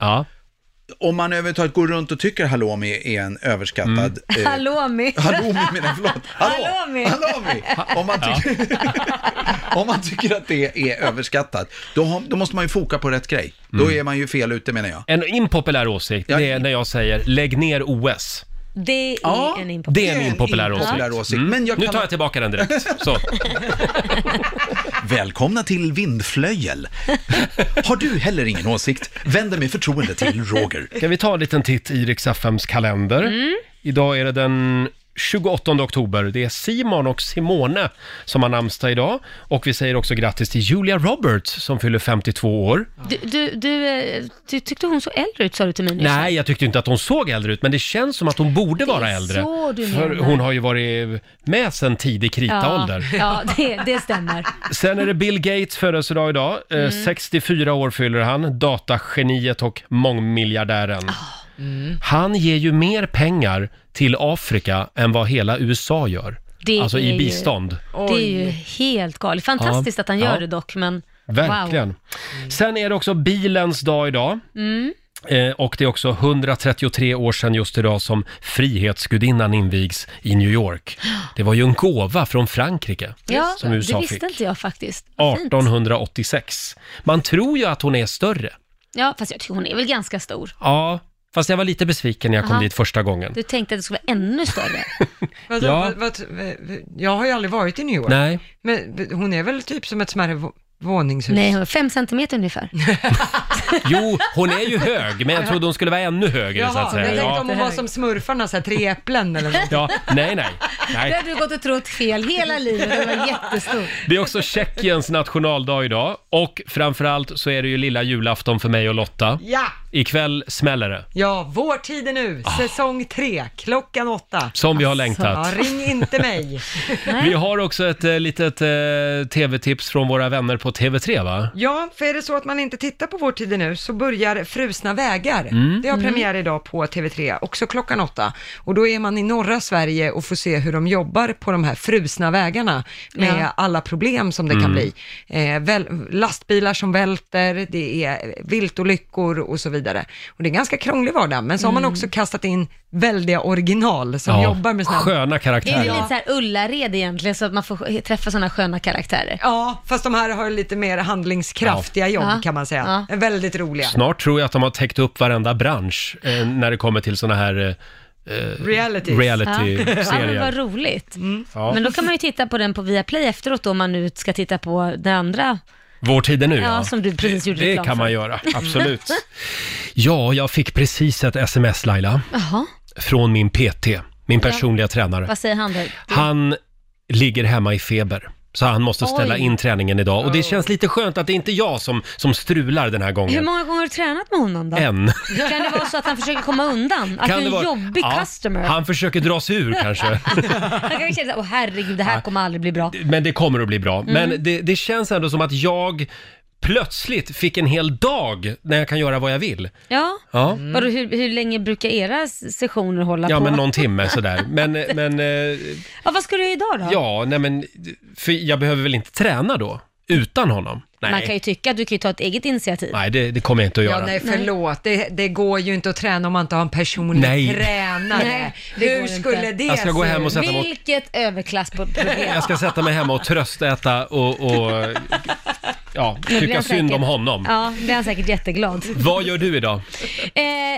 Speaker 11: Om man överhuvudtaget går runt och tycker halloumi är en överskattad...
Speaker 1: Mm.
Speaker 11: eh,
Speaker 2: Halloumi.
Speaker 11: halloumi menar jag, förlåt. Hallå.
Speaker 2: Halloumi.
Speaker 11: Halloumi. Om man, tycker, om man tycker att det är överskattat, då, har, då måste man ju foka på rätt grej. Då
Speaker 1: Mm.
Speaker 11: är man ju fel ute menar jag.
Speaker 1: En impopulär åsikt, det är när jag säger lägg ner OS.
Speaker 2: Det är en impopulär
Speaker 1: Det är en impopulär
Speaker 11: impopulär
Speaker 1: åsikt. Mm.
Speaker 11: åsikt, men jag
Speaker 1: Nu
Speaker 11: kan-
Speaker 1: tar jag tillbaka den direkt. Så.
Speaker 11: Välkomna till Vindflöjel. Har du heller ingen åsikt? Vänd dig med förtroende till Roger.
Speaker 1: Ska vi ta en liten titt i Rix FMs kalender? Idag är det den 28 oktober. Det är Simon och Simone som har namnsdag idag. Och vi säger också grattis till Julia Roberts som fyller 52 år.
Speaker 2: Du, du, du, eh, du tyckte hon såg äldre ut sa du till mig nyss.
Speaker 1: Nej, jag tyckte inte att hon såg äldre ut, men det känns som att hon borde vara äldre.
Speaker 2: så du
Speaker 1: För
Speaker 2: menar.
Speaker 1: hon har ju varit med sen tidig kritaålder.
Speaker 2: Ja, ja det, det stämmer.
Speaker 1: Sen är det Bill Gates födelsedag idag. Eh,
Speaker 2: Mm.
Speaker 1: 64 år fyller han, datageniet och mångmiljardären.
Speaker 2: Ah. Mm.
Speaker 1: Han ger ju mer pengar till Afrika än vad hela USA gör.
Speaker 2: Det
Speaker 1: alltså
Speaker 2: är
Speaker 1: i
Speaker 2: ju-
Speaker 1: bistånd.
Speaker 2: Det är ju helt galet. Fantastiskt
Speaker 1: Ja.
Speaker 2: att han gör
Speaker 1: Ja.
Speaker 2: det dock, men
Speaker 1: Verkligen. Mm.
Speaker 2: wow.
Speaker 1: Sen är det också bilens dag idag.
Speaker 2: Mm.
Speaker 1: Eh, och det är också 133 år sedan just idag som Frihetsgudinnan invigs i New York. Det var ju en gåva från Frankrike
Speaker 2: Ja,
Speaker 1: som USA
Speaker 2: det visste
Speaker 1: fick.
Speaker 2: inte jag faktiskt. Vad fint.
Speaker 1: 1886. Man tror ju att hon är större.
Speaker 2: Ja, fast jag tycker hon är väl ganska stor.
Speaker 1: Ja, fast jag var lite besviken när jag kom
Speaker 2: Aha.
Speaker 1: dit första gången.
Speaker 2: Du tänkte att det skulle vara ännu större.
Speaker 3: Vadå,
Speaker 1: Ja.
Speaker 3: vad, vad, vad, jag har ju aldrig varit i New York.
Speaker 1: Nej.
Speaker 3: Men hon är väl typ som ett smärre vå- våningshus?
Speaker 2: Nej, hon var fem centimeter ungefär.
Speaker 1: Jo, hon är ju hög, men jag trodde hon skulle vara ännu högre så
Speaker 3: Jaha,
Speaker 1: att säga.
Speaker 3: jag tänkte om hon var som smurfarna, så här, tre äpplen eller något.
Speaker 1: ja, nej, nej,
Speaker 2: Det
Speaker 1: nej.
Speaker 2: hade du gått och trott fel hela livet, hon var jättestor.
Speaker 1: Det är också Tjeckiens nationaldag idag och framförallt så är det ju lilla julafton för mig och Lotta.
Speaker 3: Ja!
Speaker 1: Ikväll smäller det.
Speaker 3: Ja, vår tid är nu, säsong tre, klockan åtta.
Speaker 1: Som vi har längtat.
Speaker 3: Ja, ring inte mig.
Speaker 1: Vi har också ett eh, litet eh, tv-tips från våra vänner på TV3 va?
Speaker 3: Ja, för är det så att man inte tittar på Vår tid är nu så börjar Frusna vägar.
Speaker 1: Mm.
Speaker 3: Det har
Speaker 1: Mm.
Speaker 3: premiär idag på TV3, också klockan åtta. Och då är man i norra Sverige och får se hur de jobbar på de här frusna vägarna med
Speaker 2: Ja.
Speaker 3: alla problem som det
Speaker 2: Mm.
Speaker 3: kan bli. Eh, väl, lastbilar som välter, det är viltolyckor och så vidare. Och det är en ganska krånglig vardag, men så har man också kastat in väldiga original som
Speaker 1: Ja,
Speaker 3: jobbar med såna här-
Speaker 1: Sköna
Speaker 2: Det är
Speaker 1: karaktärer.
Speaker 2: ju lite så här Ullared egentligen, så att man får träffa sådana sköna karaktärer.
Speaker 3: Ja, fast de här har lite mer handlingskraftiga jobb kan man säga. Väldigt roliga.
Speaker 1: Snart tror jag att de har täckt upp varenda bransch eh, när det kommer till såna här eh, eh,
Speaker 3: Realities.
Speaker 2: Ja, men
Speaker 1: reality-serier.
Speaker 2: vad roligt.
Speaker 1: Ja.
Speaker 2: Men då kan man ju titta på den på Viaplay efteråt då, om man nu ska titta på det andra
Speaker 1: Vår tid är nu
Speaker 2: Ja, som du precis gjorde
Speaker 1: Det
Speaker 2: reklam
Speaker 1: kan
Speaker 2: för.
Speaker 1: man göra, absolut. Ja, jag fick precis ett sms Laila,
Speaker 2: Jaha,
Speaker 1: från min PT, min personliga tränare.
Speaker 2: vad säger han då?
Speaker 1: Han ligger hemma i feber. Så han måste ställa
Speaker 2: Oj.
Speaker 1: in träningen idag. Och det känns lite skönt att det inte är jag som, som strular den här
Speaker 2: Hur
Speaker 1: gången.
Speaker 2: många gånger har du tränat med honom då?
Speaker 1: En.
Speaker 2: Kan det vara så att han försöker komma undan?
Speaker 1: Kan
Speaker 2: Att du är
Speaker 1: det
Speaker 2: en
Speaker 1: vara-
Speaker 2: jobbig
Speaker 1: Ja,
Speaker 2: customer?
Speaker 1: Han försöker dra sig ur kanske.
Speaker 2: Han kanske känner såhär, åh herregud, det här kommer aldrig bli bra.
Speaker 1: Men det kommer att bli bra.
Speaker 2: Mm.
Speaker 1: Men det, det känns ändå som att jag plötsligt fick en hel dag när jag kan göra vad jag vill.
Speaker 2: Ja,
Speaker 1: Ja.
Speaker 2: Vadå, hur, hur länge brukar era s- sessioner hålla
Speaker 1: Ja,
Speaker 2: på?
Speaker 1: men någon timme sådär. Men, men eh,
Speaker 2: ja, vad ska du göra idag då?
Speaker 1: ja, nej men, för jag behöver väl inte träna då? Utan honom?
Speaker 2: Man kan ju
Speaker 1: Nej,
Speaker 2: tycka att du kan ju ta ett eget initiativ.
Speaker 1: nej det, det kommer jag inte att
Speaker 2: Ja,
Speaker 1: göra.
Speaker 2: nej, för-
Speaker 3: Förlåt, det, det går ju inte att träna om man inte har en personlig
Speaker 1: Nej.
Speaker 3: tränare.
Speaker 2: Nej, det går
Speaker 3: Hur
Speaker 2: inte.
Speaker 3: skulle det
Speaker 1: Jag ska gå
Speaker 3: se
Speaker 1: hem
Speaker 3: ut?
Speaker 1: och sätta mig åt-
Speaker 2: Vilket överklassproblem.
Speaker 1: Jag ska sätta mig hemma och tröstäta och, och ja,
Speaker 2: Nu blir
Speaker 1: tycka
Speaker 2: han
Speaker 1: synd
Speaker 2: säkert-
Speaker 1: om honom.
Speaker 2: Ja, blir han säkert jätteglad.
Speaker 1: Vad gör du idag?
Speaker 2: Eh,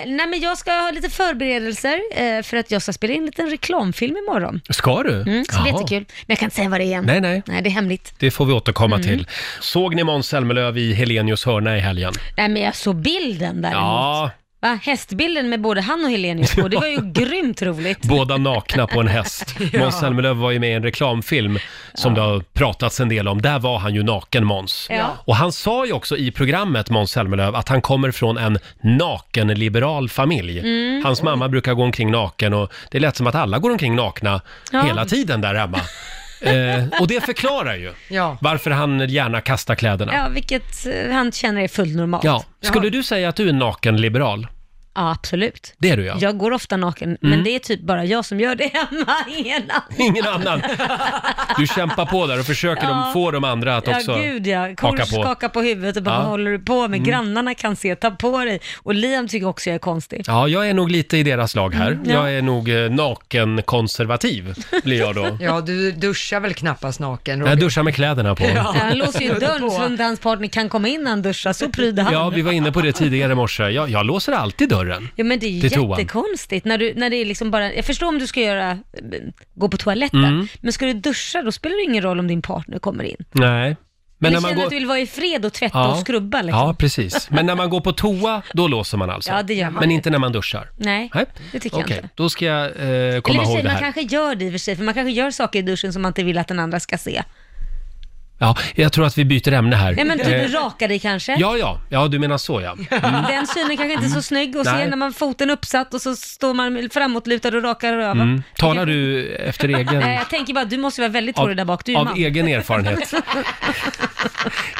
Speaker 2: nej men jag ska ha lite förberedelser eh, för att jag ska spela in en liten reklamfilm imorgon.
Speaker 1: Ska du?
Speaker 2: Mm, så det
Speaker 1: Jaha.
Speaker 2: blir jättekul. Men jag kan inte säga vad det är än.
Speaker 1: Nej, nej.
Speaker 2: Nej, det är hemligt.
Speaker 1: Det får vi återkomma
Speaker 2: Mm.
Speaker 1: till. Såg ni Måns Zelmerlöw i Helenius hörna i helgen?
Speaker 2: Nej men jag såg bilden däremot.
Speaker 1: Ja,
Speaker 2: Va? Hästbilden med både han och Helenius på, det var ju grymt roligt.
Speaker 1: båda nakna på en häst.
Speaker 2: Ja.
Speaker 1: Måns Zelmerlöw var ju med i en reklamfilm som det har pratats en del om. Där var han ju naken Måns.
Speaker 5: Ja.
Speaker 1: Och han sa ju också i programmet, Måns Zelmerlöw, att han kommer från en nakenliberal familj.
Speaker 5: Mm.
Speaker 1: Hans mamma brukar gå omkring naken och det lät som att alla går omkring nakna
Speaker 5: Ja.
Speaker 1: hela tiden där hemma. eh, och det förklarar ju
Speaker 3: Ja.
Speaker 1: varför han gärna kastar kläderna.
Speaker 2: Ja, vilket eh, han känner är fullt normalt.
Speaker 1: Ja. Skulle du säga att du är nakenliberal?
Speaker 2: Ja, absolut.
Speaker 1: Det är du ja.
Speaker 2: Jag går ofta naken, men
Speaker 1: Mm.
Speaker 2: det är typ bara jag som gör det hemma, ingen annan.
Speaker 1: Ingen annan. Du kämpar på där och försöker
Speaker 2: Ja.
Speaker 1: de, få de andra att också
Speaker 2: ja, gud ja.
Speaker 1: haka
Speaker 2: Kors
Speaker 1: på.
Speaker 2: skakar på huvudet och bara,
Speaker 1: Ja.
Speaker 2: vad håller du på med?
Speaker 1: Mm.
Speaker 2: Grannarna kan se, ta på dig. Och Liam tycker också jag är konstig.
Speaker 1: Ja, jag är nog lite i deras lag här.
Speaker 2: Mm, ja.
Speaker 1: Jag är nog eh, nakenkonservativ, blir jag då.
Speaker 3: Ja, du duschar väl knappast naken, Roger?
Speaker 1: Jag duschar med kläderna på.
Speaker 2: Ja, han låser ju dörren så inte hans partner kan komma in när han duschar, så prydde han.
Speaker 1: Ja, vi var inne på det tidigare i morse. Jag, jag låser alltid dörren.
Speaker 2: Ja men det är ju
Speaker 1: Till toan.
Speaker 2: jättekonstigt när, du, när det är liksom bara, jag förstår om du ska göra, eh, gå på toaletten,
Speaker 1: Mm.
Speaker 2: men ska du duscha då spelar det ingen roll om din partner kommer in.
Speaker 1: Nej.
Speaker 2: Men du känner att du vill vara i fred och tvätta och skrubba liksom.
Speaker 1: Ja, precis. Men när man går på toa, då låser man alltså.
Speaker 2: Ja, det gör man.
Speaker 1: Men inte när man duschar.
Speaker 2: Nej, det tycker
Speaker 1: Okej,
Speaker 2: jag inte.
Speaker 1: då ska jag eh,
Speaker 2: Eller
Speaker 1: komma
Speaker 2: i och för sig,
Speaker 1: ihåg det
Speaker 2: man
Speaker 1: här.
Speaker 2: kanske gör det i och för sig, för man kanske gör saker i duschen som man inte vill att den andra ska se.
Speaker 1: Ja, jag tror att vi byter ämne här.
Speaker 2: Nej men typ
Speaker 1: Eh,
Speaker 2: raka dig kanske?
Speaker 1: Ja, ja. Ja, du menar så ja. Mm.
Speaker 2: Den synen kanske inte är så snygg att se
Speaker 1: Nej.
Speaker 2: när man foten uppsatt och så står man framåtlutad och rakar röven.
Speaker 1: Mm. Talar du efter egen...
Speaker 2: Nej, Eh, jag tänker bara, du måste vara väldigt torr där bak, du är
Speaker 1: Mm. av
Speaker 2: man.
Speaker 1: egen erfarenhet.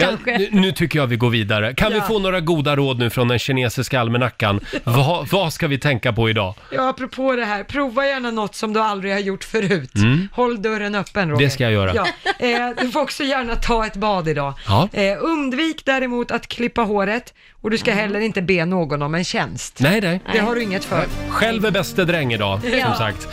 Speaker 1: Ja, nu, nu tycker jag vi går vidare. Kan vi
Speaker 3: Ja.
Speaker 1: få några goda råd nu från den kinesiska almanackan? Va, vad ska vi tänka på idag?
Speaker 3: Ja, apropå det här, prova gärna något som du aldrig har gjort förut.
Speaker 1: Mm.
Speaker 3: Håll dörren öppen, Roger.
Speaker 1: Det ska jag göra.
Speaker 3: Ja. Eh, du får också gärna ta ett bad idag.
Speaker 1: Ja.
Speaker 3: Eh, undvik däremot att klippa håret och du ska
Speaker 2: Mm.
Speaker 3: heller inte be någon om en tjänst.
Speaker 1: Nej, nej.
Speaker 3: Det har du inget för.
Speaker 1: Själv är bäste dräng idag,
Speaker 3: Ja.
Speaker 1: som sagt.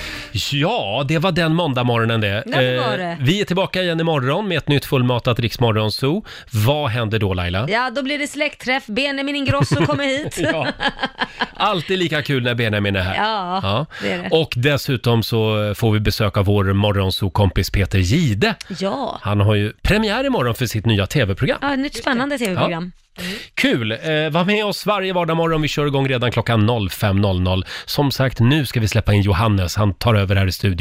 Speaker 1: Ja, det var den måndagmorgonen det.
Speaker 3: Ja, det var
Speaker 1: Eh,
Speaker 2: det.
Speaker 1: Vi är tillbaka igen imorgon med ett nytt fullmatat Riksmorgonzoo. Vad händer då Laila?
Speaker 2: Ja, då blir det släktträff. Benjamin Ingrosso kommer hit.
Speaker 1: Ja. Alltid lika kul när Benjamin är här.
Speaker 2: Ja, det är det.
Speaker 1: Och dessutom så får vi besöka vår morgonsokompis Peter Gide.
Speaker 2: Ja.
Speaker 1: Han har ju premiär imorgon för sitt nya tv-program.
Speaker 2: Ja, nytt spännande tv-program.
Speaker 1: Kul! Eh, var med oss varje vardagsmorgon. Vi kör igång redan klockan 05.00. Som sagt, nu ska vi släppa in Johannes. Han tar över här i studion.